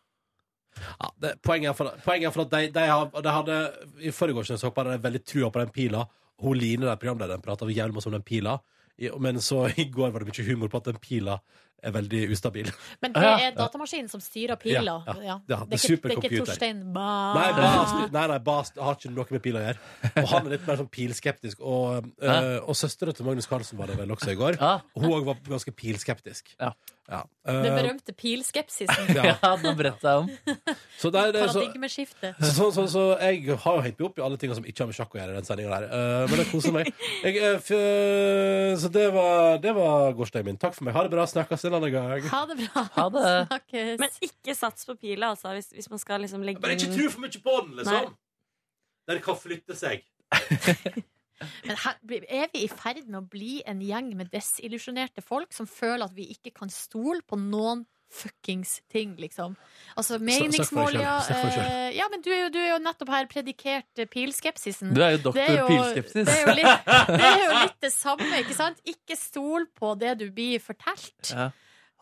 Ja, det, poenget er for, poenget er for at de, de, har, de hadde I forrige års hoppa hadde de veldig trua på den pila. Hun Line, der programlederen, prata jævlig masse om den pila. I, men så <laughs> i går var det mye humor på at den pila er veldig ustabil.
Men det er datamaskinen som styrer pila.
Ja,
Ja.
ja. Det er
Det, er ikke, det er ikke
supercomputer.
Torstein Ba...
Nei, Bast, nei, nei, Bast har ikke noe med pil å gjøre. Og han er litt mer sånn pilskeptisk. Og, uh, og søstera til Magnus Carlsen var det vel også i går. Hun òg var ganske pilskeptisk. Ja. Eh,
Den berømte pilskepsisen.
Ja. Ja,
den bredte seg om.
så det er, det er så,
Paradigmeskiftet.
så, så, så, så jeg har jo hengt meg opp i alle tinga som ikke har med sjakk å gjøre. i den sendingen der Eh, Men det koser meg. Jeg, eh, f eh, så det var, det var gårsdagen min. Takk for meg. Ha det bra. Snakkes en annen gang.
Ha det bra.
Ha det.
Snakkes.
Men ikke sats på pila, altså, hvis, hvis man skal liksom legge
Bare ikke
inn-
tro for mye på den,
Nei.
liksom. Den kan flytte seg.
Men her, blir- er vi i ferd med å bli en gjeng med desillusjonerte folk som føler at vi ikke kan stole på noen fuckings ting, liksom? Altså meningsmål, ja.
Snakk for deg selv, snakk for deg
eh, Ja, men du er, jo, du er jo nettopp her predikert eh, pilskepsisen.
Du er jo
Det
doktor
jo-
pilskepsis.
Det er, jo
<laughs>
litt, det er jo litt det samme, ikke sant? Ikke stol på det du blir fortalt.
Ja.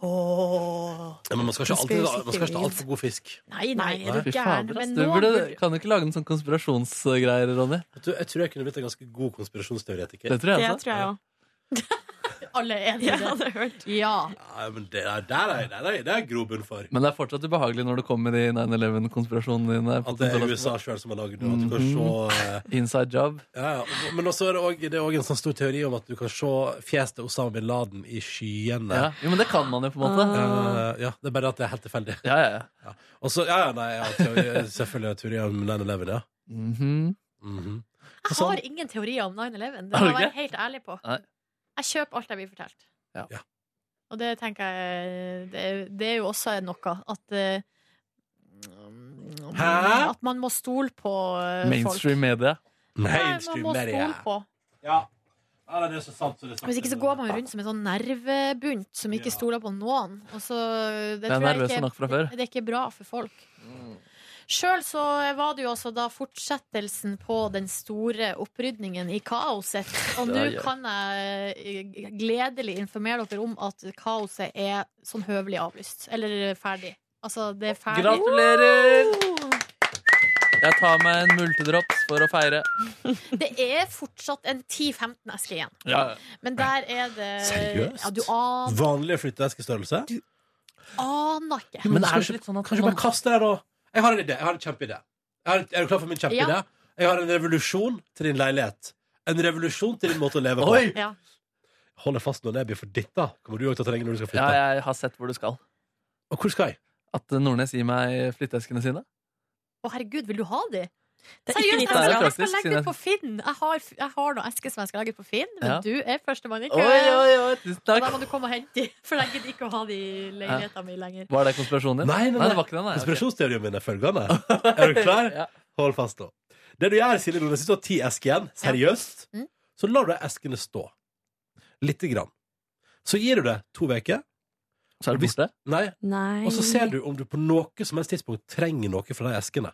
Ja, men man skal ikke alltid ha- man skal ikke ha altfor god fisk.
Nei, nei, er du
Fy
gæren?
fader, ass.
Men
Du
nå
burde, kan du ikke lage en sånn konspirasjonsgreier, Ronny?
Vet du, jeg tror jeg kunne blitt en ganske god konspirasjonsteoretiker.
Det tror jeg altså. Det også.
tror jeg også.
Alle er
<laughs>
enige i det. Ja.
Nei, men det er, der er, der er, det er grobunn for.
Men det er fortsatt ubehagelig når du kommer i 9-11-konspirasjonene dine. på
At det er
konsolene.
USA sjøl som har lagd det. og At du kan se eh,
Inside job.
ja, ja. og- Men også er det, også, det er også en sånn stor teori om at du kan se fjeset til Osama bin Laden i skyene.
Ja. Jo, men det kan man jo, på en måte.
Ah.
Eh, ja, Det er bare at det er helt tilfeldig.
Ja, ja, ja.
Og så, ja, ja, nei, ja, teori, selvfølgelig har jeg teori om 9-11, ja. Mhm.
Jeg
Altså-
har ingen teorier om 9-11. Det
Har du
må jeg være
ikke?
helt ærlig på.
Nei.
Jeg kjøper alt jeg blir fortalt.
Ja.
Og det tenker jeg Det, er- det er jo også noe at eh,
Hæ?
At man må stole på eh, folk.
Mainstream media.
Nei, man må stole på.
Ja. ja, det er så sant som det er
Hvis ikke så går man rundt som en sånn nervebunt som ikke stoler på noen. Og så, det
Det er
tror jeg
nervøse
ikke-
nok fra før. Mm.
Det, det er ikke bra for folk. Sjøl så var det jo altså da fortsettelsen på den store opprydningen i kaoset. Og nå
Ja, ja.
kan jeg eh, gledelig informere dere om at kaoset er sånn høvelig avlyst. Eller ferdig. Altså, det er ferdig.
Gratulerer! Jeg tar meg en multedrops for å feire.
Det er fortsatt en 10-15 esker igjen.
Ja.
Men der er det
Seriøst?
Ja, du aner,
Vanlig flytteeskestørrelse?
aner ikke.
Men er det litt sånn at Kanskje bare kaste det, da? Jeg har en idé. jeg har en kjempeidé Jeg har en- Er du klar for min kjempeidé?
Ja.
Jeg har en revolusjon til din leilighet. En revolusjon til din måte å leve på.
Ja.
Hold deg fast når jeg blir for ditt, da. Kommer du òg til å trenge når du skal
Ja,
flytte?
jeg har sett hvor du skal.
Og hvor skal jeg?
At eh, Nordnes gir meg flytteeskene sine.
Å, herregud, vil du ha de?
Det er ikke
Seriøst, altså.
ditt
jeg skal,
ansvar.
jeg skal legge ut på Finn. Jeg har, jeg har noen esker som jeg skal legge ut på Finn, men
Ja.
du er førstemann i
Oi, oi, oi, tusen
Og
takk.
da må du komme og hente dem, for jeg gidder ikke å ha de i leiligheten min lenger.
Var det konspirasjonen din?
Nei, nei, nei.
det var ikke den. Nei. ok.
Konspirasjonsteorien min er følgende. Er du klar? Hold fast nå. Det du gjør, Silje Nordnes, hvis du har ti esker igjen, seriøst,
Mm.
så lar du eskene stå. Lite grann. Så gir du det to uker.
Så er det borte?
Nei.
Nei.
Og så ser du om du på noe som helst tidspunkt trenger noe fra de eskene.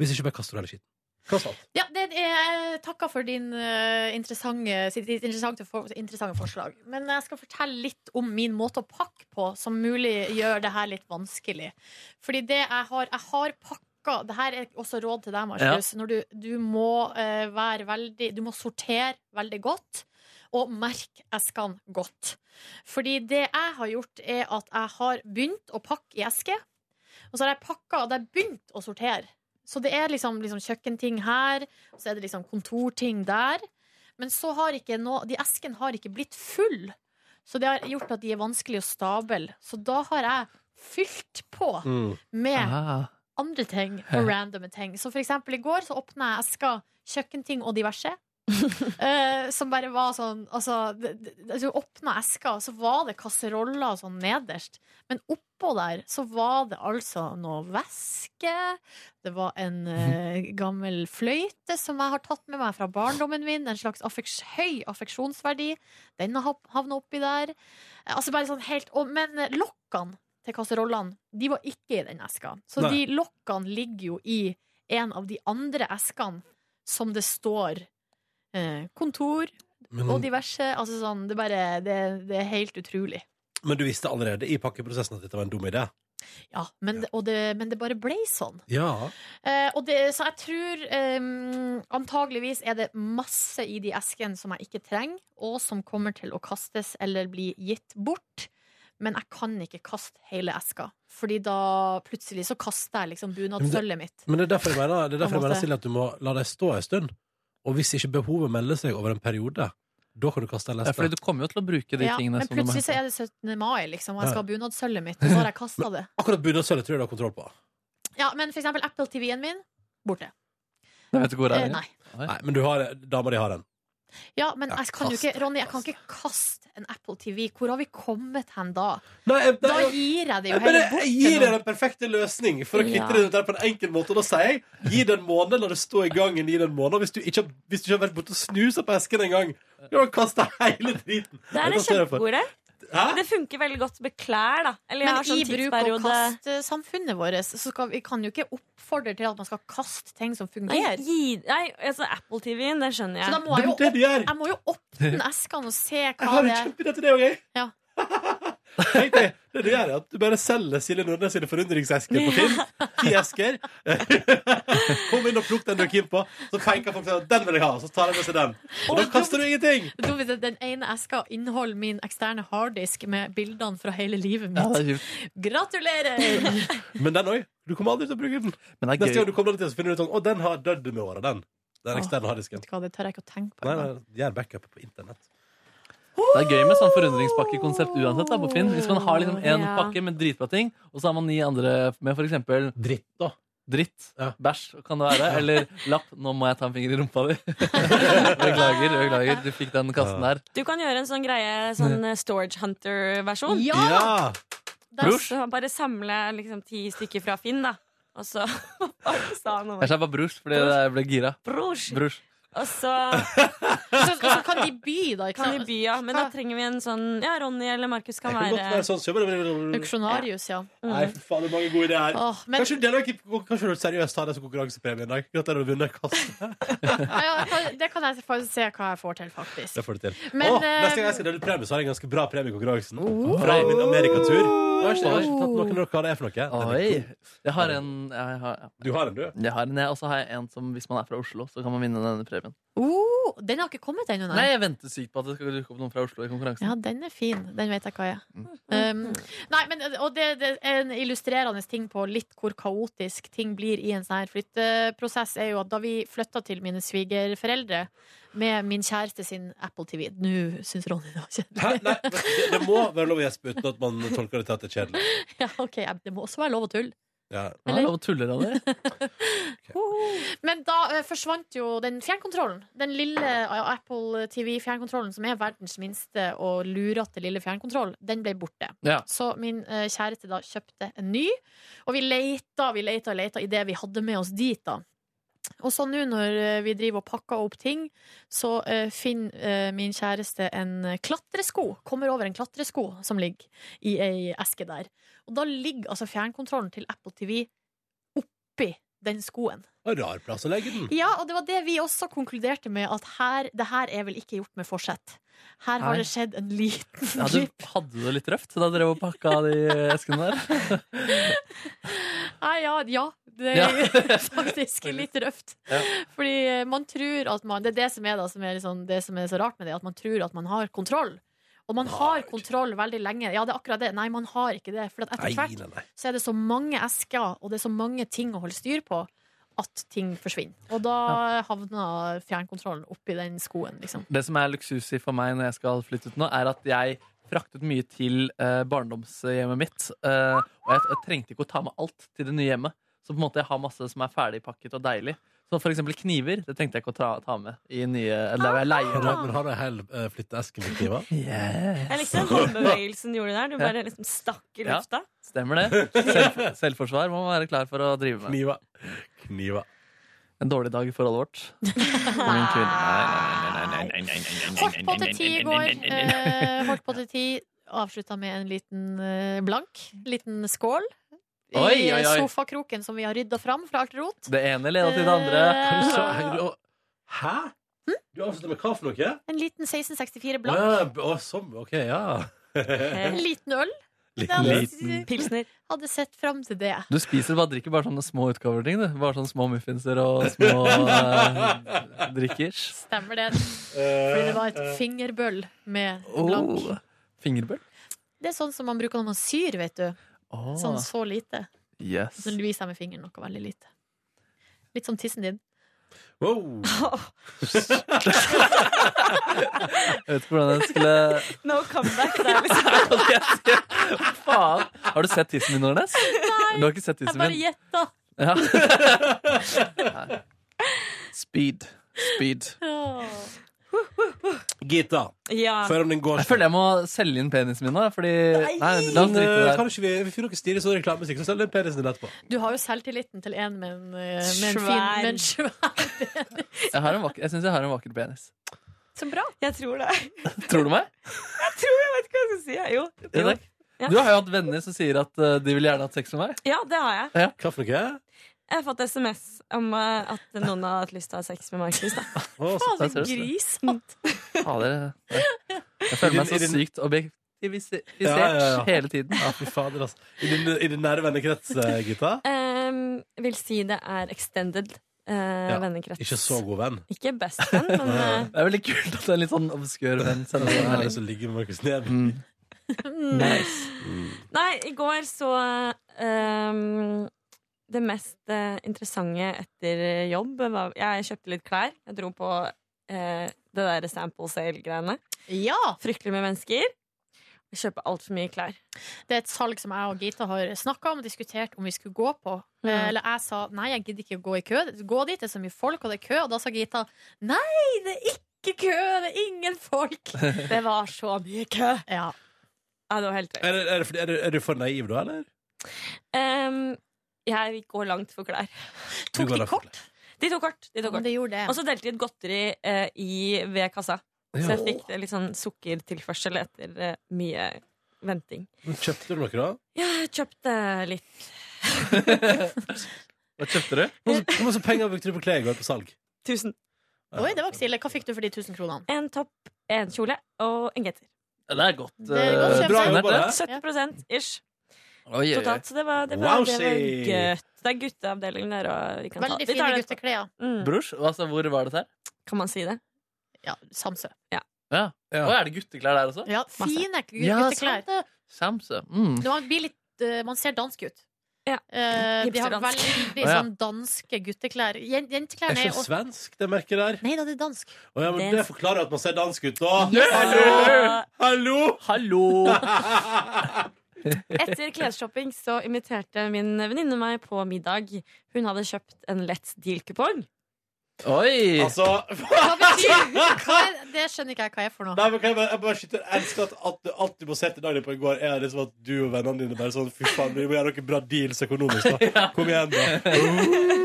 Hvis ikke bare kaster du hele skitten. Kast alt.
Ja, det er takka for din eh, interessante, sitt ditt interessante, for, interessante forslag. Men jeg skal fortelle litt om min måte å pakke på som mulig gjør det her litt vanskelig. Fordi det jeg har Jeg har pakka Det her er også råd til deg, Markus. Når du, du må eh, være veldig Du må sortere veldig godt. Og merke eskene godt. Fordi det jeg har gjort, er at jeg har begynt å pakke i eske. Og så har jeg pakka, og det har jeg begynt å sortere. Så det er liksom, liksom kjøkkenting her, og så er det liksom kontorting der. Men så har ikke nå, de esken har ikke blitt full. Så det har gjort at de er vanskelig å stable. Så da har jeg fylt på
Mm.
med
Ah.
andre ting og randome ting. Så for eksempel i går så åpna jeg eska kjøkkenting og diverse. Eh, som bare var sånn Altså, det- det- du åpna eska, og så var det kasseroller og sånn nederst. Men oppå der så var det altså noe væske. Det var en eh, gammel fløyte som jeg har tatt med meg fra barndommen min. En slags affeks høy affeksjonsverdi. Den har havna oppi der. Eh, altså bare sånn helt og, Men eh, lokkene til kasserollene, de var ikke i den eska. Så
Nei.
de lokkene ligger jo i en av de andre eskene som det står eh, kontor
Men-
og diverse. Altså sånn, det, bare, det, det er helt utrolig.
Men du visste allerede i pakkeprosessen at dette var en dum idé.
Ja, men, det- Og det, men det bare ble sånn.
Ja.
Eh, og det, så jeg tror eh, antageligvis er det masse i de eskene som jeg ikke trenger, og som kommer til å kastes eller bli gitt bort. Men jeg kan ikke kaste hele eska, Fordi da plutselig så kaster jeg liksom bunadsølvet mitt.
Men det er derfor jeg mener, det er derfor
På
jeg
en
mener
måte.
Silje, at du må la dem stå en stund. Og hvis ikke behovet melder seg over en periode, da kan du kaste en
Ja,
leste.
fordi du kommer jo til å bruke
Ja, men plutselig så er det 17. mai, liksom, og jeg skal ha bunadsølvet mitt, og så har jeg <laughs> kasta det.
Akkurat bunadsølvet tror jeg du har kontroll på.
Ja, men for eksempel Apple TV-en min, borte.
Jeg vet ikke
hvor det er. Eh, nei.
nei. Men du har, dama di har en.
Ja, men jeg kan jo
kast,
ikke, Ronny, jeg kan ikke kaste en Apple TV. Hvor har vi kommet hen da?
Nei, jeg,
Da gir jeg det jo
Men
heller
jeg-
bort.
jeg
til
gir deg
noen.
den perfekte løsning for å kvitte
Ja.
deg med det der på en enkel måte. Og da sier jeg gi det en måned, la det stå i gangen i den måneden. Hvis du ikke, har- hvis du ikke har vært borte og snusa på esken en gang, da kan du kaste hele driten.
Det er
Jeg
en
kan stå der for.
kjempegod idé.
Hæ?
Det funker veldig godt med klær, da. Eller jeg
Men
har sånn
i bruk og
tidsperiode
kast-samfunnet vårt, så skal, vi kan jo ikke oppfordre til at man skal kaste ting som
Nei,
fungerer.
gi, nei altså Apple-TV-en, det skjønner jeg.
Så da må jeg jo, opp, jeg må jo åpne eskene og se hva
har en
det er.
kjempeidé til det òg, jeg.
Ja.
<laughs> Tenk deg, det du gjør, er at du bare selger Silje Nordnes sine forundringsesker på Finn. Ti esker. <laughs> Kom inn og plukk den du er keen på. Så peker folk sånn Den vil jeg ha! Så tar de med seg den. Og da kaster du ingenting!
Det er dumt hvis Den ene eska inneholder min eksterne harddisk med bildene fra hele livet
Ja, det er
mitt. Gratulerer!
Men den òg. Du kommer aldri til å bruke den.
det er
Neste
gøy.
gang du kommer til, så finner du ut sånn Å, den har dødd med åra, den. Den eksterne harddisken.
<laughs> Hva, det tør jeg ikke å tenke på.
Nei, nei, gjør backup på internett.
Det er gøy med sånn forundringspakkekonsept uansett da, på Finn. Hvis man har liksom en
Ja.
pakke med dritbra ting, og så har man ni andre med for eksempel
Dritt, da.
Dritt. Bæsj, kan det være. Eller lapp. Nå må jeg ta en finger i rumpa
<laughs>
di. beklager, beklager. Du fikk den kassen der.
Du kan gjøre en sånn greie, sånn eh, Storage Hunter-versjon.
Ah,
Der
Brors.
så bare samle liksom ti stykker fra Finn, da. Og så <laughs> sa han
Jeg sa bare brors, fordi jeg ble gira.
Brors.
Brors.
Og så
så, kan de by, da. Ikke
kan de by, ja. Men da trenger vi en sånn Ja, Ronny eller Markus kan
Det kan godt
være
være sånn. så-
Auksjonarius, ja.
Nei, for faen, det er mange gode ideer. her
Åh, men-
Kanskje du kanskje du seriøst har det som konkurransepremie en dag? Gratulerer med å vinne kassen.
Ja, kan- Det kan jeg faktisk se hva jeg får til, faktisk.
<laughs> Det får du til.
Men, eh, Oh.
Åh, neste gang jeg skal dele ut premie, så har jeg en ganske bra premie i konkurransen. Fra min amerikatur. Jeg har ikke, jeg har ikke tatt noen av dere hva det er for noe. Den er
Oi.
god.
Jeg har en jeg har,
Du har en, du?
Jeg har en, jeg. Og så har jeg en som, hvis man er fra Oslo, så kan man vinne denne premien.
Oh, den har ikke kommet ennå,
Nei, jeg venter sykt på at det skal dukke opp noen fra Oslo i konkurransen.
Ja, den er fin. Den vet jeg hva er. Um, nei, men, og det, det er en illustrerende ting på litt hvor kaotisk ting blir i en sånn her flytteprosess, er jo at da vi flytta til mine svigerforeldre med min kjæreste sin Apple TV Nå syns Ronny det var kjedelig. <laughs>
Hæ? Nei, men det, det må være lov å gjespe uten at man tolker det til at det er kjedelig.
Ja, OK, jeg- det må også være lov å tulle.
Ja.
Nei, det var tuller av det.
Men da eh, forsvant jo den fjernkontrollen. Den lille eh, Apple TV-fjernkontrollen, som er verdens minste og lurete lille fjernkontroll, den ble borte.
Ja.
Så min eh, kjæreste da kjøpte en ny, og vi leita vi leita, og leita i det vi hadde med oss dit, da. Og så nå når eh, vi driver og pakker opp ting, så eh, finner eh, min kjæreste en eh, klatresko. Kommer over en klatresko som ligger i ei eske der. Og da ligger altså fjernkontrollen til Apple TV oppi den skoen.
Og rar plass å legge den.
Ja, og det var det vi også konkluderte med, at her, det her er vel ikke gjort med forsett. Her har
Nei.
det skjedd en liten
Ja, du hadde det litt røft da dere var pakka de eh, eskene der.
Nei, ja, ja, det
Ja.
er <laughs> faktisk litt røft.
Ja.
Fordi eh, man tror at man Det er det som er, da, som er, litt sånn- det som er så rart med det, at man tror at man har kontroll. Og man har kontroll veldig lenge. Ja, det er akkurat det. Nei, man har ikke det. For at etter
Nei,
hvert
nei, nei.
så er det så mange esker, og det er så mange ting å holde styr på, at ting forsvinner. Og da havner fjernkontrollen oppi den skoen, liksom.
Det som er luksusig for meg når jeg skal flytte ut nå, er at jeg fraktet mye til eh, barndomshjemmet mitt. eh, og jeg, jeg trengte ikke å ta med alt til det nye hjemmet. Så på en måte jeg har masse som er ferdigpakket og deilig. Så for eksempel kniver det trengte jeg ikke å ta, ta med i nye, der hvor jeg leier.
Har du- men har du hel eh, flytteeske med <laughs> kniver?
Jeg likte den håndbevegelsen du gjorde der. Du bare liksom stakk i
Ja.
lufta.
Stemmer det. Selv, selvforsvar må man være klar for å drive med.
Kniva. Kniva.
En dårlig dag i forholdet vårt. For min kvinne. Nei, nei, nei, nei, nei, nei, nei,
Holdt på til ti i går. Eh, holdt
<laughs>
på til ti. Avslutta med en liten eh, blank. Liten skål. I
Oi, oi, oi.
sofakroken som vi har rydda fram fra alt rot.
Det ene leder til det
Eh,
andre.
Så- Hæ? Du avslutter med hva for noe?
En liten 1664
Å,
blank.
ja, b- å, sånn. OK, ja. Eh,
En liten øl.
Liten-
Det hadde-
liten-
Pilsner.
Hadde sett fram til det.
Du spiser bare drikker bare sånne små utgaver ting, du. Bare sånne små muffinser og små eh, drikkers.
Stemmer det. Fordi det var et fingerbøll med blank.
Eh, Oh, fingerbøl?
Det er sånn som man bruker når man syr, vet du.
Åh.
Sånn så lite.
Yes.
Så viser jeg med fingeren noe veldig lite. Litt som tissen din.
Wow.
Jeg vet ikke hvordan jeg skulle
No comeback der, liksom.
Faen! Har du sett tissen min, Nordnes?
Nei,
Du har ikke sett
jeg
tissen
bare
min?
gjetta.
Ja. <laughs> Nei. Speed. Speed.
<laughs> Gita,
Ja.
før om den går
Jeg føler jeg må selge inn penisen min nå, fordi Nei, la oss
Men,
drite i
eh,
det
kan
der.
ikke vi, vi finner noe stilig sånn reklamemusikk, så selger vi penisen din etterpå.
Du har jo selvtilliten til en med en, eh, med en fin
Svær.
med en svær
Jeg, har en vakker- jeg syns jeg har en vakker penis.
Så bra.
Jeg tror det.
Tror du meg?
Jeg tror jeg vet ikke hva jeg skal si. jeg. Jo.
Ja,
jo.
takk. Du har jo hatt venner som sier at eh, de vil gjerne ha sex med meg.
Ja, det har jeg.
Ja. Hva for noe?
Jeg har fått SMS om eh, at noen har hatt lyst til å ha sex med Markus. da.
Å, så-
Faen,
så seriøst, det.
grisete!
Jeg føler meg
I din-
så
i din-
sykt objektivisert
Ja, ja, ja.
hele tiden.
Ja, fy fader, altså. I din, i din nære vennekrets, eh, Gita?
Em, Ehm, vil si det er extended eh, vennekrets.
Ikke så god venn.
Ikke best venn,
<laughs>
men eh,
Det er veldig kult at en litt sånn obskør venn sender
Jeg
en
har
melding.
lyst til å ligge med Markus Neby.
Nice.
Nei, i går så ehm, Det mest eh, interessante etter jobb var Jeg kjøpte litt klær. Jeg dro på eh, det derre sample sale-greiene.
Ja!
Fryktelig med mennesker. Jeg kjøper altfor mye klær.
Det er et salg som jeg og Gita har snakka om og diskutert om vi skulle gå på.
Ja.
Eh, Eller jeg sa nei, jeg gidder ikke å gå i kø. Gå dit, det er så mye folk, og det er kø. Og da sa Gita nei, det er ikke kø, det er ingen folk. Det var så mye kø. Ja.
Ja, det var helt
Er, det- er, det fordi- er, det- er du for naiv da, eller?
Ehm, Jeg går langt for klær.
Tok de kort?
De tok kort. De tok kort. Og så delte de ut godteri eh, i, ved kassa. Så jeg fikk eh, litt sånn sukkertilførsel etter eh, mye venting.
Kjøpte du noe, da?
Ja, jeg kjøpte litt.
Hva kjøpte du?
Hvor hvor mye penger brukte du på klær i går på salg?
Tusen.
Oi, det var ikke stille. Hva fikk du for de 1000 kronene?
En topp, en kjole og en genser.
Ja, Det er godt.
Det er godt
eh,
kjøpt, Bra
det.
jobba, det.
70 ish
Oi, oi, oi.
totalt. Så det var, det var, det var
Wowsy.
gøtt. Det er gutteavdelingen der, og vi kan ta
Veldig
vi tar
fine
det etterpå.
gutteklær.
Mm.
Brors, altså, hvor var dette her?
Kan man si det?
Ja, Samsø.
Ja. Å, er det gutteklær der også?
Ja, fine
Ja,
gutteklær.
sant det. Samse. Mm.
Når Man, blir litt, eh, man ser dansk ut. Eh, de har
Hipsterdansk.
veldig
Å, ja.
sånn danske gutteklær. Jen-
Er
Jenteklærne
ikke
er
det
også
svensk, det merket der?
Nei da, det er dansk.
Å, ja, men det forklarer at man ser dansk ut, da.
Ja. <laughs>
Hallo!
Hallo!
<laughs> Etter klesshopping så inviterte min venninne meg på middag. Hun hadde kjøpt en Let's Deal-kupong.
Oi!
Altså,
Hva
<laughs>
betyr hva er, Det skjønner ikke jeg hva er for noe.
Nei, men kan jeg bare, jeg bare skyter, jeg elsker at, at, du- alt du må se til dagen din på i går, er liksom at du og vennene dine bare sånn Fy faen, vi må gjøre noen bra deals
<laughs>
økonomisk, da. Kom igjen, da.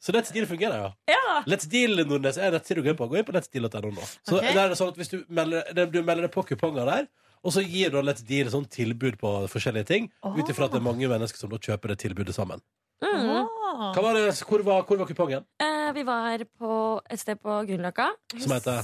Så Let's Deal fungerer, ja.
Ja.
Let's Deal Nordnes er rett til å gå inn på. Gå inn på letsdeal.no nå. Så
Ok.
der er det sånn at hvis du melder, det- du melder deg på kuponger der, og så gir da Let's Deal sånn tilbud på forskjellige ting, ut ifra at det er mange mennesker som da kjøper det tilbudet sammen.
Mm.
Hva var det, hvor, var, hvor var kupongen?
Eh, vi var på et sted på Grünerløkka.
Som heter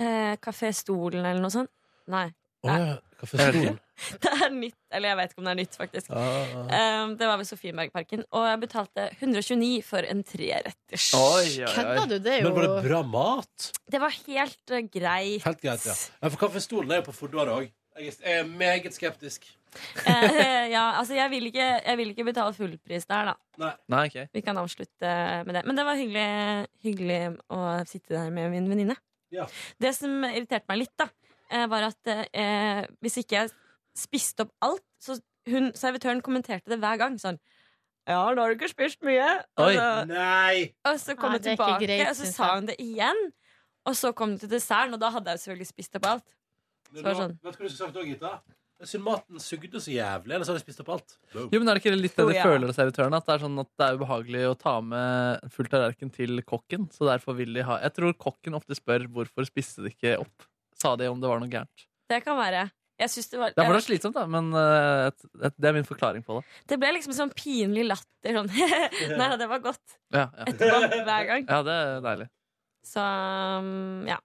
Eh, Kafé Stolen eller noe sånt. Nei. <laughs>
Å ja, Kaffestolen.
Det er nytt. Eller jeg vet ikke om det er nytt, faktisk.
Ah.
Eh, det var ved Sofienbergparken. Og jeg betalte 129 for en treretters.
Oi, oi, oi.
Kødda du? Det er
Men var det
jo
bra mat?
Det var helt eh, greit.
Helt greit, ja. ja for kaffestolen er jo på Fodora òg. Jeg er- jeg er meget skeptisk.
Eh, <laughs> ja, altså jeg vil, ikke, jeg vil ikke betale fullpris der, da.
Nei.
Vi kan avslutte med det. Men det var hyggelig, hyggelig å sitte der med min venninne.
Ja.
Det som irriterte meg litt, da, eh, var at eh, hvis ikke jeg spiste opp alt, så hun, servitøren kommenterte det hver gang sånn ja, da har du ikke spist mye. Og
Oi.
så-
Nei.
Og så kom
Nei,
jeg
det er ikke
tilbake,
greit,
og så
synes
sa
jeg.
hun det igjen. Og så kom det til desserten, og da hadde jeg selvfølgelig spist opp alt.
Men
Så var det
nå-
sånn.
Vet du hva du skulle sagt òg, Gita? Jeg syns maten sugde så jævlig, ellers hadde jeg spist opp alt.
Jo, men Er det ikke litt det
Oh,
de
ja.
føler av servitøren? At det er sånn at det er ubehagelig å ta med en full tallerken til kokken? Så derfor vil de ha Jeg tror kokken ofte spør hvorfor spiste de ikke opp. Sa de om det var noe gærent?
Det kan være. Jeg synes det var
Det er fortsatt slitsomt, da, men eh, et- et- det er min forklaring på det.
Det ble liksom sånn pinlig latter. Sånn. <laughs> Nei da, det var godt.
Ja, ja.
Etterpå, hver gang.
ja det er deilig.
Så um, ja.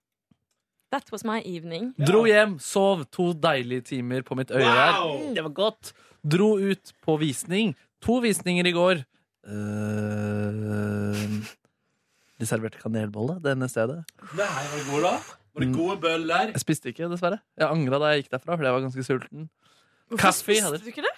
That was my evening.
Dro hjem, sov to deilige timer på mitt øye der.
Wow!
Det var godt. Dro ut på visning. To visninger i går. Eh, de serverte kanelbolle det ene stedet.
Nei, var det gode, da? Var det gode bøller?
Mm. Jeg spiste ikke, dessverre. Jeg angra da jeg gikk derfra, fordi jeg var ganske sulten. Kaffe hadde-
du ikke det?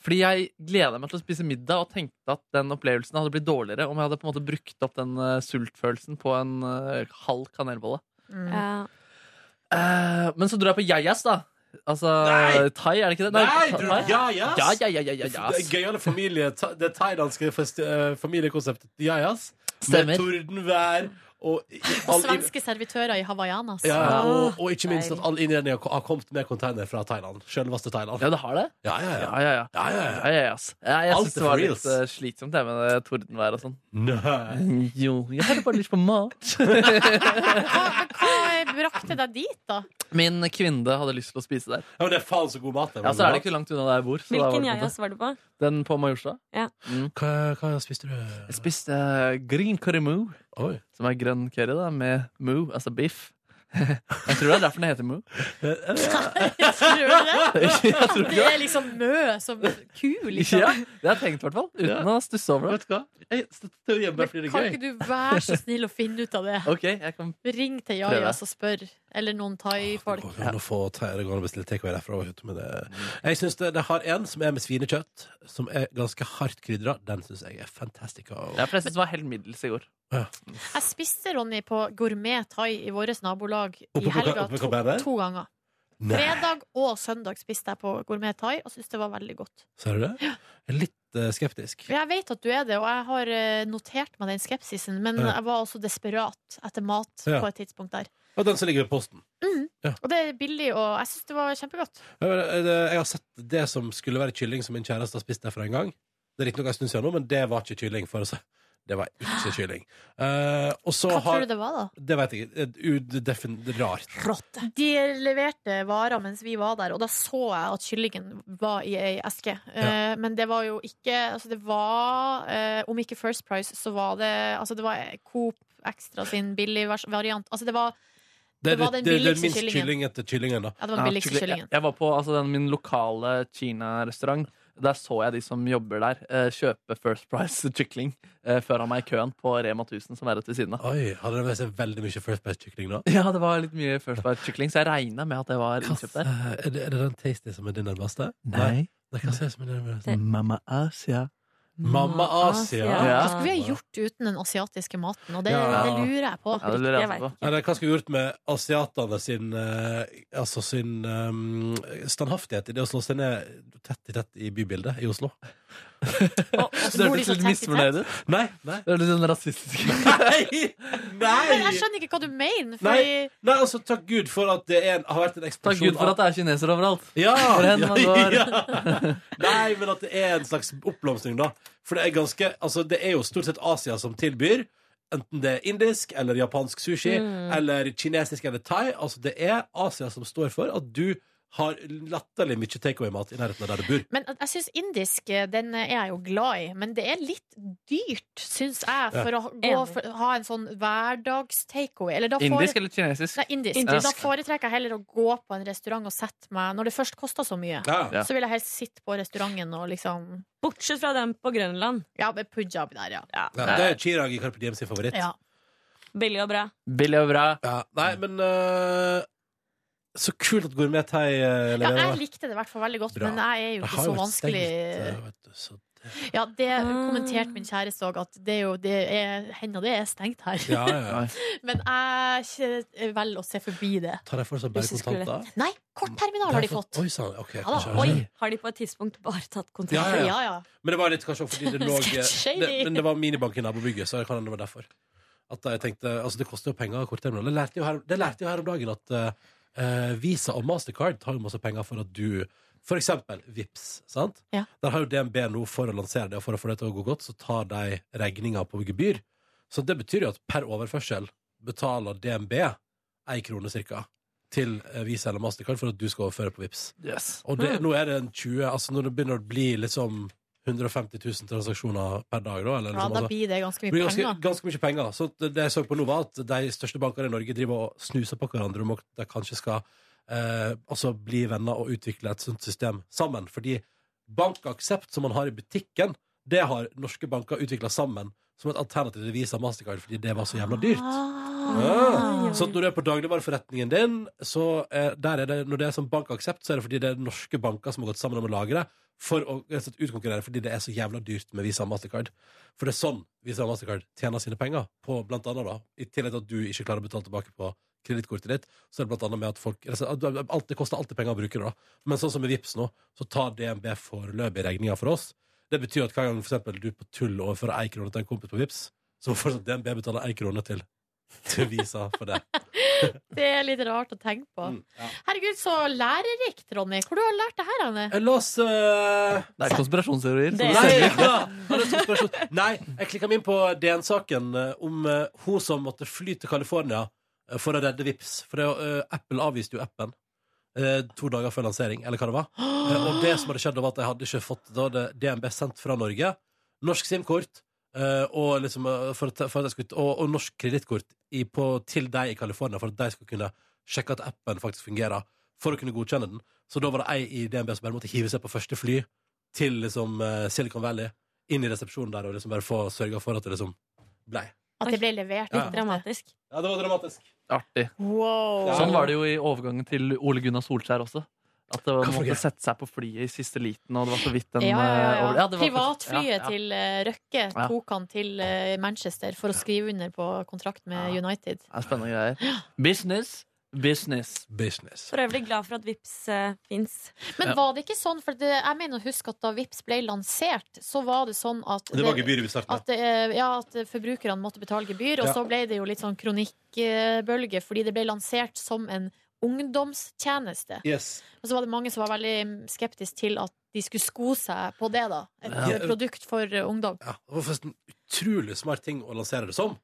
Fordi jeg gleda meg til å spise middag og tenkte at den opplevelsen hadde blitt dårligere om jeg hadde på en måte brukt opp den eh, sultfølelsen på en eh, halv kanelbolle.
Mm.
Ja.
Eh, men så dro jeg på Jajas, da. Altså thai, er det ikke det?
Nei, du,
thai?
ja, yes.
ja, ja, ja, ja, ja, ja.
Det gøyale familie, ta- det thailandske fest- eh, familiekonseptet Jajas.
Stemmer.
Med tordenvær og <laughs> i-
Og
all in-
svenske servitører i hawaiianas.
ja, ja, og, og ikke minst at all innredninga har kommet med container fra Thailand. Selveste Thailand.
Ja, det har det?
Ja, ja, ja.
Ja, ja, ja.
Ja, ja, ja.
Ja, ja, ja, ass. Ja, jeg
Alt
syns
er
det var
for
litt
reals.
eh, slitsomt det med det tordenværet og sånn.
Nei.
Jo, jeg hadde bare lyst på mat.
Hva brakte deg dit, da? <laughs>
Min kvinne hadde lyst til å spise der.
Ja, men det er faen så god mat.
Ja, så er det ikke langt unna der jeg bor. Så da var
Hvilken
det på en
Jajas var du på?
måte- Den på Majorstua.
Ja.
Hva, spiste du?
Jeg spiste eh, green curry moo. Som er grønn curry da, med moo, altså biff. <laughs> jeg tror det er derfor den heter
<laughs>
moo.
Tror du
<laughs>
det?
Jeg tror ikke
Det er liksom mø som ku, liksom.
Ja, det har jeg tenkt i hvert fall. Uten
Ja.
å stusse over det.
Vet du hva? Jeg støtter å gjemme meg fordi det
Kan
er
ikke
gøy.
du være så snill å finne ut av det?
Ok, jeg kan
Ring til
Prøve.
Jajas og spør. Eller noen thaifolk.
Går det an å få ta- det går an å bestille takeaway derfra. vet du, men det- Mm. Jeg synes det, det har en som er med svinekjøtt, som er ganske hardt krydra. Den syns jeg er fantastica.
Ja, for jeg synes det var helt middels i går.
Jeg spiste, Ronny, på gourmet thai i vårt nabolag
Oppe
i
på-
helga
oppe på
to,
Kaberne?
to ganger.
Nei.
Fredag og søndag spiste jeg på gourmet thai og syntes det var veldig godt.
Ser du det? Jeg er litt eh, skeptisk.
Jeg vet at du er det, og jeg har eh, notert meg den skepsisen, men
Ja.
jeg var også desperat etter mat
Ja.
på et tidspunkt der.
Og den som ligger ved posten.
Mm.
Ja.
Og det er billig, og jeg syns det var kjempegodt.
Jeg vet, eh, jeg har sett det som skulle være kylling, som min kjæreste har spist derfra en gang. Det er riktignok en stund siden nå, men det var ikke kylling. For å si. Det var ikke kylling. Eh, og så
Hva
har,
tror du det var, da?
Det vet jeg ikke. Eh, udefin- Rart.
De leverte varer mens vi var der, og da så jeg at kyllingen var i ei eske. Eh, Men det var jo ikke Altså, det var eh, Om ikke First Price, så var det Altså, det var Coop Extra sin billig vers- variant. Altså, det var Det var den billigste
minst
kyllingen.
kylling etter kyllingen, da.
Ja, det var den
Ja,
Sånn billigste
kylling.
kyllingen.
Jeg, jeg var på altså, den, min lokale Kina-restaurant. Der så jeg de som jobber der, eh, kjøpe First Price <laughs> kykling eh, foran meg i køen på Rema 1000, som er rett ved siden av.
Oi, hadde det med seg veldig mye First Price-kylling da?
<laughs> Ja, det var litt mye First Price kykling, så jeg regna med at det var innkjøpt der.
Eh, er, det, er det den tasty som er din nærmeste?
Nei.
Nei, hva sier jeg som er din nærmeste?
Mamma Asia.
Mamma Asia.
Hva skulle vi ha gjort uten den asiatiske maten? Og det,
Ja.
det lurer jeg på.
Eller hva skulle vi gjort med asiatene sin, eh, altså sin eh, standhaftighet i det å slå seg ned tett i tett i bybildet i Oslo?
<laughs> Det hørtes litt misfornøyd ut.
Nei, nei.
Det er litt sånn <laughs> rasistisk.
Men jeg skjønner ikke hva du mener. Fordi
Nei, nei, altså takk Gud for at det er en, har vært en eksplosjon
Takk Gud for
av-
at det er kinesere overalt.
Ja!
Hvor
<laughs>
hen man går.
Nei, men at det er en slags oppblomstring, da. For det er ganske Altså, det er jo stort sett Asia som tilbyr. Enten det er indisk eller japansk sushi
Mm.
eller kinesisk eller thai. Altså, det er Asia som står for at du har latterlig mye takeaway-mat i nærheten av der du bor.
Men jeg syns indisk eh, den er jeg jo glad i, men det er litt dyrt, syns jeg, for å ha- gå,
Enig.
for, ha en sånn hverdags-takeaway. Eller da fore-
Indisk eller kinesisk?
Nei, indisk.
Indisk.
Da foretrekker jeg heller å gå på en restaurant og sette meg Når det først koster så mye,
Ja. Ja.
så vil jeg helst sitte på restauranten og liksom
Bortsett fra den på Grønland.
Ja, med Punjab der, ja.
Ja, det er Chirag i Carpe Diem sin favoritt.
Ja.
Billig og bra.
Billig og bra.
Ja, nei, men øh, Så kult at gourmet thai uh,
Ja,
leverer.
jeg likte det i hvert fall veldig godt,
Bra.
men jeg er jo
Det
ikke
har
så
vært
vanskelig
stengt, øh, vet du, så
Ja, det kommenterte min kjæreste òg, at det er jo det er, henda det er stengt her.
Ja, ja, ja.
Men jeg kje- velger å se forbi det.
Tar de for seg bare
Hvis de skulle-
kontanter?
Nei, kortterminal har de fått.
Oi sann. ok,
Ja,
kanskje-
da. Oi.
Har de på et tidspunkt bare tatt
Ja,
kontakt?
ja, ja.
ja.
Men det var litt kanskje fordi det lå
Sketchy.
det, Men det var minibank i nabobygget, så det kan hende det var derfor. At jeg tenkte, altså Det koster jo penger å ha kortterminal. Det lærte jeg jo her, det lærte jeg jo her om dagen at eh, Visa og Mastercard tar jo masse penger for at du For eksempel Vips, sant?
Ja.
Der har jo DNB nå for å lansere det og for å få det til å gå godt, så tar de regninga på gebyr. Så det betyr jo at per overførsel betaler DNB ei krone cirka til eh, Visa eller Mastercard for at du skal overføre på Vips.
Yes.
Og
Hm.
det, nå er det en 20 Altså når det begynner å bli liksom 150 000 transaksjoner per dag, da? Eller,
Ja,
liksom,
da
sånn.
altså,
blir det ganske
det
mye
blir ganske,
penger.
ganske mye penger. Så det det jeg så på nå, var at de største bankene i Norge driver og snuser på hverandre om at de kanskje skal eh, altså bli venner og utvikle et sånt system sammen. Fordi bankaksept som man har i butikken, det har norske banker utvikla sammen som et alternativ til Visa og Mastercard fordi det var så jævla dyrt.
Ah,
Ja. Så at når du er på dagligvareforretningen din, så eh, der er det, når det er sånn bankaksept, så er det fordi det er norske banker som har gått sammen om å lage det for å rett og slett utkonkurrere fordi det er så jævla dyrt med Visa og Mastercard. For det er sånn Visa og Mastercard tjener sine penger, på blant annet da, i tillegg til at du ikke klarer å betale tilbake på kredittkortet ditt, så er det blant annet med at folk altså, at alt, Det koster alltid penger å bruke det, da. Men sånn som med Vips nå, så tar DNB foreløpig regninga for oss. Det betyr at hver gang for eksempel, du på tull overfører ei krone til en kompis på Vips, så må fortsatt DNB betale ei krone til, til Visa for det.
Det er litt rart å tenke på.
Mm,
Herregud, så lærerikt, Ronny. Hvor du har lært det her, Anne?
La oss eh,
Det er konspirasjonsteorier.
Det-
Nei, ja. Ja, det er et stort spørsmål. Nei, jeg klikka meg inn på DN-saken eh, om eh, hun som måtte fly til California eh, for å redde Vips. For det, eh, Apple avviste jo appen eh, to dager før lansering, eller hva det var. Eh, og det som hadde skjedd, var at jeg hadde ikke fått da hadde DNB sendt fra Norge norsk SIM-kort eh, og, liksom, eh, for, at- for at jeg skulle- og, og norsk kredittkort i- på- til deg i California, for at de skulle kunne sjekke at appen faktisk fungerer, for å kunne godkjenne den. Så da var det ei i DNB som bare måtte hive seg på første fly til liksom, eh, Silicon Valley, inn i resepsjonen der og liksom bare få sørga for at det liksom blei.
At det ble levert.
Ja.
Litt dramatisk.
Ja, det var dramatisk.
Artig.
Wow.
Sånn var det jo i overgangen til Ole Gunnar Solskjær også. At det var, man måtte sette seg på flyet i siste liten, og det var så vidt en
Ja, ja, ja,
eh,
ja.
over- Ja, det var-
Privatflyet
ja, ja.
til eh, Røkke
Ja.
tok han til eh, Manchester for å skrive under på kontrakt med United.
ja, Spennende greier. Business, business.
Business.
For øvrig glad for at Vips uh, fins.
Men
Ja.
var det ikke sånn, for det, jeg mener å huske at da Vips ble lansert, så var det sånn at
Det var gebyret vi startet med.
At, eh, ja, at forbrukerne måtte betale gebyr, og
Ja.
så ble det jo litt sånn kronikkbølge, fordi det ble lansert som en ungdomstjeneste.
Yes.
Og så var det mange som var veldig skeptiske til at de skulle sko seg på det, da. Et
Ja.
eh, produkt for eh, ungdom.
Ja, det var forresten en utrolig smart ting å lansere det som.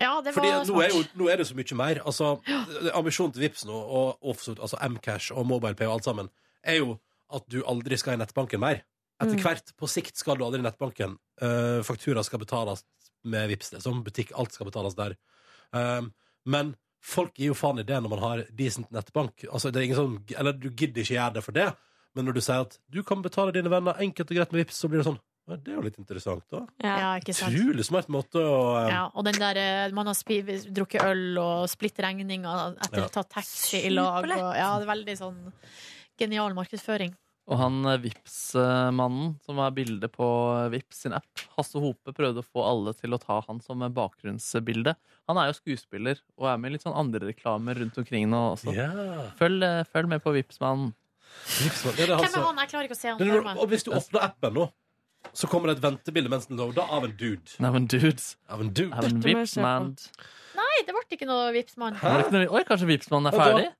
Ja, det
Fordi
var
nå er, jo,
smart.
nå er det jo så mye mer. Altså, det- Ambisjonen til Vipps nå, og og for så vidt, altså Mcash og MobilePay og alt sammen, er jo at du aldri skal i nettbanken mer. Etter
Mm.
hvert, på sikt, skal du aldri i nettbanken. Uh, faktura skal betales med Vipps, liksom. Butikk, alt skal betales der. Um, men folk gir jo faen i det når man har decent nettbank. Altså, det er ingen sånn, eller du gidder ikke gjøre det for det, men når du sier at du kan betale dine venner enkelt og greit med Vipps, så blir det sånn «Ja, Det er jo litt interessant, da.
Ja, ikke sant.
Utrolig smart måte å um,
Ja, og den der eh, man har spi, drukket øl og splitt regninger etter
Ja.
å ta taxi i lag. Og,
Superlett.
ja, det er veldig sånn genial markedsføring.
Og han eh, Vips-mannen som har bilde på Vips sin app, Hasse Hope, prøvde å få alle til å ta han som eh, bakgrunnsbilde. Han er jo skuespiller og er med i litt sånn andre reklamer rundt omkring nå også.
Ja.
Følg, eh, følg med på Vips-mannen.
Det er det
Hvem
han
er
som-
han? Jeg klarer ikke å se han
Altså- Men
for
når- Og
meg.
hvis du åpner appen nå, så kommer det et ventebilde mens den loader av en dude.
Av en dude.
Av en dude.
Av en Dette må jeg se Vipps-man.
Nei, det ble ikke noe Vipps-mann.
Var det ikke noe- Oi, kanskje Vipps-mannen er
Og da-
ferdig?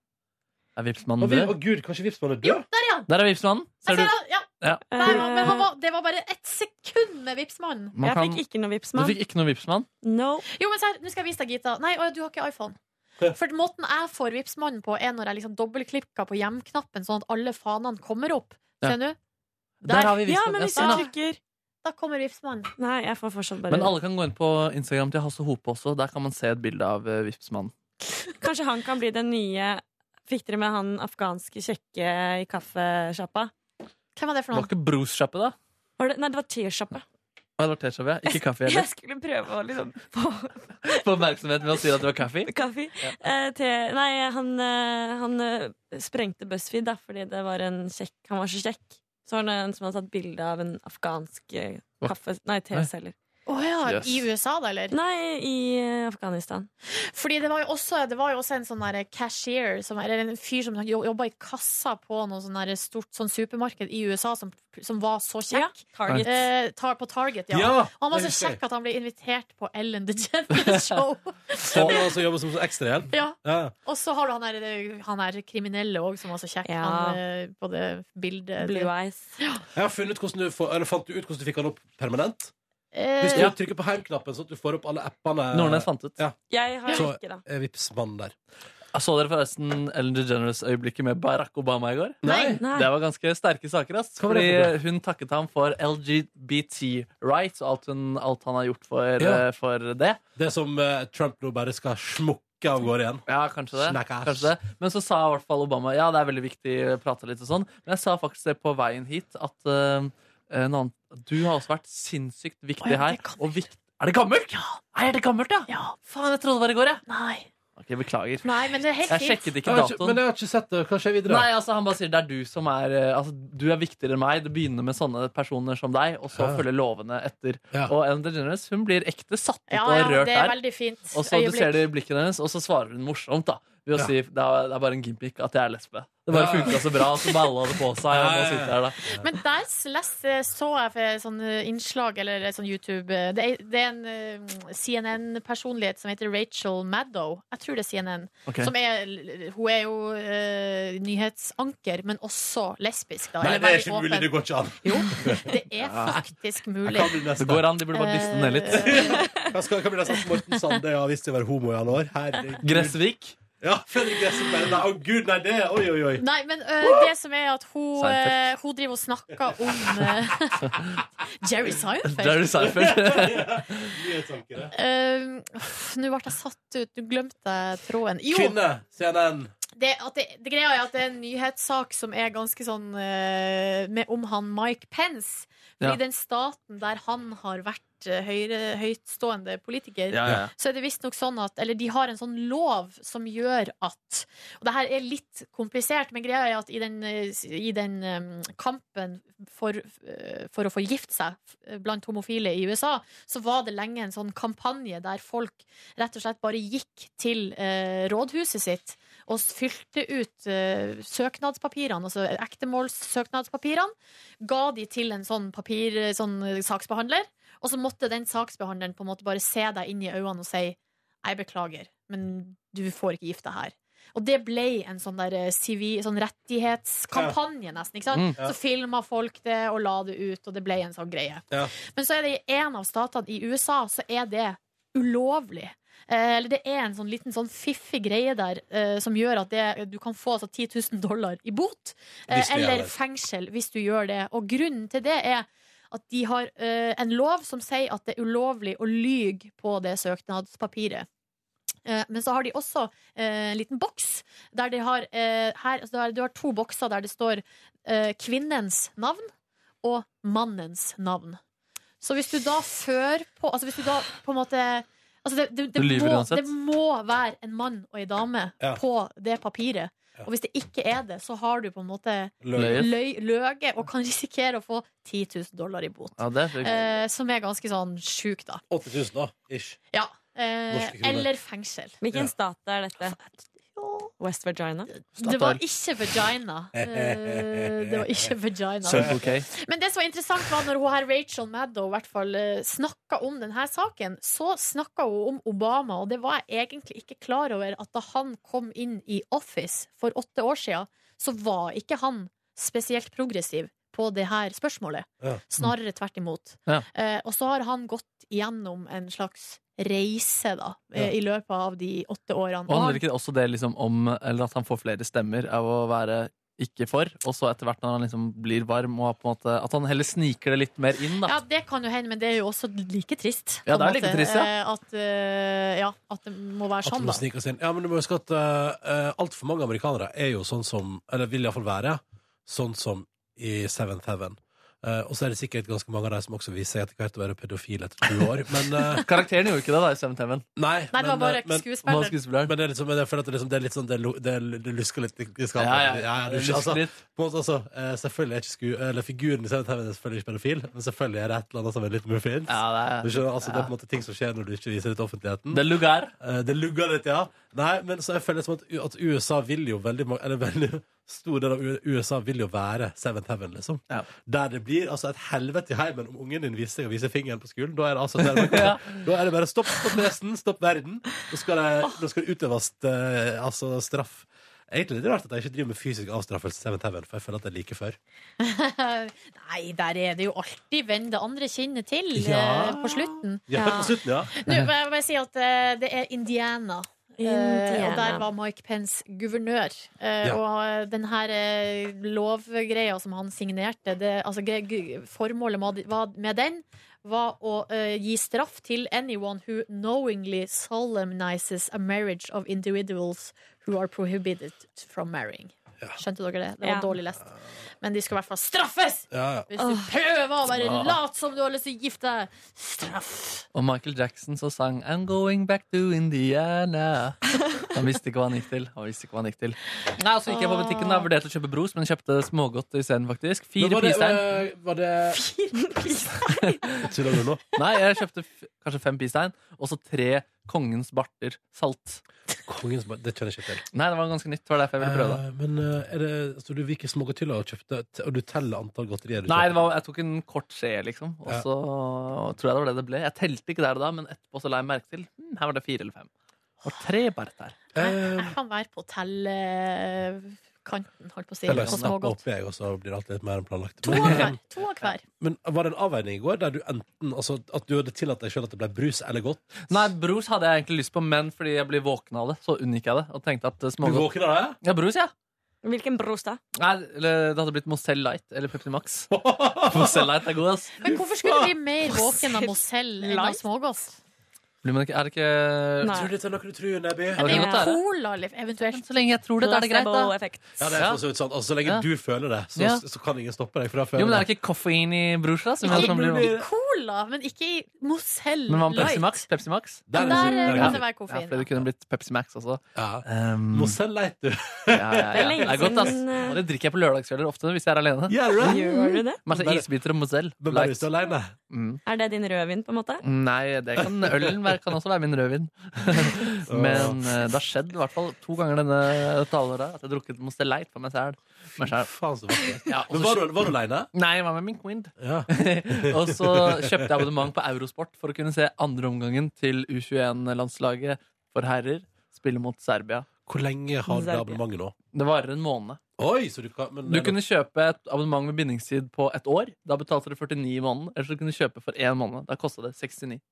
Er Vipps-mannen
Og vi-
død?
og gud, kanskje Vipps-mannen er død?
Der, ja!
Der er Vipps-mannen.
Jeg ser
Ser du?
han, ja.
Ja.
Der var,
Eh.
men han var, det var bare ett sekund med Vipps-mannen.
Man Jeg kan- fikk
ikke noe
Du fikk ikke noe Vipps-mann?
Jo, men ser, nå skal jeg vise deg, Gita. Nei, å, du har ikke iPhone. For måten jeg får Vipps-mannen på, er når jeg liksom dobbeltklikker på hjemknappen, sånn at alle fanene kommer opp.
Ja.
Skjønner du?
Der har vi Vipps-mannen.
Ja, men hvis jeg
Ja.
trykker
Da kommer Vipps-mannen.
Nei, jeg får fortsatt bare
Men alle kan gå inn på Instagram til Hasse Hope også. Der kan man se et bilde av eh, Vipps-mannen.
Kanskje han kan bli den nye Fikk dere med han afghanske kjekke i kaffesjappa?
Hvem var det
Det var ikke brosjappe, da?
Var det, nei, det var tesjappe.
Å, det var tesjappe, ja. Ikke
<laughs>
kaffe
Jeg
heller.
skulle prøve å liksom
Få oppmerksomhet ved å si at det var kaffe.
Kaffe. Eh, te, nei, han, eh, han eh, sprengte BuzzFeed da, fordi det var en kjekk Han var så kjekk. Så var det en som hadde tatt bilde av en afghansk eh, kaffe... Nei, teselger.
Å ja,
Yes.
i USA, da, eller?
Nei, i eh, Afghanistan.
Fordi det var jo også, det var jo også en sånn der cashier, som, eller en fyr som jo- jobba i kassa på noe sånn der stort sånn supermarked i USA, som, som var så kjekk.
Target.
Eh, tar, på Target, ja.
Ja,
Og han var
det
så
husker jeg.
kjekk at han ble invitert på Ellen DeGeneres-show.
Stemmer han som jobber som sånn ekstrahjelp?
ja.
Ja.
Og så har du han der, han der kriminelle òg, som var så kjekk.
Ja.
Han, eh, på det bildet. Eh,
Blue eyes.
Jeg har funnet ut hvordan du får, eller Fant du ut hvordan du fikk han opp permanent?
Eh,
Hvis du
ja.
trykker på heimknappen, sånn at du får opp alle appene
Nordnes fant ut.
Ja.
Jeg har
Så
ikke, da.
er Vipps-mannen der.
Jeg Så dere forresten Ellen DeGeneres-øyeblikket med Barack Obama i går?
Nei.
Nei.
Det var ganske sterke saker. ass
var det
Fordi
for
Hun takket ham for LGBT rights og alt, hun, alt han har gjort for,
Ja.
eh, for det.
Det som eh, Trump nå bare skal smukke av gårde igjen.
Ja, kanskje det.
Snakkars.
kanskje det. Men så sa i hvert fall Obama Ja, det er veldig viktig å prate litt og sånn. Men jeg sa faktisk det på veien hit at eh, en annen, du har også vært sinnssykt viktig
Å ja,
her.
det
Og vikt, er det gammelt? Ja! Er det gammelt, ja? Faen, jeg trodde det var i går, jeg.
Nei.
Ok, beklager.
Nei, men det er helt
Jeg
fint.
sjekket
Jeg
ikke
har ikke,
datoen.
men jeg har ikke sett det. Hva skjer videre?
Nei, altså Han bare sier det er du som er eh, altså, Du er viktigere enn meg. Det begynner med sånne personer som deg, og så
Ja.
følger lovene etter. Og Ellen DeGeneres hun blir ekte satt ut
Ja,
og
ja,
rørt
det er
der.
veldig fint.
Og så du
øyeblikk.
ser det i blikket hennes, og så svarer hun morsomt da ved å
Ja.
si det er, det er bare en gimmick at jeg er lesbe. Det bare
Ja.
funka så bra, og så balla det på seg. Og nå
Ja, ja, ja.
sitter jeg her, da.
Men der les- eh, så jeg for sånn eh, innslag eller sånn YouTube eh, Det er, det er en eh, CNN-personlighet som heter Rachel Maddow. Jeg tror det er CNN.
Ok.
Som er, hun er jo eh, nyhetsanker, men også lesbisk. Da,
Nei, det
eller
er
veldig
ikke mulig.
åpen.
Det går ikke an.
Det er faktisk mulig.
Hva blir det neste?
Det går an, de burde bare dyste den ned
Eh,
litt.
Hva, skal, hva blir det neste? Morten Sande har visst seg å være homo i alle år. Herregud.
<laughs>
Gressvik.
Ja, Fredrik Gressvik. bare, Nei, å gud, nei, det Oi, oi, oi.
Nei, men eh, det som er at hun, eh, hun driver og snakker om eh, <laughs> Jerry Seinfeld.
Jerry Seinfeld.
Nyhetsankere.
Eh, uff, Nå ble jeg satt ut. Nå glemte jeg tråden. Jo,
Kvinne. CNN.
det, at det, det greia er at det er en nyhetssak som er ganske sånn eh, med, om han Mike Pence. Fordi
Ja.
den staten der han har vært eh, høyre, høytstående politiker,
Ja, ja, ja.
så er det visstnok sånn at Eller de har en sånn lov som gjør at Og det her er litt komplisert, men greia er at i den, eh, s- i den eh, kampen for, eh, for å få gifte seg eh, blant homofile i USA, så var det lenge en sånn kampanje der folk rett og slett bare gikk til eh, rådhuset sitt og s- fylte ut eh, søknadspapirene, altså ektemålssøknadspapirene, ga de til en sånn, papir, sånn eh, saksbehandler, og så måtte den saksbehandleren på en måte bare se deg inn i øynene og si «Jeg beklager, men du får ikke gifte her». Og det ble en sånn, der, eh, sivi, sånn rettighetskampanje nesten, ikke sant?
Mm. Ja.
Så filmet folk det og la det ut, og det ble en sånn greie.
Ja.
Men så er det i en av statene i USA så er det ulovlig. Eh, eller det er en sånn liten sånn fiffig greie der eh, som gjør at det, du kan få altså, 10 000 dollar i bot. Eh,
Hvis du gjør
eller
det.
fengsel hvis du gjør det. Og grunnen til det er at de har eh, en lov som sier at det er ulovlig å lyge på det søknadspapiret. Eh, Men så har de også eh, en liten boks der de har, eh, her, altså, der- Du har to bokser der det står eh, kvinnens navn og mannens navn. Så hvis du da fører på Altså hvis du da på en måte Altså, det, det,
Du
det,
lyver
må,
uansett.
det må være en mann og ei dame
Ja.
på det papiret. Og hvis det ikke er det, så har du på en måte
Løyet.
løy, løyet og kan risikere å få 10 000 dollar i bot.
Ja, det er sjukt.
Eh, som er ganske sånn sjukt, da.
8000, da. Ish.
Ja. Eh,
Norske kroner.
eller fengsel.
Hvilken Ja.
stat er dette? West Virginia?
Det var ikke <laughs> vagina. Eh, det var ikke vagina.
Circle K.
Men det som var interessant var når hun her Rachel Maddow i hvert fall eh, snakka om denne saken, så snakka hun om Obama, og det var jeg egentlig ikke klar over at da han kom inn i Office for åtte år siden, så var ikke han spesielt progressiv på det her spørsmålet.
Ja.
Snarere tvert imot.
Ja.
Eh, og så har han gått gjennom en slags reise, da, eh,
Ja.
i løpet av de åtte årene.
Og handler ikke det også det liksom om Eller at han får flere stemmer av å være ikke for, og så etter hvert når han liksom blir varm, og på en måte, at han heller sniker det litt mer inn, da.
Ja, det kan jo hende, men det er jo også like trist.
Ja,
på
det er
en
like
måte.
trist, ja.
Eh, At, eh, ja, at det må være
At
sånn,
man
da.
sniker seg inn. Ja, men du må huske at uh, altfor mange amerikanere er jo sånn som Eller vil iallfall være sånn som i Seventh Heaven. Eh, og så er det sikkert ganske mange av de som også viser seg etter hvert å være pedofile etter 20 år. Men, eh,
Karakteren gjorde ikke det, da, i Seventh Heaven.
Nei,
Nei, det var bare
men,
skuespilleren.
Men, men det er liksom, men jeg føler at det, liksom, det er litt sånn Det, lu- det, det lusker litt i skapet.
Ja, ja.
det,
Det lusker
altså,
litt.
På en måte, altså, eh, selvfølgelig er ikke sku, eller figuren i Seventh Heaven er selvfølgelig ikke pedofil, men selvfølgelig er det et eller annet som er litt muffins.
Ja, det er-
du skjønner, altså, det er
ja.
på en måte ting som skjer når du ikke viser det til offentligheten.
Det lugar.
Eh, Det lugger litt, ja. Nei, men så jeg føler det som at, U- at USA vil jo veldig mange Eller veldig stor del av U- USA vil jo være Seventh Heaven, liksom. Der det blir altså et helvete i heimen om ungen din viser seg å vise fingeren på skolen. Da er
<laughs>
det altså
Ja.
Da er det bare stopp, stopp lesen, stopp verden. Nå skal det, nå skal det utøves eh, altså, straff. Egentlig er det rart at jeg ikke driver med fysisk avstraffelse i Seventh Heaven, for jeg føler at det er like før.
Nei, der er det jo alltid 'vend det andre kinnet til'
Ja.
eh, på slutten.
Ja, på slutten, ja.
Nå må jeg bare si at eh, det er Indiana. Eh,
Indiana.
og der var Mike Pence guvernør. Eh,
Ja.
Og eh, den her eh, lovgreia som han signerte det, altså, gre- gu- Formålet med- var- med den var å eh, gi straff til anyone who knowingly solemnizes a marriage of individuals who are prohibited from marrying. Skjønte dere det? Det var
Ja.
dårlig lest. Men de skal i hvert fall straffes!
Ja, ja.
Hvis du prøver å være
Ja.
lat som du har lyst til å gifte deg. Straff!
Og Michael Jackson så sang I'm going back to Indiana. Han visste ikke hva han gikk til. Han visste ikke hva han gikk til. Nei, så gikk jeg på butikken da, vurderte å kjøpe bros, men kjøpte smågodt isteden, faktisk. Fire
Men var det- eh,
pistein.
Var det <laughs> Tuller du nå?
Nei, jeg kjøpte f kanskje fem pistein, og så tre Kongens barter salt.
Kongens barter, Det kjenner jeg ikke til.
Nei, det var ganske nytt. Det var derfor jeg ville prøve det.
Eh, Men eh, er det Så du virker smågodthylla og kjøpte Og du teller antall godterier du
Nei, det
kjøper?
var, jeg tok en kort skje, liksom. Og
Ja.
så tror jeg det var det det ble. Jeg telte ikke der og da, men etterpå så la jeg merke til hm, her var det fire eller fem. Og tre barter.
Eh,
Jeg kan være på tellekanten, holdt på å si.
Eller
På
snapper
smågodt.
opp jeg, og så blir det alltid litt mer enn planlagt. eh,
To av hver. To av hver.
Men var det en avveining i går der du enten Altså at du hadde tillatt deg sjøl at det ble brus eller godt?
Nei, brus hadde jeg egentlig lyst på, men fordi jeg blir våken av det, så unngikk jeg det. Og tenkte at eh, smågodt
Du våken av det?
Ja, brus, ja.
Hvilken bros da?
Nei, eller det hadde blitt Mozell Light eller Pepsi Max.
<laughs>
Mozell Light er god, ass.
<laughs> Men hvorfor skulle du bli mer våken av Mozell enn av smågodt?
Blir man ikke Er det ikke
Nei.
Tror du det er noe du tror, Nebby?
Ja, det er jo cola, eller eventuelt.
Så lenge jeg tror
det, da er det greit, da. Placeboeffekt.
Ja, det er for så vidt sant. Altså, så lenge
Ja.
du føler det, så,
Ja.
så kan ingen stoppe deg. For da
Jo,
føler
men det er ikke koffein i brus, da. Som gjør at man blir
I
våken.
cola, men ikke i Mozell
Men hva med Pepsi
Light.
Max? Pepsi Max?
Der er det- Der der er det kan det være koffein,
Ja, for det kunne blitt Pepsi Max også. Um,
Mozell Light, du.
ja, ja,
Det er
ja.
lenge
Det er godt, ass.
siden, eh,
Og det drikker jeg på lørdagskvelder ofte hvis jeg er alene.
Gjør du det? Gjør du det?
Masse
Bare-
isbiter og Mozell.
Men bare
Light.
hvis du er aleine.
Mm.
Er det din rødvin, på en måte?
Nei, det kan, ølen være- kan også være min
<laughs>
rødvin. Men eh, det har skjedd i hvert fall to ganger denne dette halvåret at jeg har drukket Mozell Light for meg selv. Meg selv. Ja, og
Men
så
var
kjø-
du, var du aleine?
Nei, jeg var med min queen.
og
<laughs> og så kjøpte jeg abonnement på Eurosport for å kunne se andre omgangen til U21-landslaget for herrer spille mot Serbia.
Hvor lenge har du det abonnementet nå?
Det varer en måned.
Oi, så du kan men,
Du kunne kjøpe et abonnement med bindingstid på ett år. Da betalte du 49 i måneden. Eller så kunne du kjøpe for én måned. Da kosta det 69.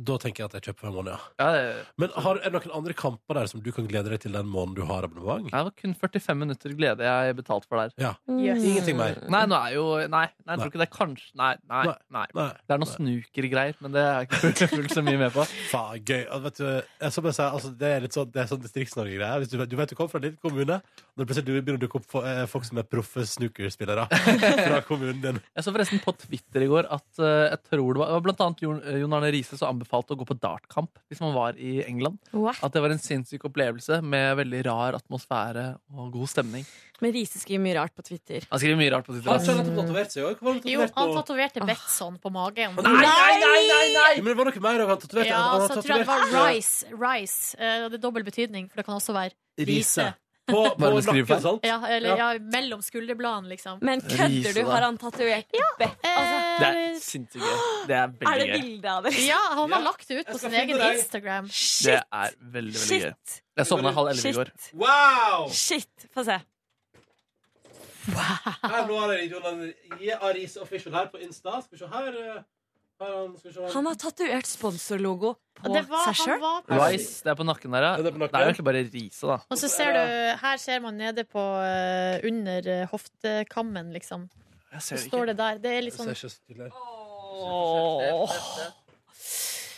Da tenker jeg at jeg kjøper for en måned, ja.
Ja, det-
Men har, er det noen andre kamper der som du kan glede deg til den måneden du har abonnement?
Nei, det var kun 45 minutter glede jeg betalte for der.
Ja.
Yes.
Ingenting mer.
Nei, nå er jo Nei, nei jeg tror ikke det er kanskje Nei, nei.
Nei.
nei. Det er noe snukergreier, men det er jeg ikke fulgt- fulgt så <laughs> mye med på.
Faen, gøy. Altså, Vet du, jeg skal bare si, altså, det er litt sånn, det er sånn Distrikts-Norge-greier. Hvis Du, du vet du kommer fra en liten kommune, når plutselig du begynner å dukke opp for, eh, folk som er proffe
<laughs>
snookerspillere fra kommunen din.
Jeg så forresten på Twitter i går at eh, jeg tror det var, det var Blant annet Jon, Jon Arne Riise så anbefalt å gå på dartkamp hvis man var i England.
What?
At det var en sinnssyk opplevelse med veldig rar atmosfære og god stemning.
Men Riise skriver mye rart på Twitter.
Han skriver mye rart på sitt
Har ikke han nettopp tatovert seg òg?
Jo, han tatoverte Betson på magen.
Nei, nei, nei, nei, nei! Men det var noe mer av han tatoverte.
Ja,
han,
så jeg tror jeg det var Rice. rice. Eh, Det er dobbel betydning, for det kan også være
Riise.
<laughs>
På, på
Bare beskriv
nakken, sant?
Ja, eller ja, mellom skulderbladene, liksom.
Men kødder du? Har han tatovert Bett?
Det er sinnssykt gøy. Det er
Er
veldig
det
gøy.
bilde av det?
Eh, Ja, han har lagt det ut på sin
finne
egen
deg.
Instagram.
Det er veldig, veldig gøy. Jeg sovna halv elleve i går.
Wow!
Shit! Få se.
Her, nå har jeg Jonan Aris Official her på Insta. Skal vi se her. eh, her han, skal vi se her.
Han har tatovert sponsorlogo på
Det var-
seg
han
sjøl.
var på-
Rice, det er på nakken der, ja. Det er jo egentlig bare Riise, da.
Og så ser du, her ser man nede på eh, under eh, hoftekammen, liksom.
Jeg
Så
ser det
står det der. Det er litt
Jeg
sånn
ser ikke så tydelig her.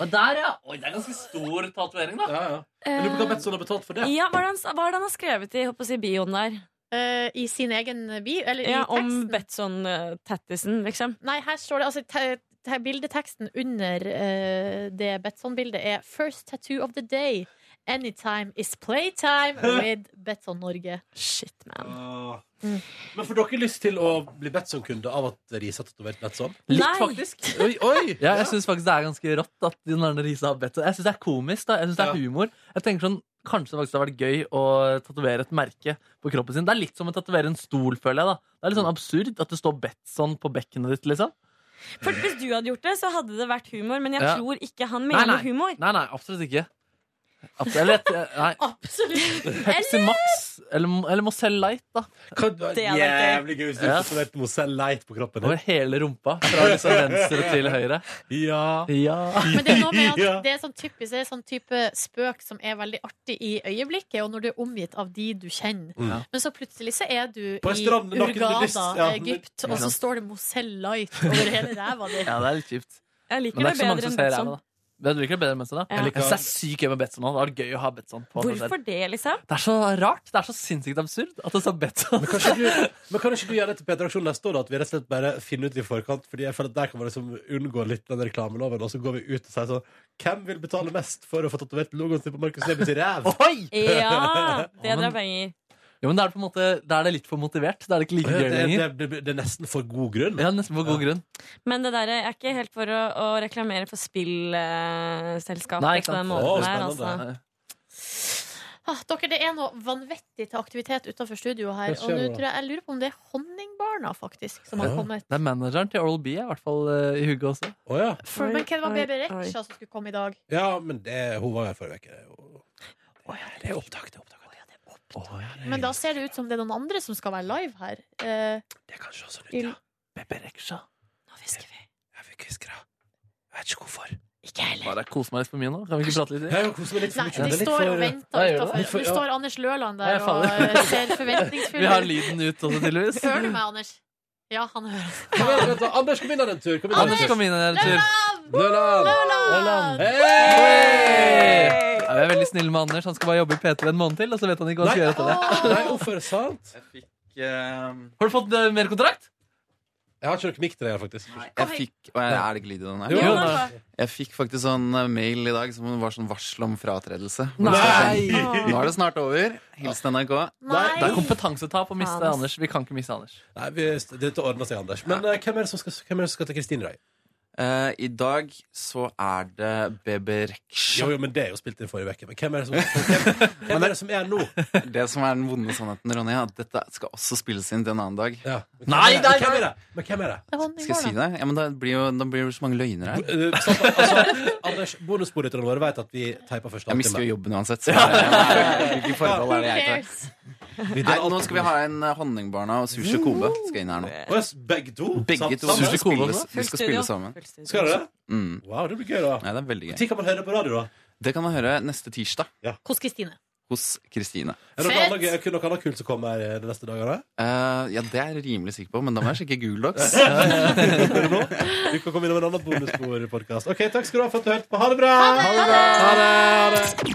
Og der, ja! Oi, det er ganske stor tatovering, da.
Ja, ja. Jeg lurer på hva Betson har betalt for det.
Ja, hva er det han, hva er det han har skrevet i, håper jeg, å si, bioen der?
eh, I sin egen bio? Eller
ja,
i teksten?
Om Betson-tattisen, liksom.
Nei, her står det altså, te, te, Bildeteksten under eh, det Betson-bildet er 'First tattoo of the day'. Anytime is
<laughs>
playtime with Betson Norge.
Shit, man.
Ah.
Eh,
Men får dere lyst til å bli Betson-kunde av at Riise har tatovert Betson?
Litt,
Nei.
faktisk.
Oi, oi!
Ja, jeg syns faktisk det er ganske rått at Jon Arne Riise har bedt om det. Jeg syns det er komisk, da. Jeg synes det er humor. Jeg tenker sånn, Kanskje det faktisk hadde vært gøy å tatovere et merke på kroppen sin. Det er litt som å tatovere en stol, føler jeg. da Det er litt sånn absurd at det står Betson på bekkenet ditt, liksom.
For Hvis du hadde gjort det, så hadde det vært humor, men jeg
Ja.
tror ikke han mener
nei, nei.
humor.
Nei, nei, absolutt ikke. Abs- Eller et- nei,
Absolutt.
Pepsi Max eller, eller Mozell Light, da.
Kan, det
Det
var
hadde vært
jævlig gøy hvis du
Ja.
tatoverte Mozell Light på kroppen
Over
din.
hele rumpa, fra liksom venstre til høyre.
Ja.
Ja.
Men det er noe med
<laughs> Ja.
at det er sånn typisk Det er sånn type spøk som er veldig artig i øyeblikket, og når du er omgitt av de du kjenner.
Mm.
Men så plutselig så er du
På en
i
strand, naken nudist,
Hurghada,
ja.
Egypt,
Ja.
og så står det Mozell Light over hele ræva
<laughs>
di.
ja, det er litt kjipt.
Jeg
Men
liker
det
det,
er ikke så mange
bedre
som
enn
ser
Betson.
ræva, da. Men Du liker det bedre enn Betson, da?
Ja.
Jeg synes det er sykt gøy med Betson. da. Det hadde vært gøy å ha Betson på seg selv.
Hvorfor det,
<laughs>
liksom?
Det er så rart. Det er så sinnssykt absurd at det står Betson.
Men, kanskje du, men kan ikke du gjøre det til P3 Aksjon neste år? Da? At vi rett og slett bare finner ut i forkant? Fordi jeg føler at Der kan man liksom unngå litt den reklameloven, og så går vi ut og sier sånn Hvem vil betale mest for å få tatovert logoen sin på Markus Nebys ræv?
<laughs> Oi!
Ja! Det
Ja, men-
drar penger.
Jo, men da er det på en måte Da er det litt for motivert. Da er det ikke like
Det,
gøy
det,
lenger.
det, det er nesten for god grunn.
Ja, nesten på god grunn.
Men det der jeg er ikke helt for å, å reklamere for
Nei,
spillselskaper
ikke
på den
sant.
Å,
måten her, altså.
spennende.
Ah, dere, det er noe vanvittig til aktivitet utenfor studio her.
Hva skjer
Og nå
nå?
tror jeg jeg lurer på om det er Honningbarna faktisk som har
Ja.
kommet.
Det er manageren til Oral B, i hvert fall eh, i hugget også.
Å ja.
For, men hva det var
Oi,
Baby
oi.
Reksha som skulle komme i dag?
ja, men det, hun var her forrige uke. Det er jo- Det er opptak, det er opptak. Å, ja, det er-
Men da ser det ut som det er noen andre som skal være live her. Eh,
Det kan se sånn ut,
i-
ja.
Pepe Reksha.
Nå hvisker vi.
Jeg fikk kviskra. Jeg vet ikke hvorfor.
ikke heller.
Bare kos meg litt for mye nå. Kan vi ikke prate litt?
Jeg koser meg litt for
Nei,
mye.
de
Det er litt
står og
for-
Nei,
venter
gjør det?
utenfor.
Litt for-
Nå
ja.
står Anders Løland
Nei,
der
jeg
og
faller.
eh, ser
Vi har
forventningsfull ut.
lyden ut også, tydeligvis.
Hører du meg, Anders? Ja, han hører.
Kom igjen, vent da. Anders, kom inn her en tur. Kom inn her en
Anders
tur.
kom inn en tur.
Løland!
Løland!
Hei!
Hey! Ja, vi er veldig snille med Anders. Han skal bare jobbe i P3 en måned til, og så vet han ikke hva han skal gjøre etter det.
Nei, hvorfor er det sant?
Jeg fikk eh,
Har du fått eh, mer kontrakt?
Jeg har ikke noe mikk til deg, faktisk.
jeg fikk, og jeg, Er det ikke lyd i den her?
Jo.
Jo,
Anders.
Jeg fikk faktisk sånn eh, mail i dag som var sånn varsel om fratredelse.
Nei!
sånn, Nå er det snart
<laughs>
over. Hilsen NRK.
Det er
Nei!
kompetansetap å miste
Faen, ass.
Anders. Vi kan ikke miste Anders.
Nei, vi, dette ordner seg, Anders. Men eh, hvem er det som skal, hvem er det som skal til Kristine i dag?
Eh, I dag så er det Bebe Reksha.
Jo, jo, men det er jo spilt inn forrige uke. Men hvem er det som, hvem, hvem er, det som er nå?
Det som er den vonde sannheten, Ronny, er at dette skal også spilles inn til en annen dag.
Ja. Men hvem er
Nei,
det?
nei,
Hvem er det? Men hvem er det?
Det er
Skal jeg si
Honningbarna.
det? Ja, men da blir jo da blir det så mange løgner her.
Eh, sant, altså, Anders, bonusbordrytterne våre vet at vi teiper første
Jeg mister
halvtime.
jo
<laughs>
jobben uansett. Så hvilke forhold
Who
er det jeg tar?
cares?
Vi
Nei,
deler
nå
alt-
skal vi ha en eh, Honningbarna og Sushi Kobe skal inn her nå.
Å, yes, Begge to?
Begge
Sant,
to
sammen?
skal
Sushi Kobe
spille, de skal spille sammen.
Full studio.
Skal dere det?
Mm.
Wow, det blir gøy, da.
Ja, det er veldig gøy.
Når kan man høre det på radio, da?
Det kan man høre neste tirsdag
Hos Kristine.
hos Kristine.
Er det noe
Fett!
annet, gøy- er det noe annet kult som kommer eh, de neste dagene?
Eh, ja, det er jeg rimelig sikker på, men da må jeg sjekke Google Docs.
Hører du nå? Du kan komme innom en annen bonusbordpodkast. Ok, takk skal du ha for at du hørte på. Ha det bra! Ha det, ha det.